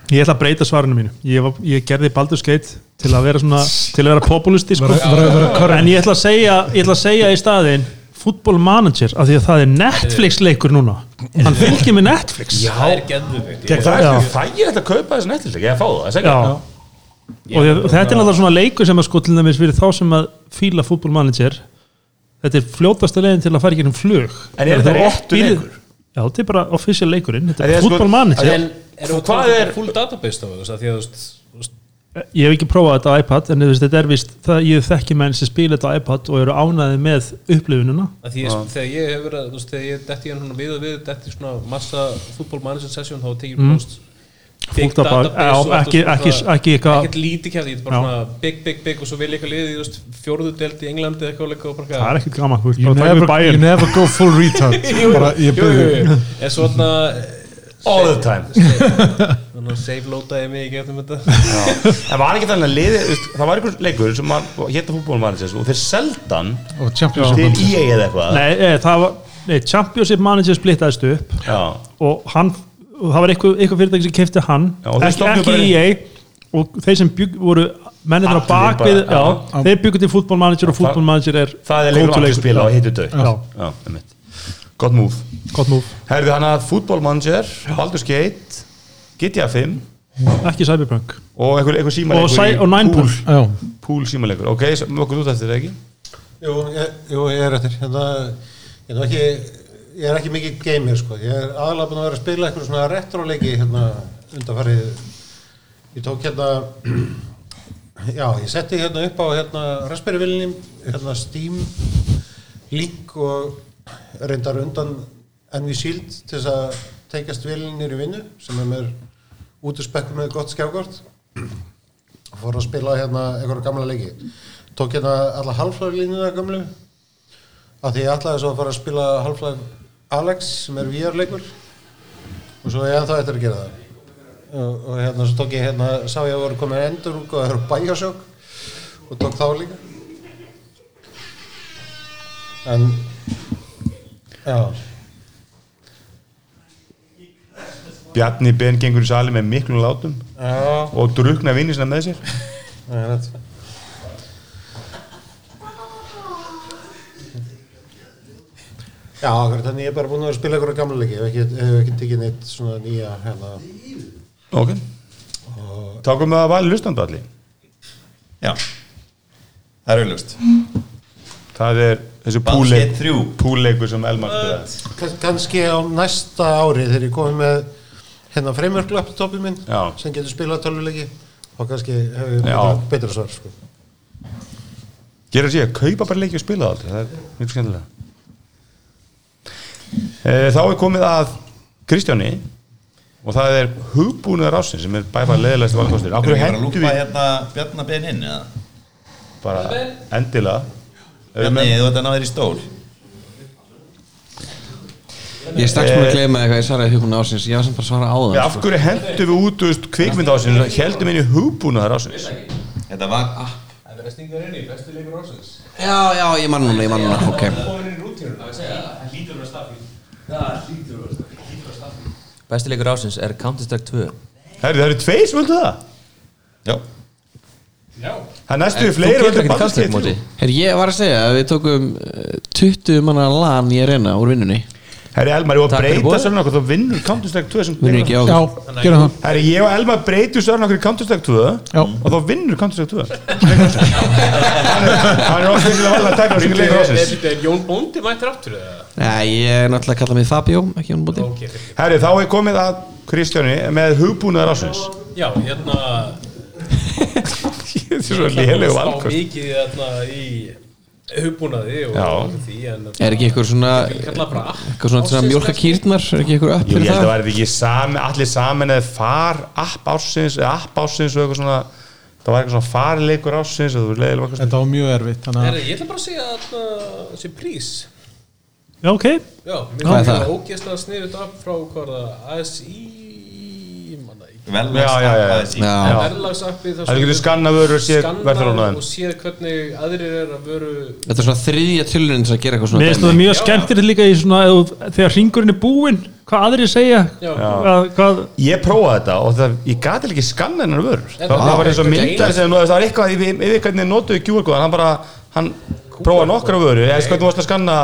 S4: Ég ætla að breyta svarinu mínu Ég, var, ég gerði Baldur Skate til að vera svona til að vera populisti sko. en ég ætla að segja, ég ætla að segja í staðin Football Manager af því að það er Netflix leikur núna Hann fylgir með Netflix Já,
S7: það er geðvögt
S2: Það er
S4: Já.
S2: ekki fægilegt að kaupa þessi nettileg, ég að fá það, það er
S4: já.
S2: ekki
S4: Og ég, þetta er náttúrulega svona leikur sem að sko til dæmis fyrir þá sem að fíla Football Manager Þetta er fljótasta leiðin til að fara í gegnum flug
S2: En
S4: Þú
S2: er þetta
S4: opnir-
S2: réttur leikur?
S4: Já, þetta er bara official leikurinn Þetta
S2: En ég
S4: er
S2: sko-
S4: Football Manager
S7: En Sko, er
S2: Hvað
S7: það
S2: er-
S7: full database þá þess að því að þú veist þú veist,
S4: Eh, Ég hef ekki prófað þetta á iPad en þú veist, þetta er vist það ég þekki menn sem spila þetta á iPad og eru ánæði með upplifununa
S7: að því ég,
S3: Ah.
S7: þegar ég hef verið að- þú veist, þegar ég detti hérna við og við detti svona massa fútból manager session þá tekið mm. post big
S4: Fullt af bak-
S7: database
S4: já,
S7: og allt
S4: ekki-
S7: og svona-
S4: ekki- ekki eitthvað-
S7: ekkert lítið kæft ég er bara
S4: Já.
S7: svona big big big og svo vil ég eitthvað liðið þú veist, fjórðu delt í Englandi eða eitthvað og leika og bara
S4: það er ekkert gaman þú veist,
S3: you
S4: bara taka
S3: never,
S4: við
S3: you
S4: bæinn
S3: never go
S4: [laughs]
S3: full
S7: [laughs]
S3: retard bara ég byrði
S7: en svo þarna
S2: All the
S7: [laughs]
S2: time
S7: þarna save loadaði mig ekki eftir þetta [laughs]
S2: En var ekki þannig að liði, veist, það var einhver leikur sem var, hérna fútbólmannsins og þeir seldan
S3: og Champions
S2: til
S3: League
S2: EA eða eitthvað
S4: nei, e, það var nei, Championship Manager splittaðist upp
S2: Já,
S4: og hann og það var eitthvað, eitthvað fyrirtæki sem kefti hann
S2: Já, og þeir
S4: ekki,
S2: stofnuðu
S4: ekki
S2: bara-
S4: EA og þeir sem bygg, voru mennir á
S2: Allir bara,
S4: bakvið já,
S2: já.
S4: þeir byggu til Football Manager og Football Manager er
S2: það er leikur
S4: go-to
S2: allir spila og hittu dögt
S4: Já.
S2: Já, einmitt Gott múf
S4: gott múf
S2: Herðu hann að fútbólmannsir, Baldur Skate GTA 5
S4: ekki Cyberpunk
S2: og einhver, einhver
S4: og,
S2: símaleikur
S4: Cy-
S2: í
S4: og Ninepool
S3: já,
S2: Pool símaleikur, ok, sem okkur þú þetta ekki?
S9: Jú, ég, jú, ég er eftir hérna, ég, er nú ekki, ég er ekki mikið gamer sko. ég er aðalega búin að vera að spila eitthvað svona retroleiki hérna undanfarið ég tók hérna [clears throat] já, ég setti hérna upp á hérna Raspberry Villin hérna Steam link og reyndar undan Envy Shield til þess að teikast vélinir í vinnu sem er mér út í spekku með gott skjákort og fór að spila hérna einhverja gamla leiki tók hérna alla Half-Life línuna gamlu af því ég ætlaði svo að fara að spila Half-Life Alex sem er VR leikur og svo ég ennþá eftir að gera það og, og hérna svo tók ég hérna sá ég að voru komin endur og það eru bæjasjók og tók þá líka en já
S2: Bjarni Ben gengur í sali með miklum látum
S9: já,
S2: og drukna vinni sinna með sér
S9: [laughs] það er þetta Já, akkurat, þannig ég er bara búin að vera að spila ykkur á gamla leiki, ég hef ekki, hef ekki tekið neitt svona nýja hérna.
S2: ok þá komum við að vali lustandi allir
S6: Já Það er auðlust
S2: það er þessu
S6: Baldur's Gate
S2: púleik-
S6: 3.
S2: púleikur sem Elmar spilaði
S9: Kann- Kannski á næsta ári þegar ég komið með hérna framework laptopið minn
S2: Já.
S9: sem getur spilað tölvuleiki og kannski hef ég
S2: Já.
S9: betra, betra svar sko.
S2: gera sér, kaupa bara leiki og spila það aldrei það er mjög skemmtilega Eh, þá er komið að Kristjáni og það er hugbúnaður ásinn sem er bæfað leðilegst valkostur
S6: Erum
S2: okkur
S6: við bara að
S2: hendur
S6: lúpa
S2: við
S6: hérna Bjarnabein inn eða?
S2: bara endilega Erum við
S6: Bjarni,
S2: með-
S6: þú ert að ná þér í stól
S8: Ég er strax múin að gleyma eitthvað ég svaraði hugbúna ásins Ég var sem bara að svara sko. á
S2: Við Eh.
S8: það
S2: af hverju hendur við út úr kvikmynd ásinn og heldum inn í hugbúnaður ásins
S6: Þetta var app
S8: Já, já, ég man núna, ég man núna Ok
S10: Bestileikur ásins er Counter-Strike 2
S2: Herri, það eru tveir sem völdu það
S6: Já
S2: Það er næstu við
S10: Þú
S2: fleiri
S10: getur
S2: völdu
S10: ekkert Counter-Strike móti
S8: Her, ég var að segja að við tókum eh, 20 manna lan í arena úr vinnunni
S2: Herri, Elmar, ég var
S10: Takk
S2: að
S10: fyrir
S2: breyta
S10: boðið.
S2: sörna okkur Þá vinnur Counter-Strike 2 sem
S8: Vinnur ekki á
S3: já,
S8: okkur
S3: gerum það
S2: Herri, ég og Elmar breytum sörna okkur í Counter-Strike 2
S3: Já.
S2: Og þá vinnur Counter-Strike 2 Hann er- Hann er ofta ykkur að valda að taka okkur í leikur
S7: er
S2: ásins
S7: þetta Jón Bóndi mættir aftur eða?
S8: Nei, ég er náttúrulega að kalla mig Fabio, ekki hún bóti
S7: ok, fyrir
S2: Herri, þá er komið að Kristjáni með hugbúnaður ásins
S7: Já, hérna
S2: Þetta er svo léleg
S7: Spá
S2: valkost
S7: mikið hérna í hugbúnaði og
S2: Já.
S7: og því en hérna-
S8: Er ekki eitthvað svona
S7: kalla bara app.
S8: eitthvað svona, svona
S7: Ársins
S8: mjólka
S7: kannski.
S8: kýrnar er ekki eitthvað upp
S2: Jú, ég
S8: fyrir
S2: held að
S8: það
S2: verði ekki saman, allir saman eða far app ásins, eða app ásins og eitthvað svona, það var eitthvað svona farleikur ásins og þú leiðilega valkost
S3: þetta var mjög erfitt þannig
S7: Herra,
S3: að
S7: ég ætla bara að segja að það sé prís
S4: Já, ok
S7: Já, mér
S8: Hvað er
S7: finnst
S8: það?
S7: það ógeðslega sniðut af frá hvað var það ASI manna ekki
S2: Já, já, já.
S6: velvægst
S8: Já.
S2: Já.
S7: verðlagsappið
S2: Það getur skannað vörur og séð verðþróun á þeim.
S7: og séð hvernig aðrir er að veru
S8: Þetta er svona þriðja tilurinn sem að gera eitthvað
S4: Mér
S8: svona
S4: finnst það mjög skemmtilegt líka í svona ef þú- þegar hringurinn er búinn, hvað aðrir segja
S7: Já.
S4: hvað, hvað,
S2: Ég prófaði þetta og það, ég gati ekki skanna hennar vörur það,
S7: það-
S2: það var eins og
S7: það-
S2: myndar sem notaðist, það var eitthvað yfir, yfir hvernig notuðu QR-kóðan, hann bara hann prófaði nokkra vörur, eða hvernig þú varst að skanna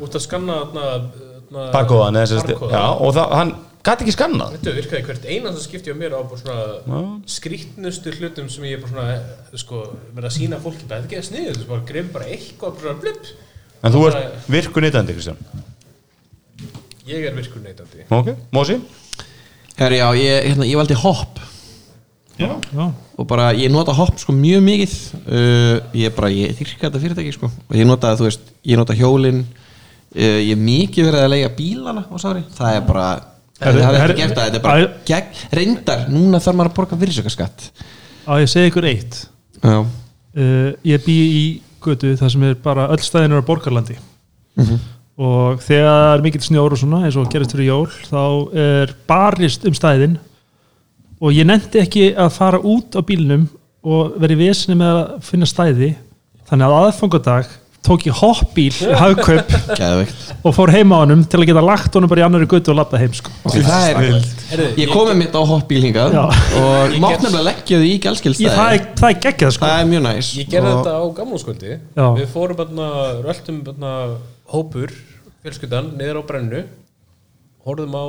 S7: út að skanna þarna
S2: barkóðan eða sem sagt,
S7: Barkóðan.
S2: já, og það, hann gati ekki skannað
S7: Þetta virkaði hvert einasta skipti á mér á bara svona skrýtnustu hlutum sem ég bara svona sko, verið að sína fólki þetta er ekki að sniðu, þetta bara greið bara eitthvað bara blip,
S2: en þú ert virku neytandi, Kristján
S7: ég er virkur neytandi
S2: ok, Mósi?
S8: Herri, já, ég, hérna, ég valdi hopp
S4: já.
S8: og bara ég nota hopp sko mjög mikið uh, ég bara, ég þyrka þetta fyrirtæki sko og ég nota, þú veist, ég nota hjólin uh, ég hef mikið verið að leiga bílana og sári, það er bara það
S4: Herri,
S8: er
S4: herri,
S8: ekki gert það, þetta er bara
S4: æ-
S8: gegn, reyndar, núna þarf maður að borga virðsökkaskatt
S4: á ég segi ykkur eitt
S8: já,
S4: uh, ég bý í götu þar sem er bara öll stæðin eru á borgarlandi
S8: Mhm.
S4: og þegar mikill snjór og svona eins og gerist fyrir jól þá er barist um stæðin og ég nefndi ekki að fara út á bílnum og verið vesinni með að finna stæði þannig að aðfangadag tók ég hoppbíl í hagkaup
S8: geðveikt
S4: og fór heim á honum til að geta lagt honum bara í annari götu og lappa heim sko.
S8: okay, það er, ég komið mitt á hoppbíl hingað
S4: Já.
S8: og mátt nefnilega leggja því í
S4: ég, það,
S8: gælskildstæði
S4: er, það er geggjað sko.
S8: það er mjög næs
S7: Ég gerði
S8: Og-
S7: þetta á gamlúskvöldi
S4: Já.
S7: Við fórum bara, röltum bara hópur, fjölskyldan, niður á brennu horfðum á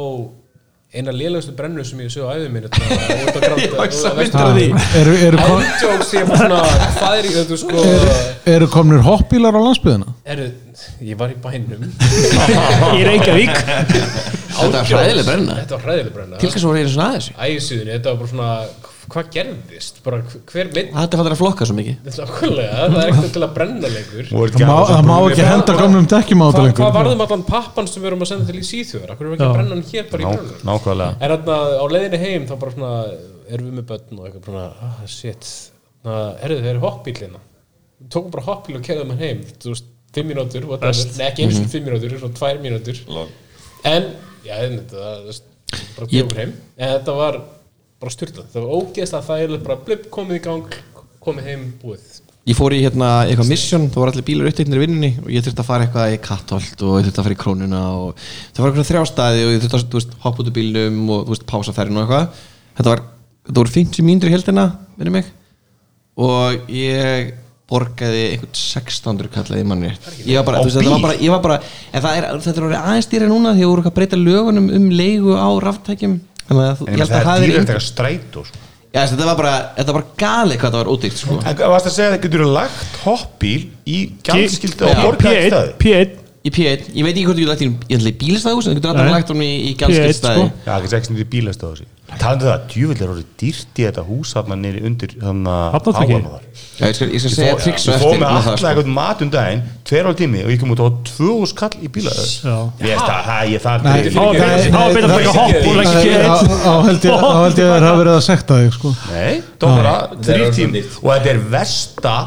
S7: eina lélegustu brennu sem ég séu á æfið minni þetta út
S8: [laughs]
S7: á granda
S3: Ah, eru, eru, kom,
S7: Ándjóks ég bara svona hvað er í þetta sko
S3: eru komnir hoppbílar á landsbyðina?
S7: Eru, ég var í bænum
S4: í
S7: [laughs]
S4: Reykjavík
S8: þetta er hræðileg brenna
S7: Þetta var hræðileg brenna
S8: til hvers voru einu svona aðeins
S7: Ægisuðinni, þetta var bara svona Hvað gerðist? Bara hver mynd
S8: þetta fattar að flokka svo mikið
S7: Nákvæmlega, það er ekkert til að brenna lengur
S3: Það má, það má ekki henda komnum dekkjum á þetta
S7: Hva, Hvað
S3: lengur
S7: varðum allan pappan sem við erum að senda til í síþjóðar? Akkur erum við ekki að
S4: Já.
S7: brenna hann hér bara í brennum?
S2: nákvæmlega
S7: En þarna á leiðinni heim þá bara svona erum við með börn og eitthvað svona ah shit, na, herðu þeir eru hoppbílina við tókum bara hoppbíl og kerðum hann heim þú veist, fimm mínútur whatever. Nei, ekki eins og fimm mínútur, svona tvær mínútur en, já, en þetta var, þú veist,
S8: Ég-
S7: bara djókur heim en þetta var bara styrlað það var ógeðst að það er bara blip komið í gang komið heim
S8: [laughs]
S7: búið
S8: Ég fór í hérna eitthvað mission, það voru allir bílar uppteknir í vinnunni og ég þurfti að fara eitthvað í kattholt og ég þurfti að fara í krónuna og það var eitthvað þrjástaði og ég þurfti að þú veist, hoppa út úr bílnum og þú veist, pása ferðin og eitthvað Þetta var, þetta voru 50 mínútur í heldina, minni mig og ég borgaði einhvern 600 kallaði manni ég var bara, þú veist, þetta var bara, ég var bara en það er, þetta er orðið aðeins dýra núna því að voru eitthvað að breyta lögunum um leigu á ráftækjum þannig að þú,
S2: en
S8: ég held að
S2: það
S8: það
S2: er
S8: hafi
S2: dýrið
S8: verið
S2: eitthvað strætó sko.
S8: Já, þessi, þetta var bara, þetta var galið hvað það var ódýrt sko.
S2: en varst að segja að það getur lagt hoppbíl í gjaldskildu og
S8: Já.
S2: borgaði
S4: P1,
S2: staði
S4: P1
S8: í P1, ég veit ekki hvort ég lagt í, ég ætla í bílastæðhús en þú getur alltaf
S4: Nei.
S8: lagt honum í, í
S4: P1,
S8: gælskildstæði
S4: sko.
S2: Já, ekki ekki nýri bílastöðu þessi Talandi um það, djúvill er orðið dýrt í þetta hús þarna nýri undir þarna
S4: Hafnartorgi?
S2: áanóðar
S8: Já, ég skal, ég skal segja
S2: Ég
S8: triks
S2: fór-
S8: og
S2: ég fór með
S8: eftir um það,
S2: alltaf
S8: sko.
S2: eitthvað mat um daginn Tver ára tími og ég kom út á tvö hús kall í bílaðið
S4: Já.
S2: Ég veist að það, ég það
S3: Nei,
S2: Nei,
S4: Þá er betra- þá er betra að taka hopp og leggja P1
S3: Á held ég á held ég að það hafa verið að sekta þig sko.
S2: Nei tóra,
S6: er
S2: þrýr
S6: orðið
S2: tím
S6: dýrt.
S2: Og þetta er versta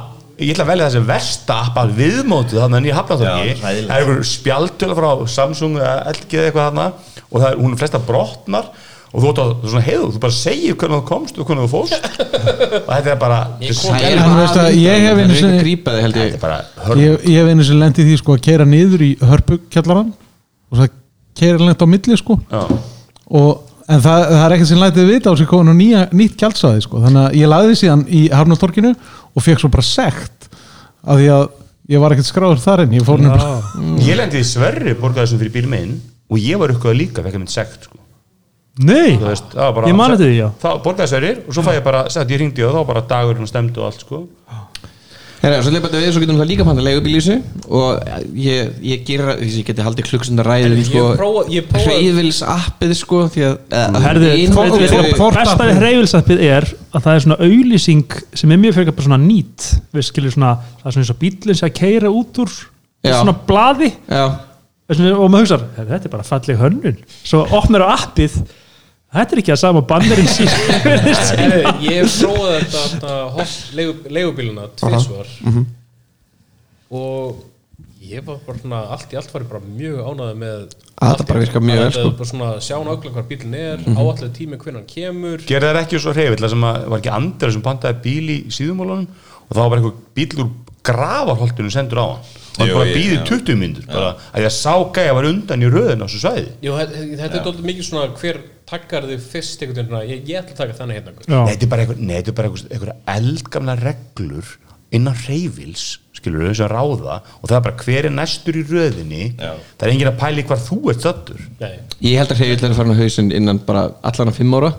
S2: Ég ætla að velja þessi versta app að viðmótið þannig að nýja hafnaþorgi
S6: Já,
S2: Það er
S6: hræðilegt.
S2: einhver spjaldtöla frá Samsung eða LG eða eitthvað þarna og það er, hún er flesta brotnar og þú átt að svona heiðu, þú bara segir hvernig þú komst og hvernig þú fórst og þetta er bara
S8: Það er
S3: En veist að ég hef einu
S8: Það er
S3: sinni-
S8: ekki grípaði held ég
S2: þetta er bara hörn
S3: Ég ég hef einu sem lendi því sko að keira niður í hörpukjallaran og það keira lent á milli sko
S2: Já.
S3: og, en það, það er ekkert sem lætið vita á sig komin á nýja, nýtt gjaldsaði sko. þannig að ég lagði síðan í Hafnartorkinu og fekk svo bara sekt af því að ég var ekkert skráður þar inn ég fór nefnilega
S6: Mm.
S2: Ég lendi í Sverri borgaði þessu fyrir bíl minn og ég var eitthvað líka, fekk ég minn sekt sko.
S4: Nei,
S2: Þú veist, það var bara,
S4: Ég man eftir því, já.
S2: Þá borgaði Sverri og svo fæ ég bara, sett ég ringdi og þá bara dagurinn og stemdi og allt sko.
S8: Hérna, svo leipa þetta við, svo getum við það líka panta leigubílísu og ég, ég gera, því sem ég geti haldið klukksundar ræðum
S7: ég
S8: sko,
S7: prófa- ég prófa-
S8: hreifils appið sko, því að eh,
S4: Herðu,
S8: hin-
S4: hvort-
S8: þetta eru-
S4: hvort- hvort- bestaði hreyfilsappið er að það er svona auðlýsing sem er mjög fyrir bara svona nýtt við skilur svona, það er svona eins og bílinn sé að keira út úr
S8: Já.
S4: svona blaði
S8: Já,
S4: Þessi- og maður hugsar, "Herru, þetta er bara falleg hönnun svo opnar á appið þetta er ekki að sama bannerinn sín
S7: Herri,
S2: [laughs]
S7: ég prófaði þetta
S8: mhm.
S7: þarna, hopp leigu- leigubíluna tvisvar og ég ég var bara svona allt í allt farið bara mjög ánæði með
S8: Að þetta bara virkar mjög vel,
S7: sko
S8: sko. Mhm.
S7: bara svona sjá nákvæmlega hvar bílinn er mm tími hvernig hann kemur
S2: gerði þær ekki svo hreyfilega sem að var ekki andra sem pantaði bíl í síðumálunum og þá var bara eitthvað bíl úr gravarholtinu sendur á hann og hann
S6: Jú,
S2: bara
S6: ég-
S2: býði
S6: já.
S2: 20 myndur bara að ég sá gæja var undan í röðin á þessu svæði
S7: Jú, þetta þetta er dólítið mikið svona hver takkar þið fyrst einhvern veginn svona, ég, ég ætla að taka þannig hérna
S4: Já.
S2: Nei, þetta er bara einhver- nei, þetta er bara einhver- einhverja eldgamla reglur innan reyfils skilur þau sem ráða og það er bara hver er næstur í röðinni
S6: Já.
S2: það er enginn að pæli hvar þú ert sattur
S7: Nei,
S8: Ég held að Hreyvill er farin á hausinn innan bara allan að fimm ára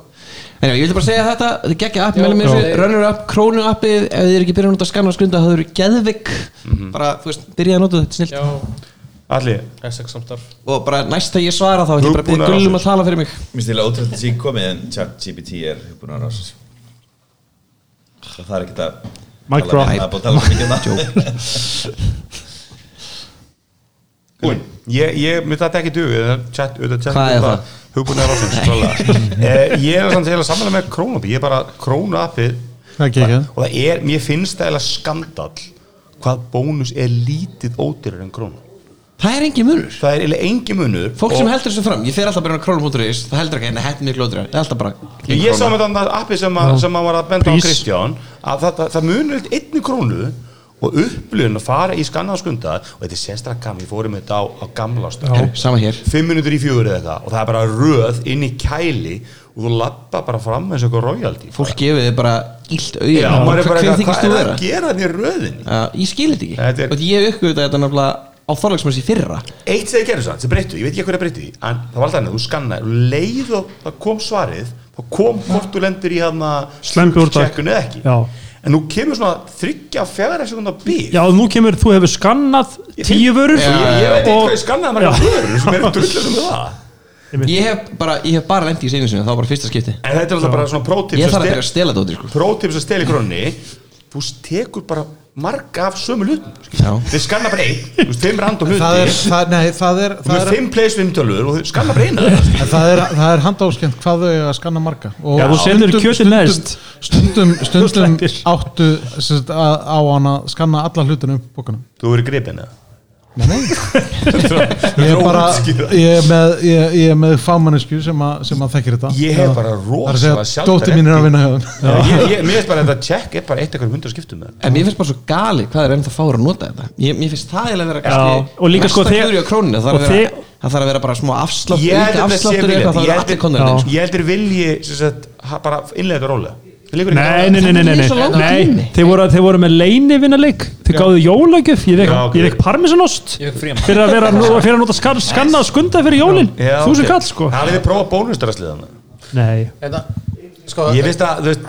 S8: En já, ég vildi bara segja þetta, þetta geggja app, meðlum með þessu, runner up, krónu appið Ef þið er ekki byrjað að nota skanna og skrunda, það eru geðvik Bara, þú veist, byrjað að nota þetta, snilt
S7: já,
S2: Mhm. Alli,
S7: SX samstarf
S8: Og bara næst að ég svara þá, ég bara byrja
S2: Hugbúnaðarásir.
S8: gullum að tala fyrir mig
S6: Mér stila ótrúlega að sé komið en chat GPT er búin að rása Það er ekkert að
S4: Mic
S6: tala
S4: drop.
S6: við- það er búin að tala mikið um það [laughs]
S2: Búinn, ég, ég myndi þetta ekki dugu chat, auðvitað chat um
S8: Hvað er það?
S2: Hugbúnaðar ásins,
S8: [laughs]
S2: klálega Eh, Ég er samt eiginlega samanlega með krónuapi Ég er bara krónuapið
S3: Það er geggjað.
S2: Og það er, mér finnst það eiginlega skandall Hvað bónus er lítið ódýrar en krónu
S8: Það er engin munur
S2: Það er eiginlega engi munur
S8: Fólk
S2: og-
S8: sem heldur þessu fram, ég fer alltaf bara inn á krónu.is Það heldur ekki, en þetta er mjög glótur Það er alltaf bara
S2: Ég sá með þannig appi sem, að, sem að var að benda
S4: Prís.
S2: á Kristján að það, það, það munur einni krónu og upplun að fara í skannaðaskunda og þetta er sérstaklega gaman, ég fórum þetta á, á gamla stöð
S8: Sama hér
S2: fimm minútur í fjögur eða eitthvað og það er bara röð inn í kæli og þú lappa bara fram eins og eitthvað royalty
S8: Fólk gefið þið bara illt
S2: Já,
S8: auðvitað
S2: maður er bara
S8: Hver
S2: eitthvað,
S8: þykist þú
S2: hvað er
S8: vera?
S2: að gera þannig í röðinni?
S8: Uh, ég skil þetta ekki
S2: Þetta er-
S8: Og ég uppgöfði þetta náttúrulega á þorlagsmessi fyrra
S2: Eitt sem þið gerðu sann, sem breyttu, ég veit ekki hverja breyttu því, en það var alltaf þannig að þú skannaði og leið og það kom svarið þá kom hvort þú lendur í hana
S4: Slembi úr dag.
S2: checkun eða ekki
S4: Já.
S2: en nú kemur svona þryggja fjara sekundar bíl
S4: Já, nú kemur, þú hefur skannað tíu vörur
S2: ég, ég veit ekki hvað ég
S4: og
S2: skannaði margar vörur
S3: [laughs]
S2: sem eru drullið um það
S8: Ég hef bara, ég hef bara lent í seinu sinni, það var bara fyrsta skipti
S2: en þetta er alltaf bara svona prótips
S8: Ég þarf að byrja að stela þetta út í sko
S2: prótips að steli krónni þú veist, tekur bara marga af sömu hlutum
S8: Já.
S2: þið skanna bara einn, þú veist, fimm random hluti
S3: það er, það, nei, það er,
S2: þú
S3: það
S2: veist,
S3: er,
S2: fimm place vimtölur og þau skanna bara eina þeirra.
S3: En það er, það er handáskjönd hvað þau eiga að skanna marga og
S4: Já, þú selur kjötið neðst.
S3: stundum,
S4: [laughs]
S3: stundum
S4: Þú sleppir.
S3: áttu sérst, að, á hann að skanna alla hlutinu upp bókunum
S2: þú verður gripin eða [laughs]
S3: nei, nei. ég er bara ég er með, ég, ég er með fámannisku sem, að- sem að þekkir þetta
S2: Ég hef
S3: Já.
S2: bara
S3: Það er að segja,
S2: rosalega sjaldar
S3: dóttir mín er að
S2: eftir-
S3: vinna hjá þeim
S2: Já, ég, ég, mér finnst bara að þetta check er bara eitt eitthvað hundra skiptum með
S8: En mér finnst bara svo gali hvað er ennþá fáur að nota þetta ég, Mér finnst það eiginlega vera kannski
S4: og líka sko
S8: mesta
S4: þegar-
S8: klúðrið á krónunni,
S4: og
S8: það þarf að vera-
S4: þegar-
S8: það þarf að vera bara smá afslátt
S2: Ég held
S8: Líka
S2: að þetta sé
S8: afsláttur
S2: vilji.
S8: eitthvað, það
S2: Ég
S8: verður
S2: held-
S8: allir sko. konur þetta
S2: ég heldur vilji sem sagt, ha- bara innlega þetta rólega Það liggur ekki á.
S4: Nei, nei, nei, nei, nei,
S8: Það er svo
S4: nei.
S8: langt
S4: nei.
S8: inni.
S4: Þeir, voru, þeir voru með leinivinnarleik Þeir gáðu jólagjöf Ég
S2: Já, ok.
S4: vekk okay. parmesanost
S5: Ég vekk frían.
S4: Fyrir að vera fyrir að nota skar, skannað skunda fyrir jólin
S2: Já,
S4: Þúsund
S2: ok.
S4: kall sko
S2: Hafið þið prófað bónusdrasliðan
S4: Nei,
S9: En það, sko,
S2: Ég finnst að, þú veist,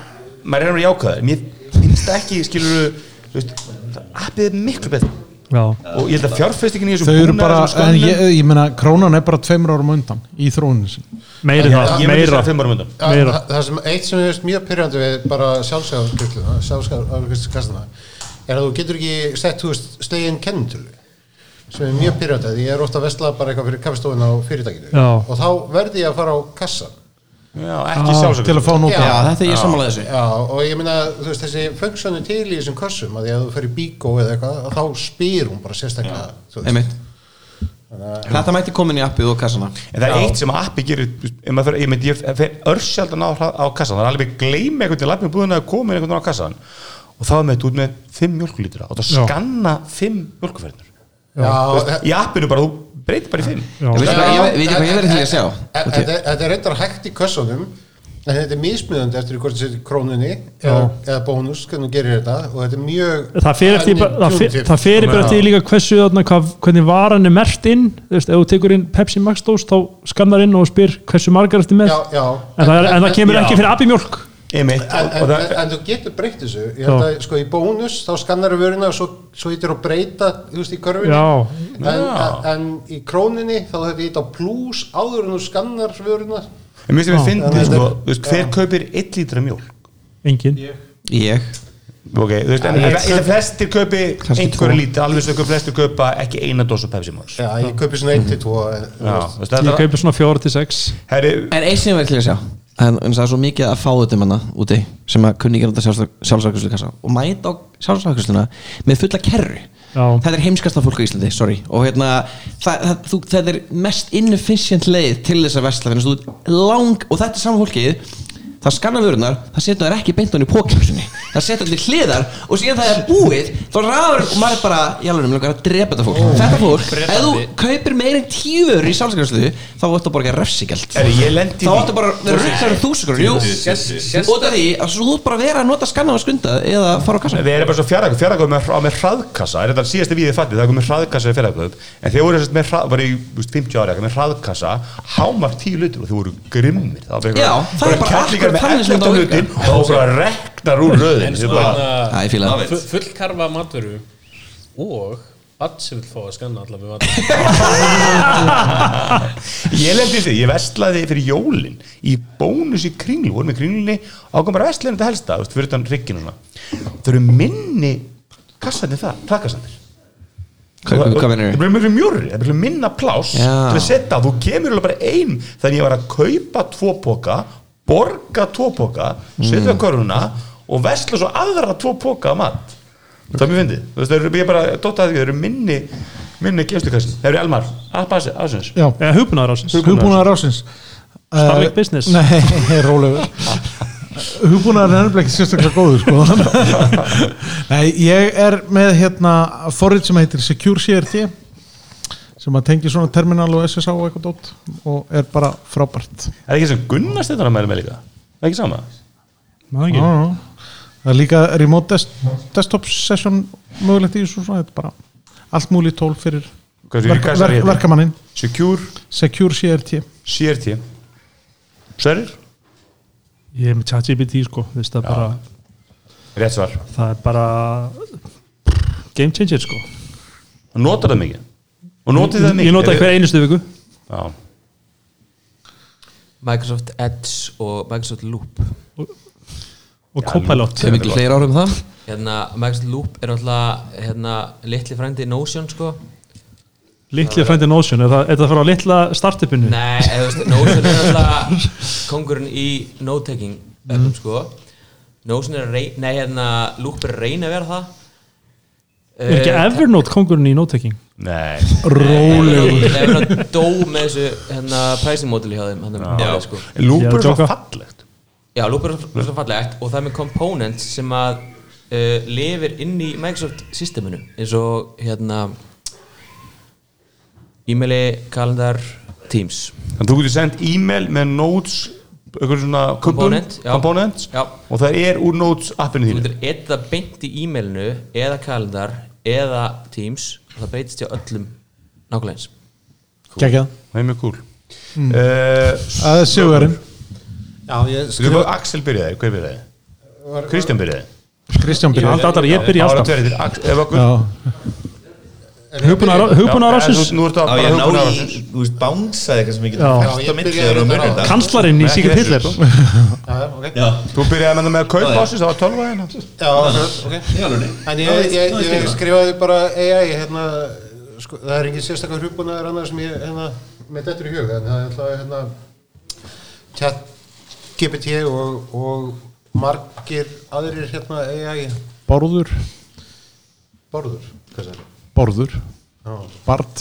S2: maður er að vera jákaður Mér finnst það ekki, skilur þú veist, það- appið er miklu betur
S4: já
S2: og ég held að fjárfestingin í
S3: þau
S2: þessum
S3: eru bara,
S2: búnaði, þessum
S3: en
S2: skönnum-
S3: ég, ég meina krónan er bara tveimur árum á undan í þróunin sín
S4: Meiri það,
S2: Ég myndi
S4: meira
S2: segja fimm árum undan
S9: að-
S4: meira.
S9: að- það sem eitt sem er mjög pyrrandi við bara sjálfsæðarkvistuna sjálfsæðarkvistuna er að þú getur ekki sett þú veist slegin kennitölu sem er mjög pyrrandi því ég er ofta að vesla bara eitthvað fyrir kaffestofun á fyrirtækinu
S4: Já.
S9: og þá verði ég að fara á kassan
S2: Já, ekki sjálfsögum
S3: til að fá nota
S8: Já, þetta er ég sammála þessu
S9: Já, og ég meina, þú veist, þessi funksjónu til í þessum kössum, að því að þú fyrir bíkó eða eitthvað, að þá spyr hún bara sérstaklega, þú veist,
S8: Einmitt. Þetta mætti komin í appið og kassana
S2: En það er eitt sem appi gerir ef maður fer- ég myndi, ég fer örsjald að ná hra- á kassan það er alveg gleymi einhvern til lappin búðin að koma einhvern veginn á kassan og þá er með þetta út með fimm mjölkulítra og það
S4: Já.
S2: skanna fimm mjölkuferðnur
S9: já,
S2: í appinu bara, þú breytir bara í fimm
S8: Ég veist hvað ég- veit ég hvað ég verið til að sjá
S9: E-
S8: Ok.
S9: Þetta þetta er reyndar hægt í kössunum en þetta er mismunandi eftir hvort þetta er krónunni eða, eða bónus, hvernig þú gerir þetta og þetta er mjög
S4: Það fer eftir, bara- það fer,
S9: Tjúntipp.
S4: það fer bara eftir
S9: Já.
S4: líka hversu þarna, hvað, hvernig varan er mert inn þú veist, ef þú tekur inn Pepsi Max dós þá skannar inn og spyr hversu margar eftir með
S9: Já, já.
S4: En, það er, en það kemur
S9: Já.
S4: ekki fyrir appi mjólk
S2: einmitt
S9: En,
S2: og,
S9: en,
S2: og
S9: en,
S2: það,
S9: þú getur breytt þessu ég held að sko í bónus þá skannar þú vöruna og svo, svo heitir að breyta þú veist í körfunni
S4: Já.
S9: en, en, en í krónunni þá þetta heitir á plus áður en þú skannar vöruna
S2: en mér sem ég fyndi
S9: Já.
S2: sko, þú veist, hver kaupir 1 lítra mjólk
S4: Engin
S8: Ég
S2: ok, þú veist, en, en, en flestir kaupi
S8: Kannski
S2: einhverju
S8: tvo.
S2: lítið, alveg svo flestir kaupa ekki eina dós og pepsi mars
S9: já, ég kaupi svona 1-2
S4: Ég kaupi svona 4-6
S2: herri,
S8: En eins sem ég verið til að sjá En en það er svo mikið að fá þetta manna úti sem að kunni ekki að nota sjálfsakvæslu kassa og mæta á sjálfsakvæsluna með fulla kerru
S4: Já.
S8: þetta er heimskasta fólk á Íslandi, sorry og hérna, það, það, þú, þetta er mest inefficient leið til þess að vesla þannig að þú lang, og þetta er saman fólkið það skanna vörunar, það setja þær ekki beint hann í pókjöpsunni, það setja þær til hliðar og síðan það er búið, þá ráður og maður er bara, jálfurum, langar að drepa þetta fólk þetta fólk, ef þú kaupir meira en tíu vörur í sálskarsluðu, þá ættu að borga refsigjald
S6: Er ég lendi
S8: þá ættu bara að rukkaður þúsugur jú,
S5: Sérst-
S8: út af því að svo þú ert bara að vera að nota skanna og skunda eða fara á kassa
S2: Við erum bara svo fjaraðgöf, fjaraðgöf með, á- með hraðkassa Það er þetta síðasta við þið fattið, það er komið hraðkassa í fjaraðgöf En þeir voru sem sagt með hra- voru í þú veist, 50 ára eitthvað með hraðkassa Hámar 10 lutur og þeir voru grimmir Það var bara
S8: Já,
S2: eitthvað-
S8: það er bara
S2: kettlingar
S8: akkurat
S2: með
S8: þannig
S2: 11
S8: sem þetta á að
S2: lutin Og það bara reknar úr röðin Þeir bara-
S8: Það er fílað
S6: David.
S7: Fu- fullkarfa matveru og bann sem vil fá að skanna allar með
S2: [laughs]
S7: matveru
S2: Ég lendi því, ég vestlaði fyrir jólin í bónus í kringlu, vorum í kringlunni ákvæm bara vestlunum þetta helsta, þú veist, fyrir utan rigginu svona Þau eru minni kassandi það, hraðkassandir
S8: Hvað- hvað- hvað meinarðu?
S2: Það blir miklu mjórri, það blir minna plás
S8: Já.
S2: til að setja, þú kemur alveg bara ein þannig ég var að kaupa tvo póka borga tvo póka setja mm. körfuna og vesla svo aðra tvo póka að mat það er mjög fyndið, þú veist, það eru, ég bara dotta að því, það eru minni minni gefstukassin, það eru Elmar, appa ásins
S3: Já,
S4: eða hugbúnaðar ásins
S3: hugbúnaðar ásins
S4: Starlink Business.
S3: [laughs] Nei, rólegur Hugbúnaðar er nefnilega ekki sérstaklega góður sko.
S4: [laughs]
S3: Nei, ég er með hérna forrið sem heitir Secure CRT sem að tengi svona terminal og SSH og eitthvað dót og er bara frábært
S2: Er það ekki sem Gunnar Steinar að mæla með líka? Er ekki sama?
S4: Ná,
S3: Já, já. Það er líka remote des desktop session mögulegt í þessu svona, þetta er bara allt múli tól fyrir
S2: Hvað er- hvað er það
S3: verk
S2: hérna?
S3: verkamannin
S2: Secure,
S3: Secure CRT
S2: CRT Sverir?
S4: ég er með ChatGPT sko þú veist, það, bara,
S2: Rétt svar
S4: það er bara game changer sko
S2: Notar það mikið? Og notið það mikið?
S4: ég nota það hver einustu viku
S2: Já,
S10: Microsoft Edge og Microsoft Loop
S4: og Copilot
S8: Það er miklu fleiri árum það
S10: hérna, Microsoft Loop er alltaf hérna, litli frændi Notion sko
S4: litli frændi Notion, er það, er það að fara á litla startupinu
S10: Nei, eða, þú veist,
S4: [laughs]
S10: Notion er alltaf kongurinn í note-taking mm. sko. Notion er að reyna, nei, hérna, Loop er að reyna að vera það Eh,
S4: er ekki Evernote kongurinn í note-taking
S2: Eh, nei
S10: Rólegur Það er að dó með þessu hérna, pricing model hjá þeim hérna,
S2: Já.
S10: já. Sko.
S4: Ég er
S2: Lúpur er
S4: að
S2: svo
S4: djóka.
S2: fallegt
S10: já, Loop er svo fallegt og það er með components sem að uh, lifir inn í Microsoft systeminu eins og hérna e-maili, kalendar, Teams
S2: Þannig að þú getur sendt e-mail með notes eitthvað svona kubbum,
S10: Component, já.
S2: components
S10: Já.
S2: og það er úr notes appinu
S10: þú
S2: þínu
S10: getur edda beint í e-mailinu eða kalendar eða Teams og það breytist hjá öllum nákvæmlega eins
S3: Kækjað,
S2: Það er mjög cool
S10: Mm.
S2: uh,
S3: það er sigurinn
S9: Já, ég
S2: Skrifa
S9: skrifa
S2: Axel byrjaði, hver byrjaði? Kristján byrjaði
S3: Kristján
S4: ég,
S3: Björn
S4: held allar, ég byrja alltaf
S2: tverið til Axel ef okkur-
S3: Já,
S4: hugbúnaðar hugbúnaðar
S2: Já, en
S4: ásins
S2: þú- Nú
S6: Á
S2: ertu að
S6: ég
S2: bara
S6: að
S2: hugbúnaðar
S6: ná í,
S2: ásins
S6: þú veist, bánsaði eitthvað sem
S4: Já.
S6: ég getur fært á milli
S9: byrjaði
S6: þegar þú
S9: reyndar á
S6: munir
S9: það.
S6: þetta
S4: kanslarinn í Sigurd
S2: þessu.
S4: Hitler
S6: [laughs]
S9: Já, ok
S6: Já,
S2: Þú byrjaði með það með að kaupa ásins, það var hérna. 12 aðeina
S9: Já, ok
S6: í alveg
S9: En ég, ég, ég skrifaði bara AI, hérna, sko, það er engin sérstakar hrupunaður annað sem ég, hérna, með dettur í hug, en það er alltaf, hérna, chat GPT og, og margir aðrir, hérna, AI
S3: Bárður
S9: borður, hvað það er?
S3: Bárður, Bart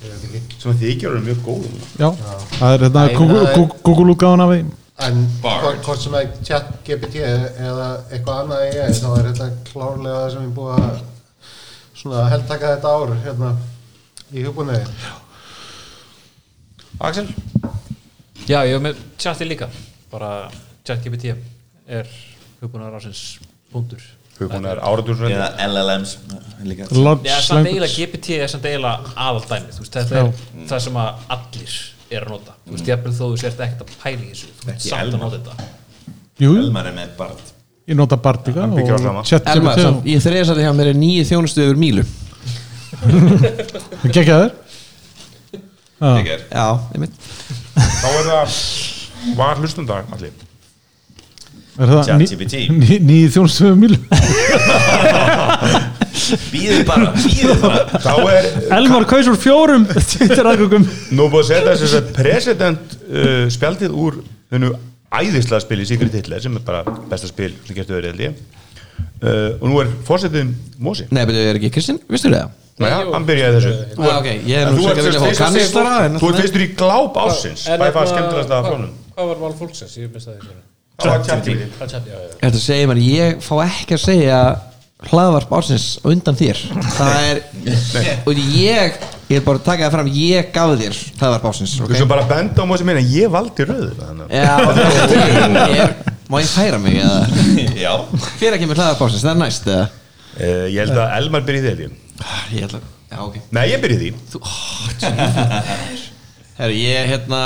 S9: Ég veit ekki.
S2: Sem að þið gerur mjög góðum
S3: Já, það er hérna
S9: Nei, það er-
S3: Google-útgáðan af því
S9: En hvort, hvort sem er chat GPT eða eitthvað annað AI, þá er þetta klárlega það sem ég er búið að svona heldtaka þetta ár, hérna, í hrupunaði.
S2: Axel?
S5: Já, ég hef með chati líka bara ChatGPT er hugbúnaðar ásins búndur
S2: Hugbúnaðar áratur
S6: Eða LLMs líka
S3: Large
S5: Já, samt eiginlega
S3: language
S5: GPT er samt eiginlega aðaldæmi veist, þetta er það sem að allir er að nota þú veist, jafnvel þó þú sért ekkert að pæla í þessu þú veist
S6: Ekki
S5: samt að
S6: Elmar.
S5: nota þetta
S3: Jú,
S6: Elmar er með Bart
S3: ég nota Bart líka
S2: Hann byggir á sama.
S3: og chat
S8: Elmar, samt, ég þreja sætti hjá mér er nýju þjónustu yfir mílu
S9: [laughs]
S3: Kækjaður
S6: Þegar
S8: Já, einmitt
S2: Þá er það Var hlustundag
S6: [laughs]
S2: allir
S3: Er það
S6: ChatGPT.
S3: nýjið þjónstöðum mýl
S6: Býðu bara, býðu bara
S2: Þá er
S4: Elmar kaus úr fjórum Twitter aðgöngum
S2: Nú er búið að setja þess að president uh, spjaldið úr þennu æðislega spil í Sigrid Hitler sem er bara besta spil sem gertu öðru held ég uh, og nú er fórsetin Mósi
S8: Nei, betur, er ekki Kristinn, vistu það?
S2: Nei, já, hann byrjaði þessu
S8: Þú er, ok, ég er
S2: En
S8: nú
S2: þú
S8: svo
S2: ert sem
S8: ekki að vilja fá
S2: sagt fyrstur-
S8: kannistara en-
S2: Þú ert fyrstur í gláp ásins
S7: En
S2: Bæði fara
S7: hérna,
S2: skemmtilegast að
S7: hvað-
S2: frónum
S7: Hvað var val fólksins? Ég mista því svona
S2: Það var tjáttífi
S7: Það er tjátt, já, já
S8: Þetta segir maður, ég fá ekki að segja hlaðvarp ásins á undan þér það er og ég, ég er bara að taka það fram ég gaf þér hlaðvarp ásins
S2: Þú
S8: okay?
S2: sem bara benda á Mósi minna Ég valdi rauður þannig
S8: Já,
S2: [laughs]
S8: ok, ég, má ég færa mig eða
S6: Já,
S8: hver að kemur hlaðvarp ásins, það er næst eða Ah,
S2: uh, Ég held að Elmar byrjaði því
S8: ég ætla, já ok
S2: Nei, ég byrjaði því Mm.
S8: Herri, ég hérna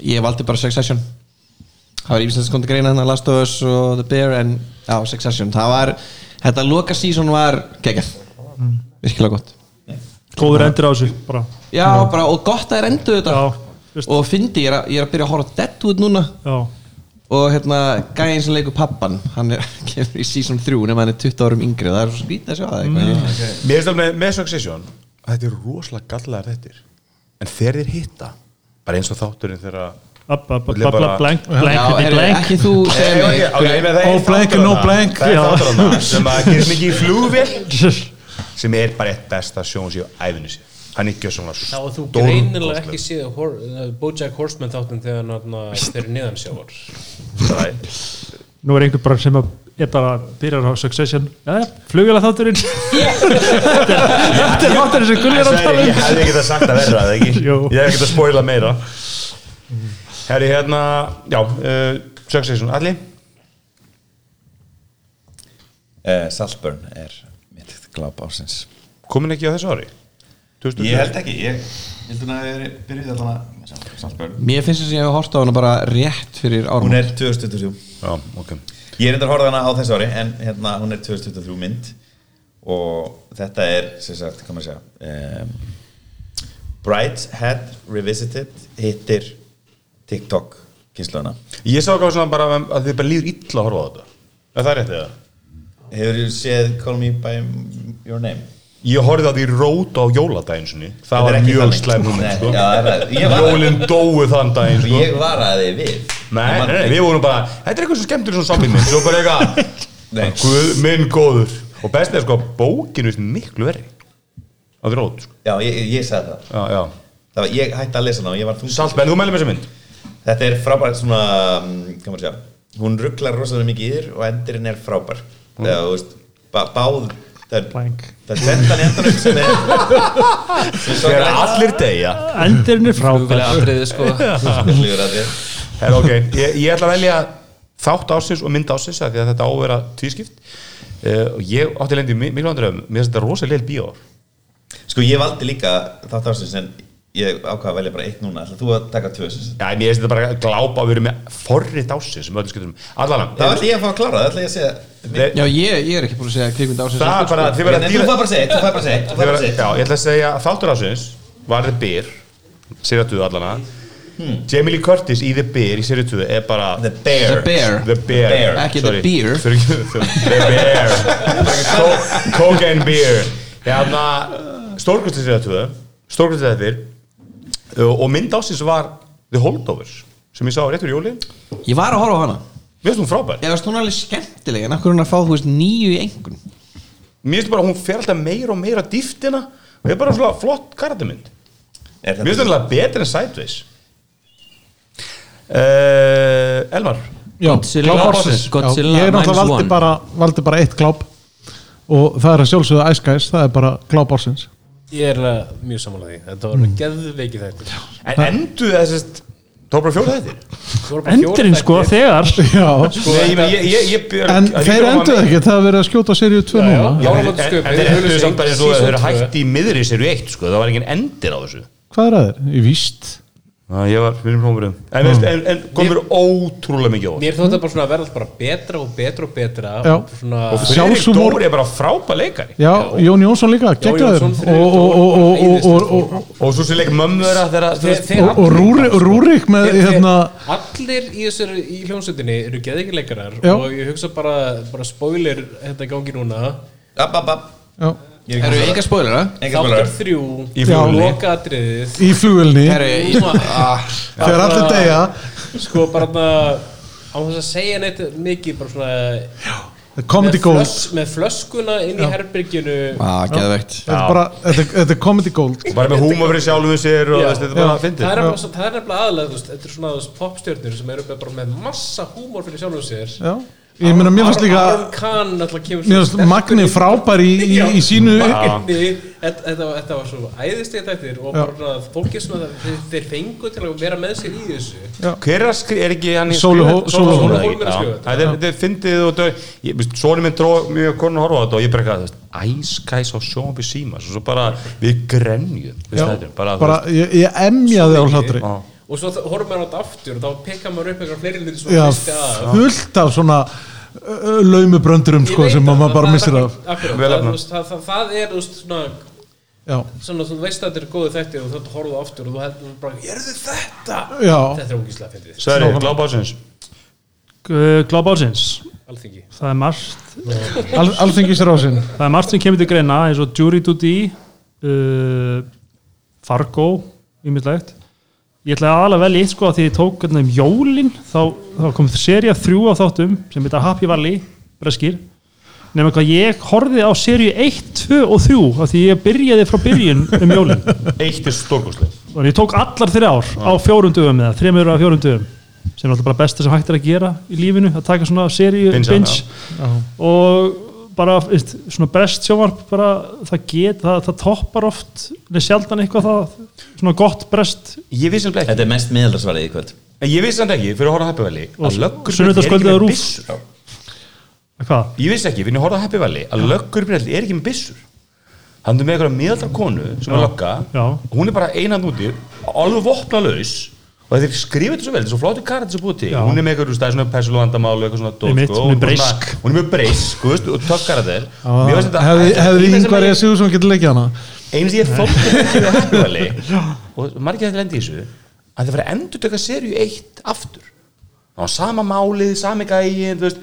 S8: ég valdi bara Succession það var ímestlega skondi greina hérna Last of Us og The Bear en já, Succession, það var þetta loka season var geggjað virkilega gott
S4: góður endur á þessu bara.
S8: Já, bara, og gott að er endur þetta
S4: Já, veist.
S8: og fyndi, ég er, að, ég er að byrja að horfa á Deadwood núna
S4: Já.
S8: og hérna, gæðin sem leikur pappan hann er, [laughs] kemur í season 3 nema hann er 20 árum yngri, það er svo skrítið að sjá það mm.
S2: Mér finnst alveg með Succession að Þetta er rosalega gallaðar þetta En þeir þeir hitta Bara eins og þátturinn þegar
S4: Ab- ab-
S2: Þetta er
S4: ab-
S2: bara-
S4: ab- blank,
S8: Já,
S4: blank,
S8: er,
S4: blank
S8: ekki þú segja
S2: Nei,
S8: mig
S2: ok, ok, ég meina, það
S3: Oh,
S2: er
S3: blank
S2: þáttur
S3: and no
S2: þarna.
S3: blank.
S2: Það er
S4: Já.
S2: þáttur þarna sem að gerir
S4: [laughs]
S2: mikið í flugvél sem er bara eitt besta sjón sér á æfinu sér hann er ekki svona
S7: Þá að þú
S2: stórkostlegur.
S7: greinilega ekki
S2: [laughs]
S7: séð Hor- eh, Bojack Horseman þáttin þegar hann þeir eru niðan sjávar
S2: Það er-
S4: nú er einhver bara sem að er bara byrjar á Succession já, já, flugjöla þátturinn þetta er þátturinn sem Gulli er að
S2: Særi,
S4: tala
S2: ég
S4: um
S2: hefði ekki það sagt að verra eða ekki?
S4: Jú.
S2: ég hefði ekki að spoila meira herri hérna já, uh, Succession, allir
S6: uh, Saltburn er mitt gláp ásins
S2: komin ekki á þessu ári
S6: Ég held ekki, ég ég held hún að það byrjuði allan að með Sal- Saltburn
S8: Mér finnst þess að ég hef horft á hana bara rétt fyrir árum
S6: Hún er 2023
S2: já, ok
S6: Ég er reyndar að horfa hana á þessu ári en hérna hún er 2023 mynd og þetta er sem sagt, hvað maður segja um, Brighthead Revisited hittir TikTok kynsluðana
S2: ég sá ekki á svona bara að þið bara líður illa að horfa á þetta er það rétt eða?
S6: Hefur þú séð Call Me By Your Name?
S2: ég horfði á því rót á jóladaginn sinni. það var mjög slæm
S6: hún
S2: núna sko.
S6: Já, það er það Ég var
S2: jólinn dóu þann daginn sko.
S6: Ég var að þið við
S2: Nei,
S6: Ég man-
S2: nei, nei, við vorum bara Þetta er eitthvað svo skemmtur svona zombie mynd Svo
S6: [laughs]
S2: bara
S6: Nei.
S2: eitthvað Guð minn góður Og best er sko að bókinu er miklu verri Á því rót sko.
S6: Já, ég, ég sagði það
S2: Já, já
S6: Það var, ég hætti að lesa hana og ég var þungt
S2: Salt, en þú mælum þessa mynd
S6: Þetta er frábær svona, mm, hvað maður segja Hún rugglar rosalega mikið í þér og endurinn er frábær
S2: Mm.
S6: Þegar, þú veist, bá, báð Það er,
S4: Blank.
S6: það er tvendan endurinn sem er sem er svo
S2: sko. Þegar
S6: glæð-
S2: allir deyja
S4: endurinn er
S10: Flugvél
S4: frábær
S10: atriði,
S4: [laughs]
S2: [laughs]
S10: sko
S6: Lífur að þér.
S2: Her, ok, ég, ég ætla að velja þátt ásins og mynd ásins af Því að þetta á að vera tvískipt uh, Og ég átti lendi miklu andröfum Mér finnst þetta rosalega bíór
S6: Sko, ég valdi líka þátt ársins en ég ákvað að velja bara eitt núna Ætla þú að taka tvö þessins
S2: Já, en ég finnst þetta bara glápa að vera með forrið ásins sem öllum skiptum Allan,
S6: Það ætla ég að fá að klára, það ætla ég að segja
S2: þeir-
S8: Já, ég, ég er ekki búin að segja kvikmynd sko. ásins
S2: það er bara Þið verða
S6: En
S2: að
S6: þú
S2: díla-
S6: fær bara að segja, eitt, þú fær bara að segja, eitt, þú fær bara
S2: Þegar,
S6: að segja
S2: já, ég ætla að segja að þáttur ásins var The Bear Serið 2 allana Jamie Lee Curtis í The Bear í serið 2 er bara
S6: Hmm. The Bear
S8: The Bear
S2: The Bear,
S6: Bear.
S8: Ekki The
S2: [laughs]
S8: Beer.
S2: Fyrir, The The Bear Co- Cocaine Beer Hérna, stórkustið serið 2 Stórkustið þetta er Og mynd ásins var The Holdovers sem ég sá rétt úr jólin
S8: Ég var að horfa á hana
S2: Mér finnst hún frábær
S8: Ég veist hún er alveg skemmtileg en af hverju hún er að fá þú veist nýju í engun
S2: Mér finnst bara að hún fer alltaf meira og meira dýftina og er bara svona flott karatamynd
S6: Er
S2: Mér finnst
S6: þetta-
S2: það betur en Sideways uh, Elmar
S3: Já,
S10: Godzilla
S3: gláp
S10: versus
S3: ársins. Já,
S10: Godzilla
S3: Ég er náttúrulega
S10: minus
S3: valdi
S10: one.
S3: bara, valdi bara eitt gláp og það er að sjálfsögða æskæs það er bara gláp ársins
S7: Ég er uh, mjög samanlega því, þetta var mm. geðveikið þetta
S2: En endu þessist Tók bara fjóra þættir
S4: endurinn sko þegar
S3: [laughs] Já,
S2: Nei, ég meina, ég- ég- ég- ég-
S3: en
S2: ég-
S3: þeir
S2: ég-
S3: endur
S2: ég-
S3: ekki það er verið að skjóta serið 2
S7: Já, já.
S3: núna
S2: Já, En en
S7: Áramótasköpið,
S2: þeir enduðu samt bara eins og
S7: season
S2: þeir eru
S7: tvö.
S2: hægt í miðri serju 1 sko, það var engin endir á þessu
S3: Hvað er að þeir? Í víst
S2: Já, ég var fyrir frómurum En, mm. en, en komur ótrúlega mikið á
S7: Mér þótti bara svona að verða bara betra og betra og betra
S3: Já.
S7: og svona
S2: Og Fredrik
S3: Sjálfshúmor.
S2: Dóri er bara frábæ leikari
S3: Já, Jón Jónsson líka, geggjaður
S7: Jónsson,
S3: og,
S7: þriðji
S3: og, og,
S7: dómur,
S3: og, og, og, og, og,
S2: Og svo sem leik mömmu þeirra þegar þú veist-
S7: Þeir-
S3: og, og Rúrik, og Rúrik með
S7: Þeir- þeir-
S3: hérna
S7: sko. Allir í þessari í hljómsveitinni eru geðingileikarar
S3: Já.
S7: og ég hugsa bara, bara spoiler þetta gangi núna
S6: App, app, app
S3: já,
S6: Ég er
S8: Eru
S6: ekki
S8: enga spoilera?
S6: Engar
S7: Þáttur
S6: spoilerar.
S7: þrjú
S2: Í flugvélinni.
S7: Lokatriðið
S3: í flugulni
S8: Herru, ég, ah,
S3: [laughs] þegar allir deyja
S7: Sko bara þarna, án þess að segja neitt mikið bara svona
S3: The Comedy
S7: með,
S3: Gold
S7: flöss, með flöskuna inn í herberginu
S8: ah, geðvegt
S3: Þetta er bara, þetta er- þetta er Comedy Gold
S2: og bara með húma fyrir sjálfum sér og
S7: Já.
S2: þess, þetta er bara
S3: Já.
S2: að fyndi
S7: það er nefnilega- það er nefnilega aðlega þú veist, þetta er svona popstjörnir sem eru bara með massa húmor fyrir sjálfum sér
S3: Já, ég meina mér finnst líka
S7: Aron Kahn náttúrulega kemur
S3: Mér finnst Magni frábær í, í,
S7: Já.
S3: í sínu
S7: Magni, þetta, þetta, var- þetta var svo æðislega tættir og bara
S3: Já.
S7: svona að fólki svona þeir, þeir fengu til að vera með sér í þessu
S2: hver er að skrifa, er ekki hann í-
S3: Sólu Hó-
S2: Sólu
S3: Sólu
S2: Hólm
S7: Hólm
S2: ekki?
S7: er að skrifa
S2: Já. Það er- þetta er fyndið og þetta sónu minn dróð mjög konun að horfa á þetta og ég bara eitthvað, þú veist, æskæs á sjónum við síma svo bara við grenjum við
S3: Já.
S2: stæðum, bara,
S3: bara, ég, ég emjaði á hlátri
S2: Já.
S7: og svo þa- horfum maður á þetta aftur og þá pekka maður upp eitthvað fleiri lítið
S3: Já,
S7: svona fyrsti að
S3: fullt af svona uh, laumubröndurum sko sem maður bara missir af
S7: það,
S2: Vel
S7: það,
S2: efnað.
S7: það, það, það, það er þú veist, svona,
S3: Já,
S7: svona þú veist að þetta er góðu þættir og þú horfðu aftur og þú heldur bara gerðu þetta
S3: já,
S7: þetta er ógíslega fyndið
S2: Sverri, glábásins
S4: Glob Ársins
S7: alþingi
S4: það er margt
S3: Al, alþingis rásin
S4: það er margt sem kemur til greina eins og Jury Duty uh, Fargo ímislegt ég ætla aðalega vel eitt sko að því ég tók hérna um jólin þá, þá kom seria þrjú á þáttum sem heita Happy Valley breskir nema hvað ég horfið á seríu 1, 2 og 3 af því ég byrjaði frá byrjun um jólin
S2: eitt er stórkoslega
S4: og ég tók allar þrjár á fjórum dögum eða þremur á fjórum dögum sem er alltaf bara besta sem hægt er að gera í lífinu að taka svona seríu
S2: Binge,
S4: binge og bara veist, svona best sjónvarp bara það get, það, það toppar oft neð sjaldan eitthvað það svona gott brest
S2: ég vissi hann ekki,
S6: Þetta er mest miðaldarsvarið í kvöld
S2: En ég vissi hann ekki fyrir að horfa á Happy Valley
S4: Og
S2: að löggur
S4: sunnudagskvöldið á RÚV.
S2: byssur
S4: hvað?
S2: ég vissi ekki, fyrir að horfa á Happy Valley að löggur er ekki með byssur hann er með eitthvað miðaldra konu sem er að lögga
S4: Já.
S2: og hún er bara einand úti alveg vopna laus og þetta er skrifið þetta svo vel, þetta er svo flottur karat sem búið til
S4: Já.
S2: hún er með eitthvað, þú veist, það er svona persóluvandamálu eitthvað svona dót,
S4: Einmitt,
S2: sko,
S4: hún er
S2: og bara
S4: breisk.
S2: svona- hún er með breisk, þú veist, og töff karatir
S3: Hefði hefði yngvar ég að sigur sem getur leikja hana
S2: einu sem ég þótti ekki á Happy Valley
S4: [laughs]
S2: og margir þetta lendi í þessu að það var að endur tökka serju eitt aftur á sama málið, sami gæin þú veist,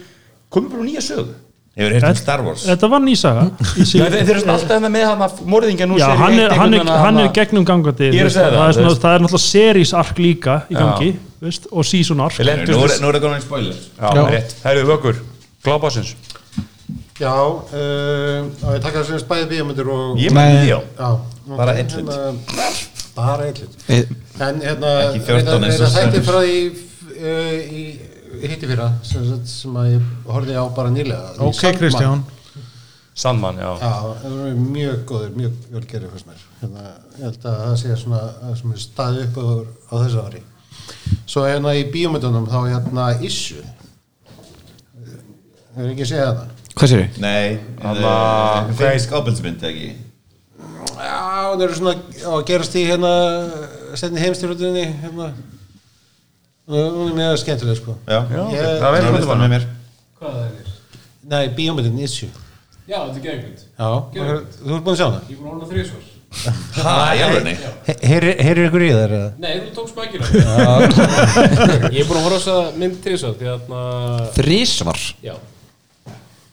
S2: komið bara úr nýja sögu
S6: Hefur heyrt um
S4: Þetta-
S6: Star Wars
S4: þetta var nýsaga í
S2: Já,
S4: sig-
S2: þeir þeir eru svona alltaf hérna með hann morðingja nú
S4: Já,
S2: seríu
S4: hann
S2: eitt,
S4: er, hann er,
S2: einhvern veginn
S4: hann er
S2: hana-
S4: gegnum gangandi
S2: Ég er að segja það,
S4: það, er
S2: þú
S4: svona,
S2: veist.
S4: það er náttúrulega serísark líka í gangi veist, og
S2: Þeir
S4: seasonark
S2: lentu
S6: Nú er
S2: svona-
S6: nú er það komin í spoiler
S2: Já, rétt, það eru vökkur Glábásins
S9: Já, uh, á ég taka þessum bæði bíómyndir og...
S2: Ég með
S3: Nei.
S2: því á
S9: Já,
S6: Bara
S9: ok,
S6: einn hlut.
S9: hérna, Bara einn hlut
S8: Eh,
S9: En hérna
S6: Ekki 14 eins
S9: eins
S6: og
S9: og Þetta
S6: stendur.
S9: er frá því uh, í hitti fyrra sem, sagt sem að ég horfði á bara nýlega í
S3: Ok,
S9: Sandman.
S3: Kristján
S2: Sandmann, já
S9: Já, það er mjög góður, mjög jólgerið fyrst mér hérna, Ég held að það sé svona það sem er staðið upp á, á þessu ári Svo hérna í bíómyndunum þá hérna Issu Hefur ekki séð hana?
S8: Hvað sér þau?
S6: Nei, eh,
S2: Þarna-
S6: þeir skápilsmynd ekki
S9: Já, það eru svona á að gerast í hérna setni heimstyrjóttinni hérna Hún er mjög skemmtileg sko
S6: Já,
S2: Já, ok.
S9: Ég-
S2: Það er
S6: Hún
S2: vel
S6: er á
S2: komið
S6: listanum
S2: bara.
S6: með mér.
S7: hvað það er
S9: Nei, bíómyndin Issue
S7: já þetta er gegnund
S9: Já,
S7: Gerðu.
S9: þú ert búin að sjá hana
S7: ég er búin að horfa þrjusvar
S6: Ha, í alvörunni?
S9: Heyrir ykkur í þær eða?
S7: nei þú tókst mækina ég
S9: [laughs]
S7: er búin að horfa þessa mynd þrjusvar því að na-
S8: Þrísvar
S7: já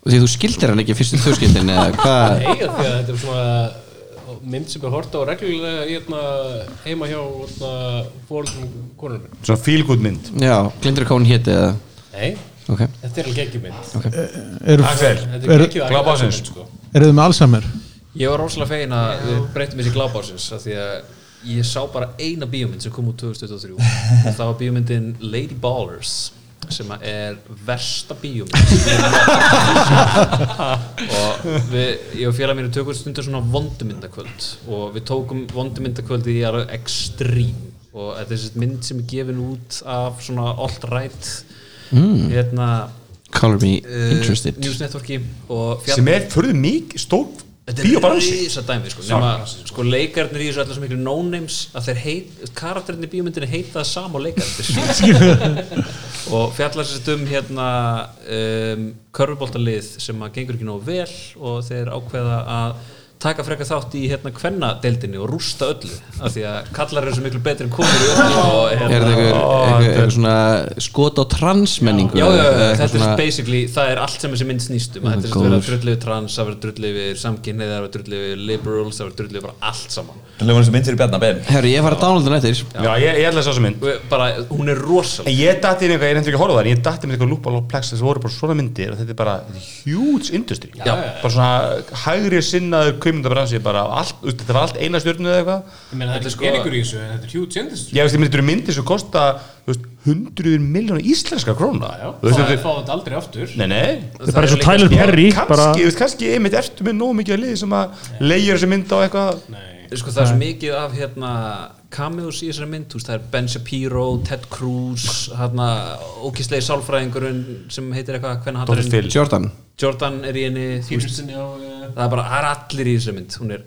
S8: Því þú skildir hann ekki fyrstu þjóðskildin eða hvað
S7: nei að því að þetta er svona mynd sem er horta á reglulega í hérna heima hjá hérna fórhaldum konur minn
S2: Svona feel-good mynd
S8: Já, glindur hvað hún héti eða
S7: nei
S8: Ok
S7: þetta er alveg ekki mynd
S3: Eru
S2: Axel,
S7: þetta er
S3: Er-
S7: ekki
S2: Glápásins.
S7: sko
S3: eru þið með Alzheimer?
S5: Ég var rosalega fegin að við breytum þessi glábásins af því að ég sá bara eina bíómynd sem kom úr 2023 og það var bíómyndin Lady Ballers sem að er versta bíómynd sem ég hef nokkuð séð. og við, ég og félag mínu tökum stundur svona vondumyndakvöld og við tókum vondumyndakvöld í alveg extreme og þetta er þessi mynd sem er gefin út af svona alt-right hérna
S8: Hmm. Color me
S5: uh,
S8: interested
S5: News Networki og fjallar-
S2: sem er furðu mikið stór bíóbaransi
S5: risa dæmi sko, nema, sko leikarnir í þessu allar sem miklu no-names að þeir heit, karakterinni í bíómyndinni heita það sama og leikarnir og fjallar sér um hérna um, körfuboltalið sem að gengur ekki nógu vel og þeir ákveða að taka frekar þátt í hérna kvennadeildinni og rústa öllu af því að kallar eru svo miklu betri en konur í öllu og
S8: Er þetta
S5: hérna
S8: einhver, einhver, einhver svona skot á transmenningu?
S5: Já, já, já,
S8: Eitthvað
S5: þetta
S8: svona-
S5: er basically, það er allt sem þessi mynd snýst
S8: Já,
S5: um Þetta er sem sagt verið að
S8: góður.
S5: drullu við trans, að vera drullu við samkynniðar, að vera drullu við liberals, að vera drullu við bara allt saman
S6: Það lögum eins og mynd fyrir Bjarnar Ben
S8: Herru, ég fara að downloada hann eftir
S2: Já, ég, ég ætla þess að þessu mynd
S5: Og bara, hún er
S2: En
S5: rosaleg
S2: ég dætti inn í eitthvað, ég nefndi ekki að horfa á það en ég dætti með eitthvað lúpaloplex það voru bara svona myndir og þetta er bara huge industry já. bara svona hægri sinnaður kaumundabransi bara allt, þú veist, þetta var allt eina stjórnu eða eitthvað
S7: Ég meina,
S5: Þetta
S7: það er
S5: er
S7: ekki
S5: sko-
S7: peningur í þessu, en þetta er huge industry
S2: ég veist, ég myndir myndir sem kosta þú veist, hundruður miljónu íslenska króna
S7: Já,
S2: Þú veist,
S7: Það er
S2: þetta,
S7: fáið þetta aldrei aftur
S2: nei, nei
S4: þetta er bara eins og
S5: líka
S4: Tyler
S5: sko-
S4: Perry
S2: kannski,
S4: bara,
S2: þú veist, kannski einmitt ertu með nóg mikið að liði sem að leigjur þessi mynd á eitthvað
S5: sko, það er svo mikið af hérna cameos í þessari mynd, þú veist, það er Ben Shapiro Ted Cruz, hérna ókislegi sálfræðingurinn sem heitir eitthvað hvernig hattarinn,
S2: Phil.
S8: Jordan
S5: Jordan er í henni þú veist,
S7: Peterson, já, eh,
S5: það er bara, það er allir í þessari mynd hún er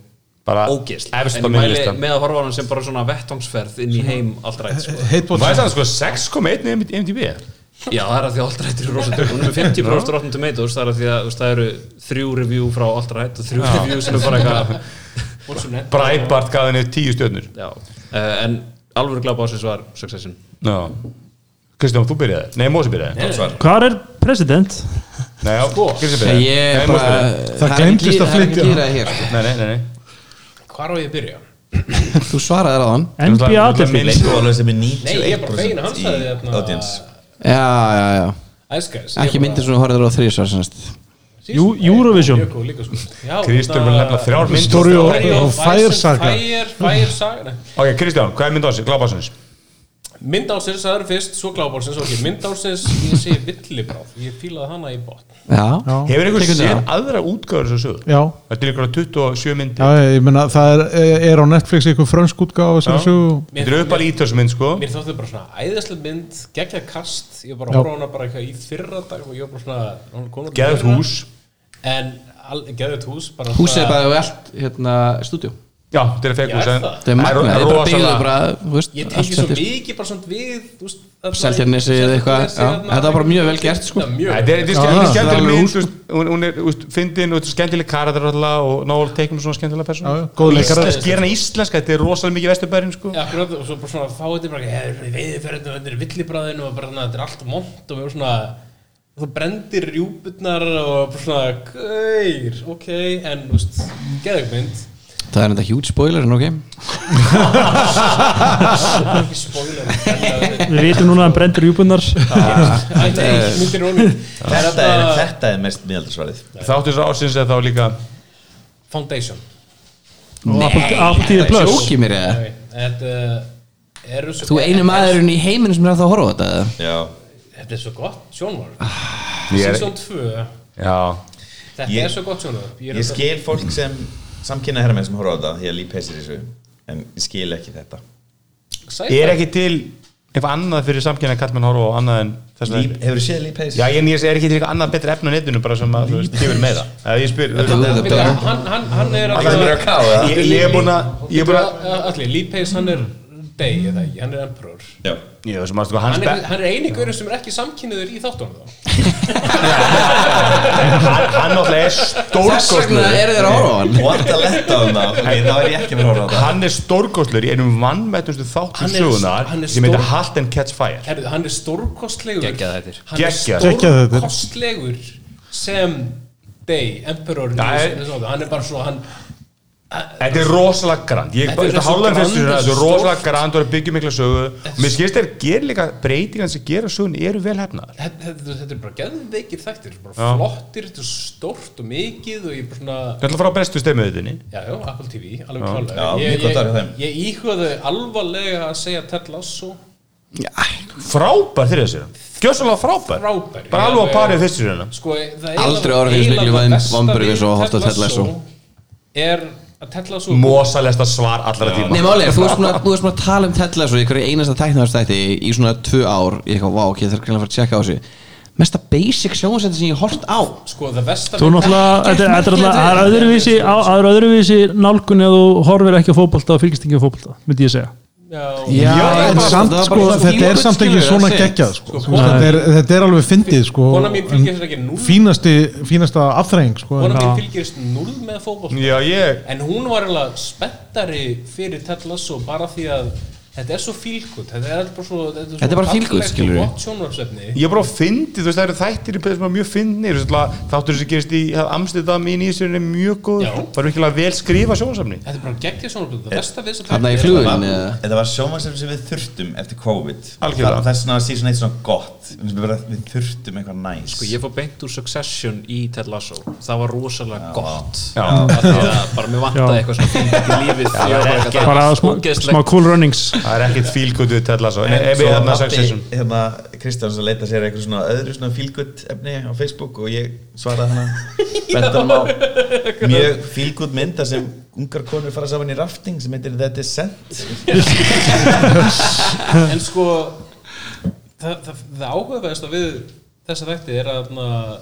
S2: bara
S5: ógeðsl
S2: efst á
S5: en ég mæli
S2: myndlistan
S5: með að horfa á hann sem bara svona vettvangsferð inn í heim allrætt sko.
S2: Hún
S3: Heitbótt
S2: væri sann sko 6,1 MDB
S5: já, það er að því að allrætt eru rosa tökum hún er með 50% Rotten Tomatoes, það er að því að þú veist, það eru þrjú review frá allrætt og þrjú review sem er bara eitthvað
S7: Bolsonaro.
S2: Breitbart gaf henni 10 stjórnur
S5: já, uh, en alvöru glápa ásins var Succession
S2: Já Kristján, þú byrjaði? Nei, Sko, Mósi byrjaði
S4: hvar er president?
S2: Nei, já, Kristján
S8: Ég
S2: byrjaði
S8: er
S2: Nei, Mosi
S8: bara
S2: byrjaði.
S3: Það
S8: er
S3: gleymdist
S8: ekki-
S3: að flytja.
S8: Það er ekki lýrað
S2: Nei, nei, nei, nei.
S7: Hvar á ég að byrja?
S8: hér Þú svaraði ráðan
S4: NBA
S2: Náttúrulega-
S4: deildin
S6: Leikur alveg sem er
S7: Nei, ég er bara fegin að
S6: 91%
S7: hans
S6: í
S7: sagði þarna
S6: audience
S8: Já, já, já
S7: Æskæs
S8: Ekki myndir sem þú horfður á þrísvar semst
S4: Jú- Eurovision.
S7: Jökó líka sko Já,
S2: Kristján
S4: hérna-
S2: var nefnilega þrjár mynd
S3: Story og-
S7: Story
S3: og
S7: of
S3: Fire
S7: Fire
S3: Saga.
S7: Fire, Fire Saga Nei.
S2: Ok, Kristján, hvað er mynd ásins? Glápa ásins
S7: Mynd ársins, það er fyrst, svo glábálsins Ok, mynd ársins, ég segi villibráð Ég fílaði hana í botn
S8: Já, já.
S2: Hefur einhver
S8: Tekur
S2: séð
S8: það.
S2: aðra útgáður þessu sögur?
S3: Já,
S2: Það er til ykkur 27
S3: já,
S2: myndir
S3: ég meina það er, er á Netflix einhver frönsk útgáð sem
S2: Já.
S3: svo
S2: Þetta er upp að íta þessu mynd, sko
S7: Mér þótti bara svona æðislega mynd, geggjað kast Ég var bara
S3: Já.
S7: að horfa á hana bara eitthvað í fyrra dag Og ég var bara svona hún kom út í
S2: Geðvægt
S7: fyrra.
S2: hús
S7: En al- geðvægt hús bara
S8: Húsið er
S7: svona-
S8: bara allt hérna stúdíu
S2: Já, þetta er fekk hús
S7: Já,
S2: en-
S7: er það?
S8: Þetta er magnað, þetta er bara byggðu
S2: rosalega-
S8: bara, þú veist,
S7: Ég
S8: allt
S7: tengi svo
S8: þetta er-
S7: mikið bara svona við þú veist, þarna-
S8: Seltjarnarnesi eða eitthvað,
S7: Seltjarnarnesi,
S8: já.
S7: þarna-
S8: Þetta var bara mjög vel gert, sko.
S7: Já, hérna- mjög
S2: Þetta er-
S7: vel
S2: þetta
S3: Já,
S2: er
S3: það er sko.
S2: skemmtileg
S8: alveg
S2: mynd
S8: hús.
S2: þú veist, Hún hún er þú veist, fyndin og þetta er skemmtileg karakter alltaf og náður teiknum svona skemmtilega persónu
S3: Já, já, góð leikari.
S2: Íslensk, gera hana íslensk, þetta er rosalega mikið vesturbærin sko
S7: Já, akkurat, og svo bara svona þá þetta er bara hefur veiðiferðinu, þetta er villibræðinu og bara svona, þetta er allt mont og við erum svona þú brendir rjúpurnar og bara svona, gauir, ok en, þú veist, geðugmynd
S8: Það er enda huge
S2: [laughs]
S8: spoiler, en ok
S7: ekki spoiler þetta
S4: við vitum núna að hann brendur Eh, júbunar
S7: er ekki myndir róni
S6: Þetta er, þetta er mest miðaldarsvarið
S2: Þáttu þessu ásins eða þá líka
S7: Foundation
S4: Apple
S8: Það
S4: Plus
S8: sjókið mér eða
S7: Nei, þetta eru svo
S8: Þú einu maðurinn í heiminn sem er að það að horfa á þetta eða?
S6: Já
S7: þetta er svo gott sjónvarp
S8: Ah.
S2: Ég er-
S7: season 2
S2: Já,
S7: þetta
S6: Ég-
S7: er svo gott sjónvarp
S6: Ég skil fólk sem samkynna herramenn sem horfa á þetta Því að líf peisir þessu En ég skil ekki þetta
S2: Ég er
S7: er
S2: ekki til eitthvað annað fyrir samkynna kallmenn horfa á annað en þess að
S6: Líf, hefur séð líf peisir?
S2: Já, ég en ég er ekki til eitthvað annað betra efni á netinu bara sem að þú veist, gefur meira Eða ég spyr þú veist,
S8: Þetta
S7: ekki
S8: er-
S7: hann, hann, hann er
S6: Það er mér að káða það
S2: Ég ég er búin að Ég er búin að
S7: Allir, Lee Pace hann er Day eða ekki, hann er emperor
S6: Já
S2: Ég veist, maður sko, hans
S7: Hann er,
S2: be-
S7: hann er eini gaurið sem er ekki samkynniður í
S2: [laughs]
S7: þáttunum þá [laughs]
S2: Hann hann náttúrulega er
S8: Þess vegna
S2: stórkostlur
S8: eru þeir að horfa á hann
S6: What a letdown þá Ok, þá er ég ekki að vera að horfa á þetta
S2: Hann er stórkostlur í einum vannmættustu þáttum
S7: Hann er-
S2: sögunar
S7: hann er
S2: sem heitir
S7: stór-
S2: Halt and Catch Fire
S7: Herðu, hann er stórkostlegur
S5: Geggjað þættir.
S7: Hann er
S2: Geggjað.
S3: Geggjað þættir.
S7: stórkostlegur sem Day, emperor
S2: Já,
S7: í
S2: ég-
S7: þessum þáttum. Hann er bara svo, hann
S2: Þetta er rosalega grand Ég
S7: Þetta er
S2: bara
S7: svo
S2: hálfðan
S7: grand,
S2: fyrst Þetta er
S7: stórt.
S2: rosalega grand og er að byggja mikla sögu Og Mér skilst þér gerir líka breytingan sem gera sögun eru vel hefnaðar
S7: þetta, þetta, þetta er bara geðveikir þættir Þetta er bara
S2: Já.
S7: flottir, þetta er stórt og mikið og ég er bara svona
S2: Þetta er frá bestu stemmiðutinni
S7: Já, já, Apple TV, alveg klálega
S6: Já, mjög
S7: Ég,
S6: gott að vera hjá
S7: ég,
S6: þeim.
S7: ég íhugaði alvarlega að segja Ted Lasso
S2: frábær þriða sérum gjössalega frábær,
S7: Frábær.
S2: bara
S7: Ég
S2: alveg á
S7: alveg-
S2: parið fyrstu séruna
S7: sko, það er
S8: Aldrei
S7: alveg-
S8: orðið eins
S7: eiginlega
S8: miklu
S7: það
S8: væn-
S7: besta
S8: vonbrigði
S7: við
S8: eins og sko. að horfa á Ted Lasso.
S7: Er að Ted Lasso
S2: mosalesta svar allra
S8: Nei,
S2: tíma
S8: máli er, þú varst búin að- þú varst búin að tala um Ted Lasso í hverju einasta tæknaðarstætti í svona tvö ár Ég eitthvað, vá, ok, það er greinlega að fara að tjekka á þessu Mesta basic sjónvarsætti sem ég hef hort á
S7: Sko, það vesta
S4: þú náttúrulega, þetta er- þetta er náttúrulega það er öðruvísi, á- það er öðruvísi nálgun eða þú horfir ekki á fótbolta og fylgist ekki á fótbolta myndi ég segja
S7: Já,
S8: Já,
S3: Já, en
S8: bara-
S3: samt
S8: það var
S3: sko,
S8: bara svona
S3: þetta er
S8: fílingur,
S3: samt ekki
S8: skilur,
S3: svona
S8: that's it.
S3: geggjað sko.
S7: Sko,
S3: Þú veist, þetta, er, þetta er alveg fyndið sko,
S7: Konan mín
S3: en
S7: fylgir þess ekki núll
S3: fínasti, fínasta afþreying sko,
S7: Konan
S3: en-
S7: mín fylgir þess núll með fótboll
S2: Já, ég
S7: En hún var alveg spettari fyrir Ted Lasso bara því að þetta er svo fílgut Þetta er bara svo
S8: Þetta er bara feel good, skilurðu.
S7: við
S2: Ég er bara að fyndi, þú veist, það eru þættir í- sem er mjög fyndnir, þú veist, la- þáttur sem gerist í Amsterdam í nýsturinn er mjög góð
S7: Já.
S2: Það eru virkilega vel skrifa sjónsamni
S7: Þetta er bara geggjað sjónarbyrð
S2: Eh,
S7: Það besta við þess að
S8: Þarna í
S6: var-
S8: flugun eða?
S6: Þetta var sjómasefn sem við þurftum eftir COVID
S2: Algjörlega.
S6: Það- Það er svona að sé svona eitt svona gott Við bara- við þurftum eitthvað næs
S5: Sko, ég fór beint úr Succession í Ted Lasso það var rosalega gott
S2: Já.
S5: Af því að bara mér vantaði
S4: Já.
S5: eitthvað sem fengt í lífið já,
S4: bara smá, smá cool runnings
S2: Það er ekkert fílgötu til allar svo En ef
S6: Svo
S2: við þarna
S6: pabbi,
S2: succession
S6: hérna, Kristjáns að leita sér eitthvað svona öðru svona fílgutt efni á Facebook og ég svaraði hana
S7: [laughs]
S6: bentum á mjög fílgutt mynda sem ungar konur fara saman í rafting sem heitir The Descent
S7: [laughs] En sko það, það, það áhugaverðast að við þessa þætti er að na,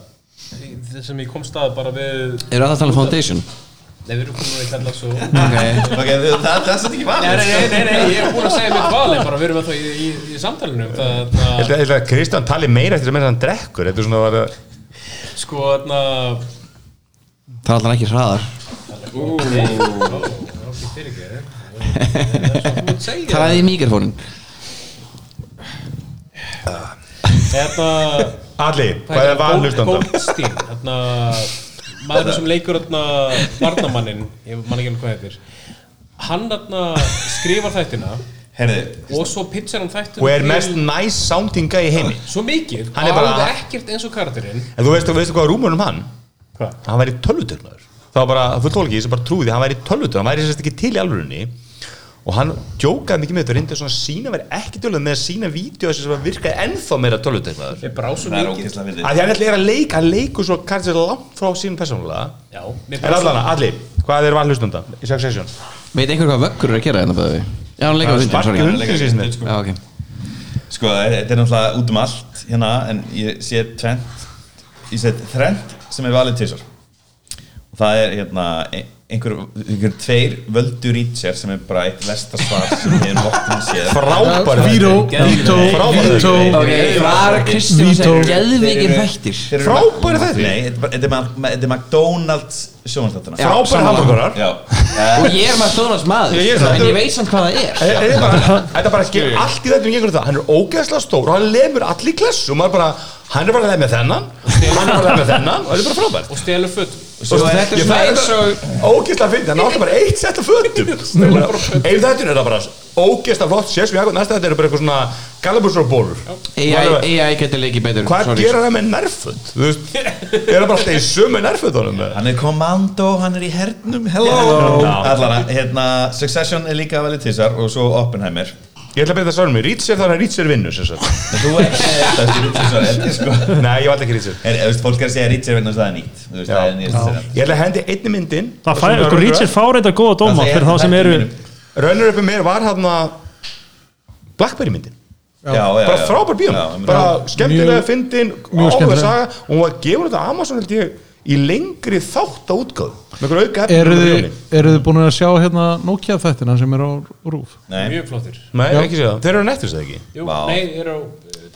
S7: það sem ég kom stað bara við
S8: Eru það að tala um foundation?
S7: Nei, við erum komin að kalla svo Nei,
S8: Ok
S6: ok, það, það, það er svolítið ekki
S7: nei,
S6: valið
S7: nei, nei, nei, ég er búin að segja mitt vali bara við erum að það í, í, í samtalinu það,
S2: Ég
S7: það,
S2: held að- ég held að Kristján tali meira eftir að meira hann drekkur Þetta er svona að
S7: sko, na,
S8: Það er alltaf ekki hraðar
S7: ekki fyrir ekki Það
S8: [laughs]
S7: er svo búin að segja
S8: Talaði í mikrofónin
S7: Þetta
S2: Alli, hvað er vann hlustanda?
S7: Goldstein, þarna maður sem leikur þarna varnamanninn, ég man ekki hann hvað heitir hann þarna skrifar þættina
S6: Herði,
S7: og svo pitchar hann þættina
S2: Og er
S7: til-
S2: mest næs soundinga í heimi
S7: svo mikið,
S2: Hann er bara-
S7: alveg ekkert eins og karakterinn
S2: En þú veistu, veistu hvað rúmur um hann?
S7: Hvað?
S2: Hann væri tölvutöknar Það var bara fulltólki sem bara trúði Hann væri tölvutöknar, hann væri sérst ekki til í alvörunni Og hann djókaði mikið með þetta Reyndi svona að sína væri ekki tölvutöknar Með að sína vídeo sem bara virkaði ennþá meira tölvutöknar
S7: mér brá svo
S6: það er
S7: mikið
S6: ókysla að
S2: Því hann ætli er að leika, hann leikur svo kannski langt frá sínum persónulega
S7: já, mér
S2: En
S7: brá svo
S2: allana, Alli, hvað er vann hlustanda? Í Succession
S8: Veit einhver hvað vöggur er að gera hérna bæði Já, hann leikar á hundin, sorry
S2: Sparki hundur
S6: leika-
S2: síðan
S8: Já, ok
S6: Sko, þetta er náttúrulega út um allt hérna, en ég sé tvent ég sé þrent sem er valið tísar og það er hérna ein- einhver, einhver tveir völdu rýtsjar sem er bara eitt versta svar sem ég er vottum séð
S2: [laughs] Frábær
S3: Vító,
S2: þættir.
S3: Vító,
S2: Frábær
S3: Vító
S2: þættir.
S8: Ok, hvað er Kristján að
S3: Vító.
S8: segja? Geðveikir þættir
S6: Þeir eru-
S2: Frábæri þættir.
S6: Nei, þetta er bara- þetta er Mac- þetta er McDonalds sjónvarstættuna
S8: Já.
S2: Frábær
S8: sammála.
S2: hamburgarar
S6: Já,
S8: Og ég er maður stóðnars maður
S2: Ég er það.
S8: En ég veit samt hvað það er
S2: Þetta er bara,
S4: [laughs]
S2: þetta er bara ger, allt í þetta um gengur um það, hann er ógeðslega stór og hann lemur allir í klessu og maður bara, hann er bara að lemja þennan og hann er bara að lemja þennan og þetta er bara frábært
S7: og stelur föt
S8: Svo þetta
S2: Ég
S8: er svona
S2: fæði
S8: eins og
S2: þetta ógeðslega fyndið, hann átti bara eitt sett af fötum Einu þættinu er það bara ógeðslega flott, sér sem ég aðgóð, næsta þetta eru bara eitthvað svona galabúsar og bólur
S8: AI, AI getur leikið betur
S2: Hvað
S8: sorry.
S2: gerir hann með nærföt? Þú veist, er það bara alltaf í sömu nærfötunum? eða?
S6: hann er kommando, hann er í hernum, hello Allana, hérna, Succession er líka valið tísar og svo Oppenheimer
S2: Ég ætla að beita það svarum mér, Rítsir þannig að Rítsir vinnur sem sagt.
S6: En Þú er ekki tísar, þetta er sko
S2: Nei, ég valdi ekki Rítsir
S6: Er, þú veist, fólk er að segja Richard vegna þess að það er nýtt Þú veist, það er nýtt að segja
S2: Ég ætla að hendi einni myndin
S4: það fær, sko, Richard fár eitthvað góða dóma
S6: Það er-
S4: fyrir þá sem
S6: það er
S4: eru
S6: mínum.
S2: Rönnur uppi mér var hann að Blackberry myndin
S6: Já, já, já
S2: bara frábær
S6: Já, ég
S2: bíum,
S6: meina-
S2: bara skemmtilega
S3: Mjög-
S2: fyndin,
S3: mjög
S2: áhuga
S3: skemmtilega.
S2: saga og hún var gefur þetta Amazon held ég í lengri þátt á útgáð með einhver auka efni
S3: Eru
S2: með
S3: þið,
S2: miljóni.
S3: eru þið búin að sjá hérna Nokia þættina sem er á RÚF?
S6: Nei,
S7: mjög flottir
S2: Nei, ekki séð það, þeir eru nættur það ekki
S7: Jú,
S6: Vá.
S7: nei, er á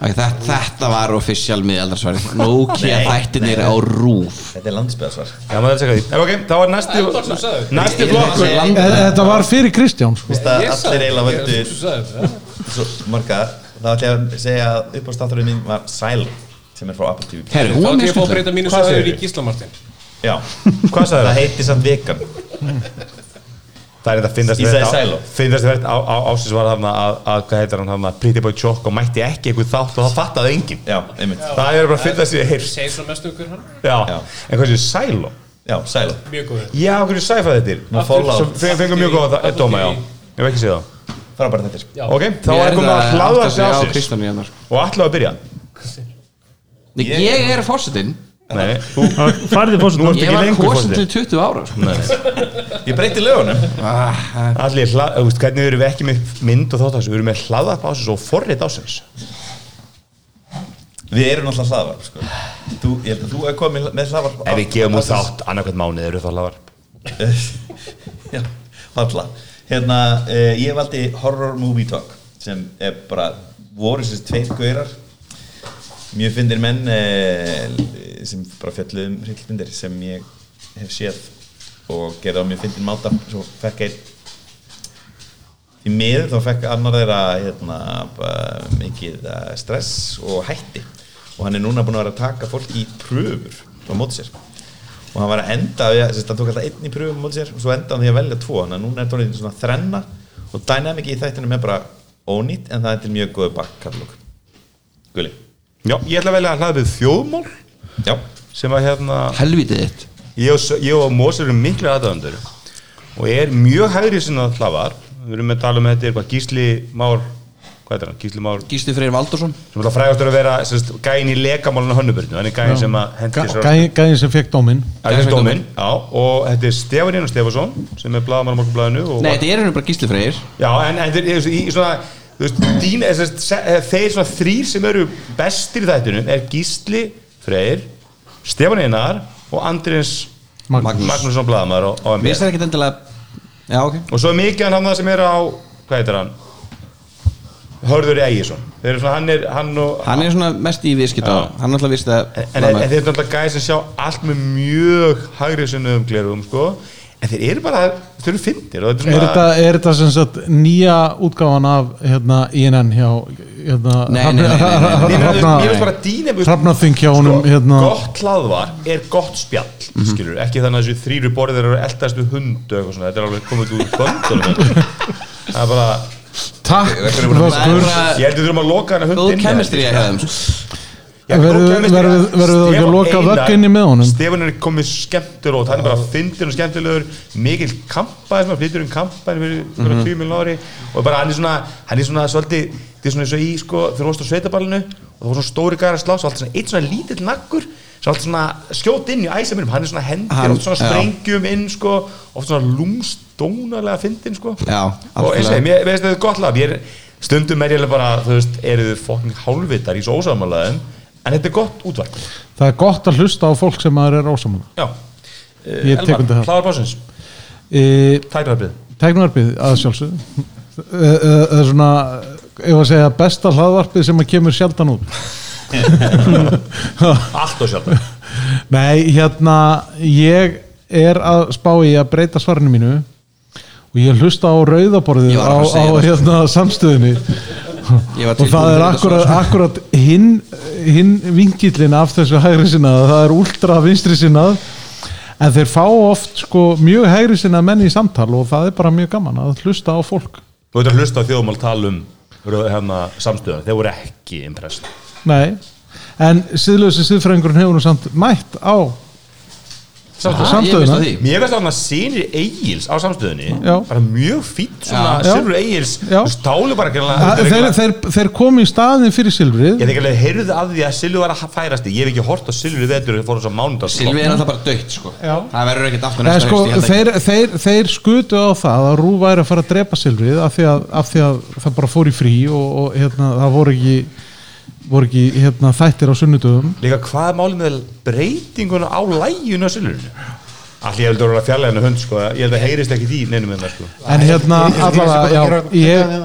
S8: Ok, þetta, þetta var official miðaldarsvarið Nokia
S6: Nei,
S8: þættinir á rúf
S6: þetta er landsbyðarsvar
S2: Já, maður þarf að segja því En ok, þá var næsti
S7: Eldar sem sagði.
S2: Næsti flokkur
S3: E- Þetta var fyrir Kristján sko.
S6: Vist að
S7: Ég sagði-
S6: allir eiginlega
S7: ég-
S6: völdu
S7: þú sagðir það.
S6: Svo marga Þá ætla ég að segja að uppástátturinn mín var Silent Sem er frá Apple TV
S8: Herru,
S7: Þá
S8: hún er
S7: ætlum ég að fá að
S8: stundan
S7: breyta mínu
S2: Hvað
S7: sögur í
S2: segirðu?
S7: Gíslamartin
S6: Já,
S2: Hvað sagði
S6: það
S2: það?
S6: heiti samt vegan
S2: Það er þetta finnast
S6: Ég sagði Silo.
S2: Finnast verið á, á ásins var hann að, að hvað heitir hann hann að Pretty Boy Choco mætti ekki einhver þátt og það fattaði enginn
S6: Já, einmitt
S2: Það er bara að finnast í heyrst
S7: segir svona mest um hver hann
S2: Já,
S6: Já.
S2: en hvað séu Silo?
S6: Já, Silent
S7: mjög góður
S2: Já, hvernig sæfa þetta er?
S6: Nú follow
S2: Svo fengum fengum mjög góða það- dóma, já Ég hef ekki séð það
S6: Frábæra þetta
S7: Já.
S2: Ok, þá er komið að hlaða sig ásins
S8: Kristján í hennar
S2: Og allavega að byrja
S8: Nei, ég er fórsetin
S2: Nei, þú
S4: færði fórsett
S2: Nú ertu
S8: Ég
S2: ekki
S8: var
S2: lengur
S8: kosin
S2: fórsetið
S8: til 20 ára sko.
S6: Ég breyti lögunum
S2: Ah, Allir, hla- þú veist, hvernig erum við ekki með mynd og þáttaks Við erum með hlaðvarp ásins og forrið ásins
S6: Við erum náttúrulega hlaðvarp, sko Þú, ég held að þú er komið með hlaðvarp [laughs]
S2: Ef við gefum út þátt annarkvæmt mánuð eru það hlaðvarp
S6: Já, varla hérna, eh, ég valdi Horror Movie Talk sem er bara voru þessi tveir gaurar mjög fyndir menn eh, sem bara fjalluðum hryllmyndir sem ég hef séð og gerði á mjög fyndir máta svo fekk einn því miður þá fekk annar þeirra hérna, bara mikið eh, stress og hætti og hann er núna búin að vera að taka fólk í pröfur á móti sér og hann var að enda, við- sem sagt, hann tók alltaf einn í pröfum á móti sér og svo enda hann því að velja tvo þannig að núna er tónleitin svona þrenna og dynamic í þættinum er bara ónýtt en það er til mjög góðu bakkatalóg Gulli,
S2: Já, ég ætla að velja að hlaðið þjóðmál
S6: já,
S2: sem að hérna
S8: Helvítið þitt
S2: ég og, ég og Mósir eru miklu aðdöðandur og ég er mjög hægri sinna hlavar við erum að tala um þetta er eitthvað Gísli Már hvað er hann? Gísli Már
S8: Gísli Freyr Valdursson
S2: sem er frægastur að vera sem sagt, gæin í lekamálinu hönnubyrnu hann er gæin sem að hendi sér á-
S3: Gæ- Gæðin sem fekk dóminn
S2: Það er dóminn, já, og þetta er Stefanín og Stefason sem er blaðamann á morgunblæðinu og-
S8: Nei, þetta er henni bara Gísli Freyr
S2: Já, en, en þeir, ég, í svona þú veist, dín, eða, sem sagt, se- þeir svona þrýr sem eru bestir í þættunum er Gísli Freyr Stefán Einar og Andrins
S3: Magnús.
S2: Magnússon Bladamar og, og,
S8: Mér sér ekkert endilega Já, ok
S2: og svo er mikið hann hann sem er á hvað heitir hann Hörður Ægisson þeir eru svona hann er hann og
S8: Hann er svona mest í viðskipta
S2: Já.
S8: Hann er alltaf viðst að
S2: en, en, en þeir eru náttúrulega gæði sem sjá allt með mjög hægri sinnum glerugum sko en þeir eru bara þeir eru fyndir og
S3: Er
S2: þetta
S3: þetta, er þetta sem sagt nýja útgáfan af hérna INN hjá hérna
S8: Nei, nei, nei, nei, nei,
S2: Mér finnst-
S3: Hrafna-
S2: mér finnst bara dýna
S3: Hrafnaþing hjá honum hérna
S2: gott hlaðvar er gott spjall
S8: Mhm.
S2: skilur, ekki þannig að þessu þrýru borðið eru eldastu hund og eitthvað svona, þetta er alveg komið út úr böndunum hérna. það er bara
S3: Takk
S8: Það er
S3: Röskur
S8: bara
S2: ég heldur þurfum að loka hana hund
S8: Góð
S2: inni.
S8: kemistri að hefðum
S2: Já, góð
S3: Verður-
S2: chemistry.
S3: verður- verður þú ekki að
S2: Stefán
S3: loka
S2: Einar-
S3: vögg inni með honum?
S2: Stefán er komið skemmtur og hann er bara fyndin og skemmtilegur mikill kampaði sem að flytur um kampaði fyrir mm
S3: Mhm.
S2: -hmm. 20 mil ári og bara hann er svona hann er svona svolítið þetta er svona eins og í sko þegar þú varst á sveitaballinu og það var svona stóri gæra slá svo alltaf svona eitt svona lítill nakkur svo alltaf svona skjót inn í æsaminum hann er svona hendir
S8: Hann-
S2: oft svona
S8: já.
S2: sprengjum inn sko oft svona lungstónalega fyndin sko
S8: Já,
S2: og eins og
S8: algjörlega.
S2: ég mér mér finnst þetta gott lag ég er, stundum er ég alveg bara, þú veist, eru þið fokkin hálfvitar í svo ósamalaðum en þetta er gott útvarp
S3: Það er gott að hlusta á fólk sem maður er ásamann
S2: já, Eh,
S3: Ég tek undir það
S2: hláðar básins,
S3: e,
S2: tæknarbrið
S3: Tæknarpið að sjálfsögðu Eh, eh, Það er svona ef að segja besta hlaðvarpið sem að kemur sjaldan út
S2: [laughs] allt og sjálf
S3: Nei, hérna ég er að spá í að breyta svarinu mínu og ég hlusta á rauðaborðið
S8: Ég var
S3: á,
S8: að fara að
S3: á
S8: segja það.
S3: hérna, samstöðinni
S8: Ég var
S3: og
S8: tilbúin
S3: það
S8: til
S3: er
S8: þetta
S3: akkurat,
S8: svar.
S3: akkurat hinn, hinn vingillin af þessu hægri sinnað það er últra vinstri sinnað en þeir fá oft sko, mjög hægri sinnað menn í samtal og það er bara mjög gaman að hlusta á fólk
S2: þú veit að hlusta á þjóðmál tala um hérna, samstöðan, þeir voru ekki impressed
S3: Nei, en síðlösi síðfræðingurinn hefur nú samt mætt á
S8: Ah, ég
S3: samstöðuna
S8: veist af því.
S2: mér veist að hann að sinir Egils á samstöðunni
S3: Já.
S2: bara mjög fýtt svona,
S3: Já.
S2: sinur Egils
S3: Já.
S2: þú stálu bara
S3: Að- Þeir,
S2: greinlega-
S3: þeir, þeir komu í staðin fyrir silfrið
S2: Ég þekki alveg heyrðu að því að Silvi var að færast í. Ég hef ekki hort á Silvi vetur þegar fór þess að mánudags
S8: Silvi er alltaf bara dögt sko
S3: Já.
S8: Það verður ekkert aftur
S3: Nei,
S8: næsta
S3: sko,
S8: haust, ég held ekki.
S3: þeir, þeir, þeir skutu á það að Rúf væri að fara að drepa Silfrið af því að, af því að það bara fór í frí og, og hérna, það voru ekki, voru ekki hérna, þættir á sunnudöfum
S2: Líka hvað er málið með breytinguna á læginu að silurinu? Allir ég heldur að fjarlæðinu hund sko, ég held að heyrist ekki því neinum með það sko.
S3: en hérna allavega já,
S9: Ég-
S3: ég,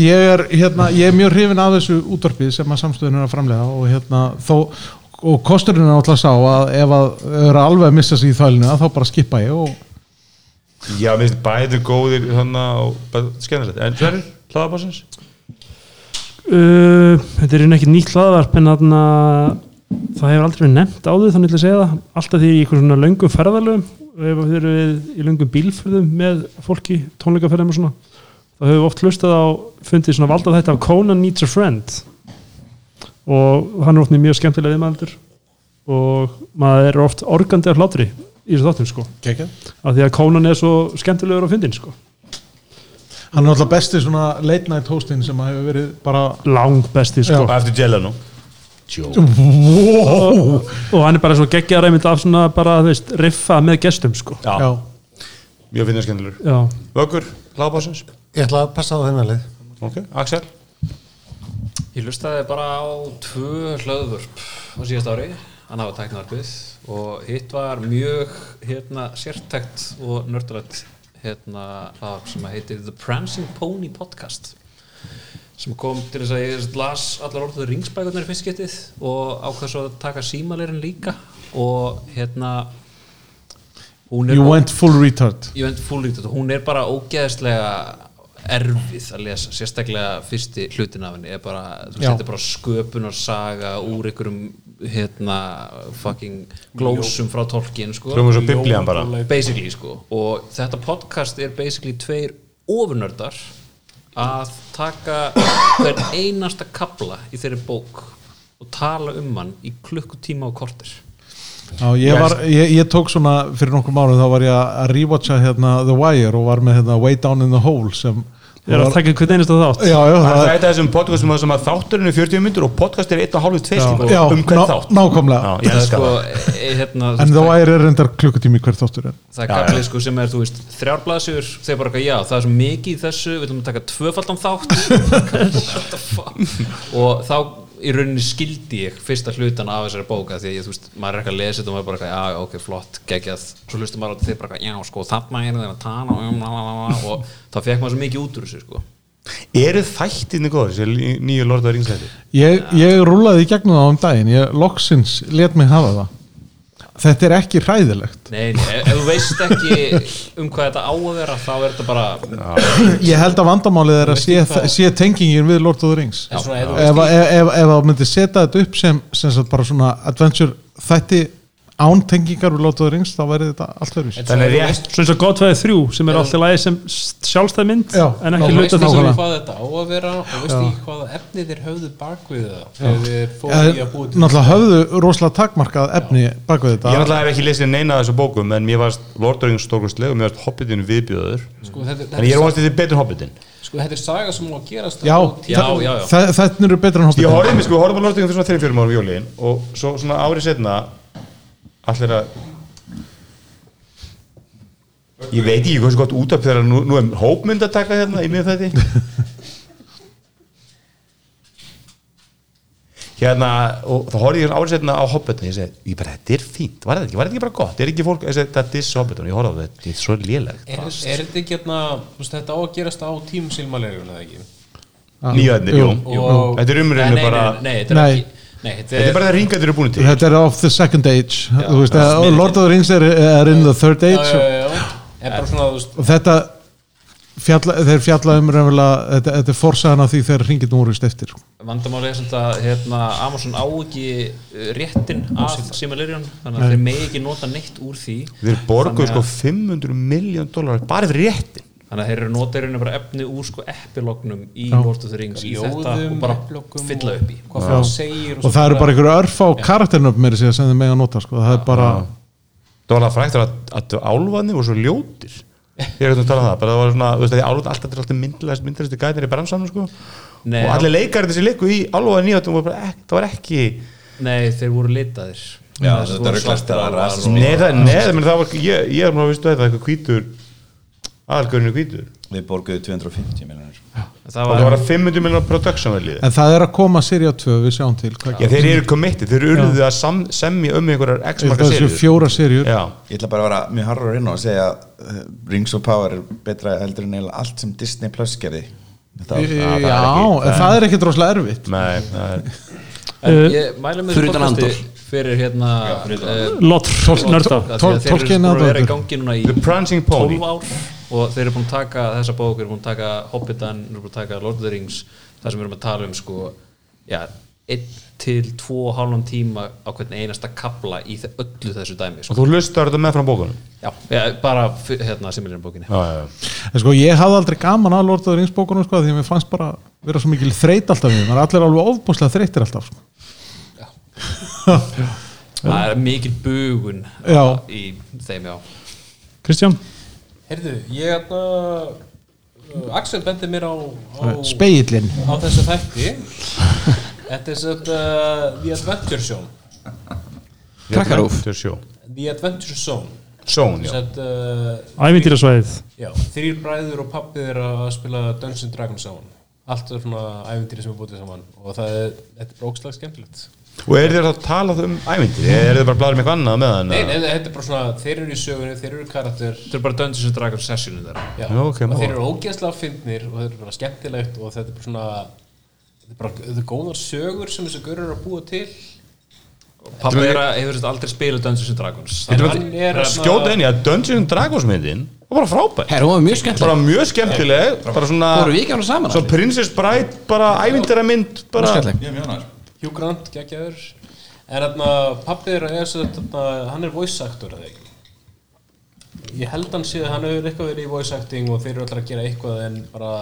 S3: ég, er, hérna, ég er mjög hrifin af þessu útvarpið sem að samstöðun er að framlega og hérna þó og kosturinn er alltaf sá að ef að eru alveg að missa sig í þvælinu að þá bara skipa ég og
S2: Já, mér finnst bæði góðir þannig og bara skemmtilegt. En Sverri, hlaðabásins?
S4: Uh, þetta er einu ekkert nýtt hlaðvarp en þarna það hefur aldrei verið nefnt áður þannig til að segja það alltaf því í eitthvað svona löngum ferðalögum og ef þið eru við í löngum bílfyrðum með fólki, tónleikaferðum og svona þá hefur við oft hlustað á fundið svona valdað þetta af Conan Needs a Friend og hann er oft með mjög skemmtilega viðmældur og maður er oft organdi af hlátri í þessu þáttum sko
S3: Kekja.
S4: af því að Conan er svo skemmtilegur á fundin sko
S3: hann er alltaf besti svona late night hostin sem að hefur verið bara
S4: lang besti sko
S2: Og eftir Jelano.
S4: og hann er bara svo geggjaður einmitt af svona bara, þú veist, riffa með gestum sko
S2: Já,
S3: já,
S2: mjög finnir skemmtilegur.
S4: já,
S2: Vöggur, hlaðabásins?
S9: Ég ætla að passa á þennan lið.
S2: Ok, Axel?
S5: Ég lustaði bara á tvö hlöðvörp á síðast ári hann hafa tæknaðarbið og hitt var mjög hérna sértækt og nördrætt hérna, hlaðvarp sem að heitir The Prancing Pony Podcast sem kom til þess að ég las allar orðuðu ringsbækurnar í fyrst getið og ákvað svo að taka símaleirin líka og hérna hún
S3: You
S5: á-
S3: went full retard
S5: ég veit fúlíkt hún er bara ógeðslega erfið að lesa, sérstaklega fyrsti hlutin af henni er bara, þú veist,
S3: Já.
S5: þetta er bara sköpun og saga úr einhverjum hérna, fucking glósum frá tolkin, sko
S2: Hljómar svo biblían bara.
S5: basically, sko, og þetta podcast er basically tveir ofurnördar að taka hver einasta kabla í þeirri bók og tala um hann í klukkutíma og kortir
S3: Já, ég, var, ég, ég tók svona fyrir nokkrum árum þá var ég að rewatcha hérna, The Wire og var með hérna, Way Down in the Hole sem
S4: Ég er að taka hvern einasta þátt
S3: Já, já,
S2: Það
S3: það
S2: er þetta þessum podcastum sem að þátturinn er 40 myndur og podcast er 1,5 tveistíma
S3: já,
S2: um hvern
S3: ná-
S2: þátt. Já,
S3: Nákvæmlega
S2: ég
S5: það er
S2: elska
S5: sko,
S2: það.
S5: e, hérna, þú
S3: En
S5: veist,
S3: The Wire er reyndar klukkutími hver þáttur er
S5: það er kaplið sko sem er, þú veist, þrjár blaðsjur þegar bara eitthvað, já, það er svo mikið í þessu við viljum taka tvöfaldan þátt What the fuck? og þá í rauninni skildi ég fyrsta hlutan af þessari bóka því að ég, þú veist, maður er ekki að lesa þetta og maður er bara eitthvað, já, já, ok, flott, geggjað svo hlustum maður á þetta þegar bara eitthvað, já, sko, þarna er það að tana um, la, la, la, la, og þá fekk maður svo mikið út úr þessu, sko
S2: Eru þættinni góður, þessi nýju Lord of the Rings þætti?
S3: Ég, ég rúlaði í gegnum það um daginn ég loksins let mig hafa það Þetta er ekki hræðilegt
S5: Nei, nei, ef ef þú veist ekki um hvað þetta á að vera, þá er þetta bara
S3: [clears throat] Ég held að vandamálið er að sé, sé tengingin við Lord of the Rings
S7: En svona, ef þú
S3: ef, ef, ef, ef að myndi setja þetta upp sem, sem sagt bara svona adventure þætti án tengingar við Lord of the Rings þá verði þetta allt verðis
S2: Þannig er rétt.
S4: Svo eins og gott veðið þrjú sem er alltaf lægi sem sjálfstæð mynd
S3: Já.
S4: en
S7: Þá
S4: ekki
S7: veist
S4: hluta
S7: ekki
S4: þess
S7: hvað þetta á að vera og veist ekki hvaða efni þeir höfðu bakvið það þegar þeir fóðu í að búið til
S3: Eh, Náttúrulega höfðu rosalega takmarkað efni bak við
S2: Ég
S3: þetta
S2: náttúrulega hef ekki lesið neina af þessu bókum en mér varst Lord of the Rings stórkustleg og mér varst Hobbitin viðbjöður
S7: sko, þetta,
S2: en ég er
S7: þetta,
S2: óvast að þetta er betur Hobbitin
S7: er, sko, þetta er saga sem hún að gerast
S3: Já,
S5: Já,
S3: þa-
S5: já, já.
S3: þa- Þetta eru betra en
S2: Ég
S3: hópið
S2: horfði mér sko, við horfðum á Lord of the Rings fyrir svona 3-4 árum um jólin og svo svona árið setna allir að Ég veit ekki hversu gott út af þegar nú, nú er hópmynd að taka hérna í miður þetta Hérna, og þá horfði ég svona árið setna á Hobbitin ég segi, ég bara, þetta er fínt, var þetta ekki, var þetta ekki bara gott er ekki fólk, ég segi, þetta er diss Hobbitin ég horfði á þetta, þetta er svo lélegt
S7: Er, er þetta ekki hérna, þú veist, þetta á að gerast á tímum silmalegurinn eða ekki?
S2: Nýjöðnir, jú, jú.
S7: Og-
S2: Þetta er
S5: Nei,
S2: umröðinu
S5: nei,
S2: bara
S5: nei, nei, þetta er
S3: Nei.
S5: ekki Nei, þetta
S2: Þetta
S5: er
S2: er bara það ringa þeir eru búin til
S3: Þetta er of the second age Þú veist, að
S5: smiðir.
S3: Lord of the Rings er, er in the third
S7: Já, já,
S3: age og,
S7: já, já. En bara svona, þú veist,
S3: og þetta fjalla, þeir fjalla um raunverulega þetta, þetta er forsagan af því þegar ringið núrist eftir
S5: vandamálið er samt að hérna, Amazon á ekki eh, réttin að Simalirjón þannig að þeir megi ekki nota neitt úr því
S2: Þeir borguðu
S5: Þannig
S2: sko
S5: að-
S2: 500 miljón dólar bara fyrir réttin
S5: þannig að þeir eru notaðurinn bara efni úr sko epilognum í Lord of the Rings í þetta og
S7: ljóðum,
S5: bara
S7: upplökum
S5: fylla
S7: og
S5: upp í
S7: Hvað fólk segir
S3: og það eru bara einhverju örf á karakternöfn meiri sem þeir mega nota sko. það er bara
S2: Það var alveg frækt að, að álfanir voru svo ljótir Ég er ekki að tala um það bara það var svona, þú veist að því álfanir alltaf til alltaf myndlæst myndlæstu gæðnir í bransanum sko
S5: Nei,
S2: og allir leikar þessi leiku í álfanir nýjötum voru bara ekki, það var ekki
S5: nei, þeir voru litaðir
S6: Já,
S5: Það
S6: þetta
S5: voru
S6: eru
S5: svartir
S6: klættar
S5: álfar
S6: rasismi.
S5: og-
S2: Nei, það, nei, það, menn, það var, ég, ég er mér að vistu þetta eitthvað hvítur aðalgörinu hvítur
S6: Við borguðu 250 miljonir
S5: það
S2: og það var
S5: var
S2: að 500 miljón production vel í
S3: en það er að koma serið á tvö, við sjáum til hvað
S2: Já, þeir eru committed, þeir eru urðuð að sam, semja um einhverjar x-marka
S3: þessu
S2: serjur
S3: fjóra serjur
S2: Já,
S6: Ég ætla bara að vera mjög harður inn og segja að eh, Rings of Power er betra heldur en eiginlega allt sem Disney Plus gerði Þetta
S3: Já,
S6: var-
S3: en það er ekkert rosalega erfitt Eh,
S2: nei, það er
S5: En ég mæli með
S8: Fyrir utan
S5: podcasti
S8: Andor.
S5: fyrir hérna eh,
S4: Lotr, nörda
S5: af því að
S3: Tol-
S5: þeir eru
S3: Tolkien
S5: búin að vera í
S3: aðdáendur.
S5: gangi núna
S2: The
S5: í
S2: Prancing
S5: 12
S2: Pony
S5: ár og þeir eru búin að taka þessa bók, eru búin að taka Hobbitan, eru búin að taka Lord of the Rings það sem við erum að tala um sko já, 1 til 2 hálfum tíma á hvern einasta kapla í þe- öllu þessu dæmi
S2: Og
S5: sko.
S2: þú lustar þetta með frá bókunum
S5: já, já, bara f- hérna similirinn bókinni
S2: Já, já, já
S3: en sko ég hafði aldrei gaman að Lord of the Rings bókunum sko, því að mér fannst bara vera svo mikil þreyt alltaf við, maður er allir alveg ofbúslega þreytir alltaf sko.
S5: það er mikil bugun
S3: Já.
S5: í þeim já
S4: Kristján,
S7: Heyrðu, ég hérna, uh, Axel bendi mér á, á, á
S3: speillin
S7: þessa þætti. Þetta er sett uh, The Adventure Zone.
S8: Krakkarúf.
S2: Þetta er sjó
S7: The Adventure Zone.
S2: Sjón, já
S7: Sett, uh,
S4: ævindýrasvæðið
S7: já, þrýr bræður og pappi er að spila Dungeons and Dragons saman. Allt er svona æfintýri sem er bútið saman og það er, þetta er brókslag skemmtilegt.
S2: og er þér að tala um ævindir eða er þér bara að blara með eitthvað annað með hann
S7: Nei, nei, nei, þetta er bara svona, þeir eru í sögunni, þeir eru karakter
S5: Þetta er bara Dungeons and Dragons sessionu þeirra
S7: Já,
S2: Já, ok,
S7: og
S2: má.
S7: þeir eru ógeðslega fyndnir og þetta er bara skemmtilegt og þetta er bara svona þetta er bara þetta er góðar sögur sem þessu görur að búa til
S5: Pappi er að hefur þetta aldrei spilað Dungeons and Dragons
S2: Þetta er hérna-
S7: Hann er
S2: bara-
S7: að-
S2: skjóta inn í að Dungeons and Dragons myndin var bara frábær
S8: Herra, hún var mjög skemmtileg
S2: bara mjög skemmtileg bara svona
S8: Vorum við ekki á hana saman,
S2: svo
S8: allir?
S2: Princess Bride bara ævindera mynd bara
S8: skemmtileg.
S6: Mjög mjög náður
S7: Hugh Grant, geggjaður en þarna, pappi er að þarna, hann er voice actor eða ekki ég held hann sé að hann hefur eitthvað verið í voice acting og þeir eru alltaf að gera eitthvað en bara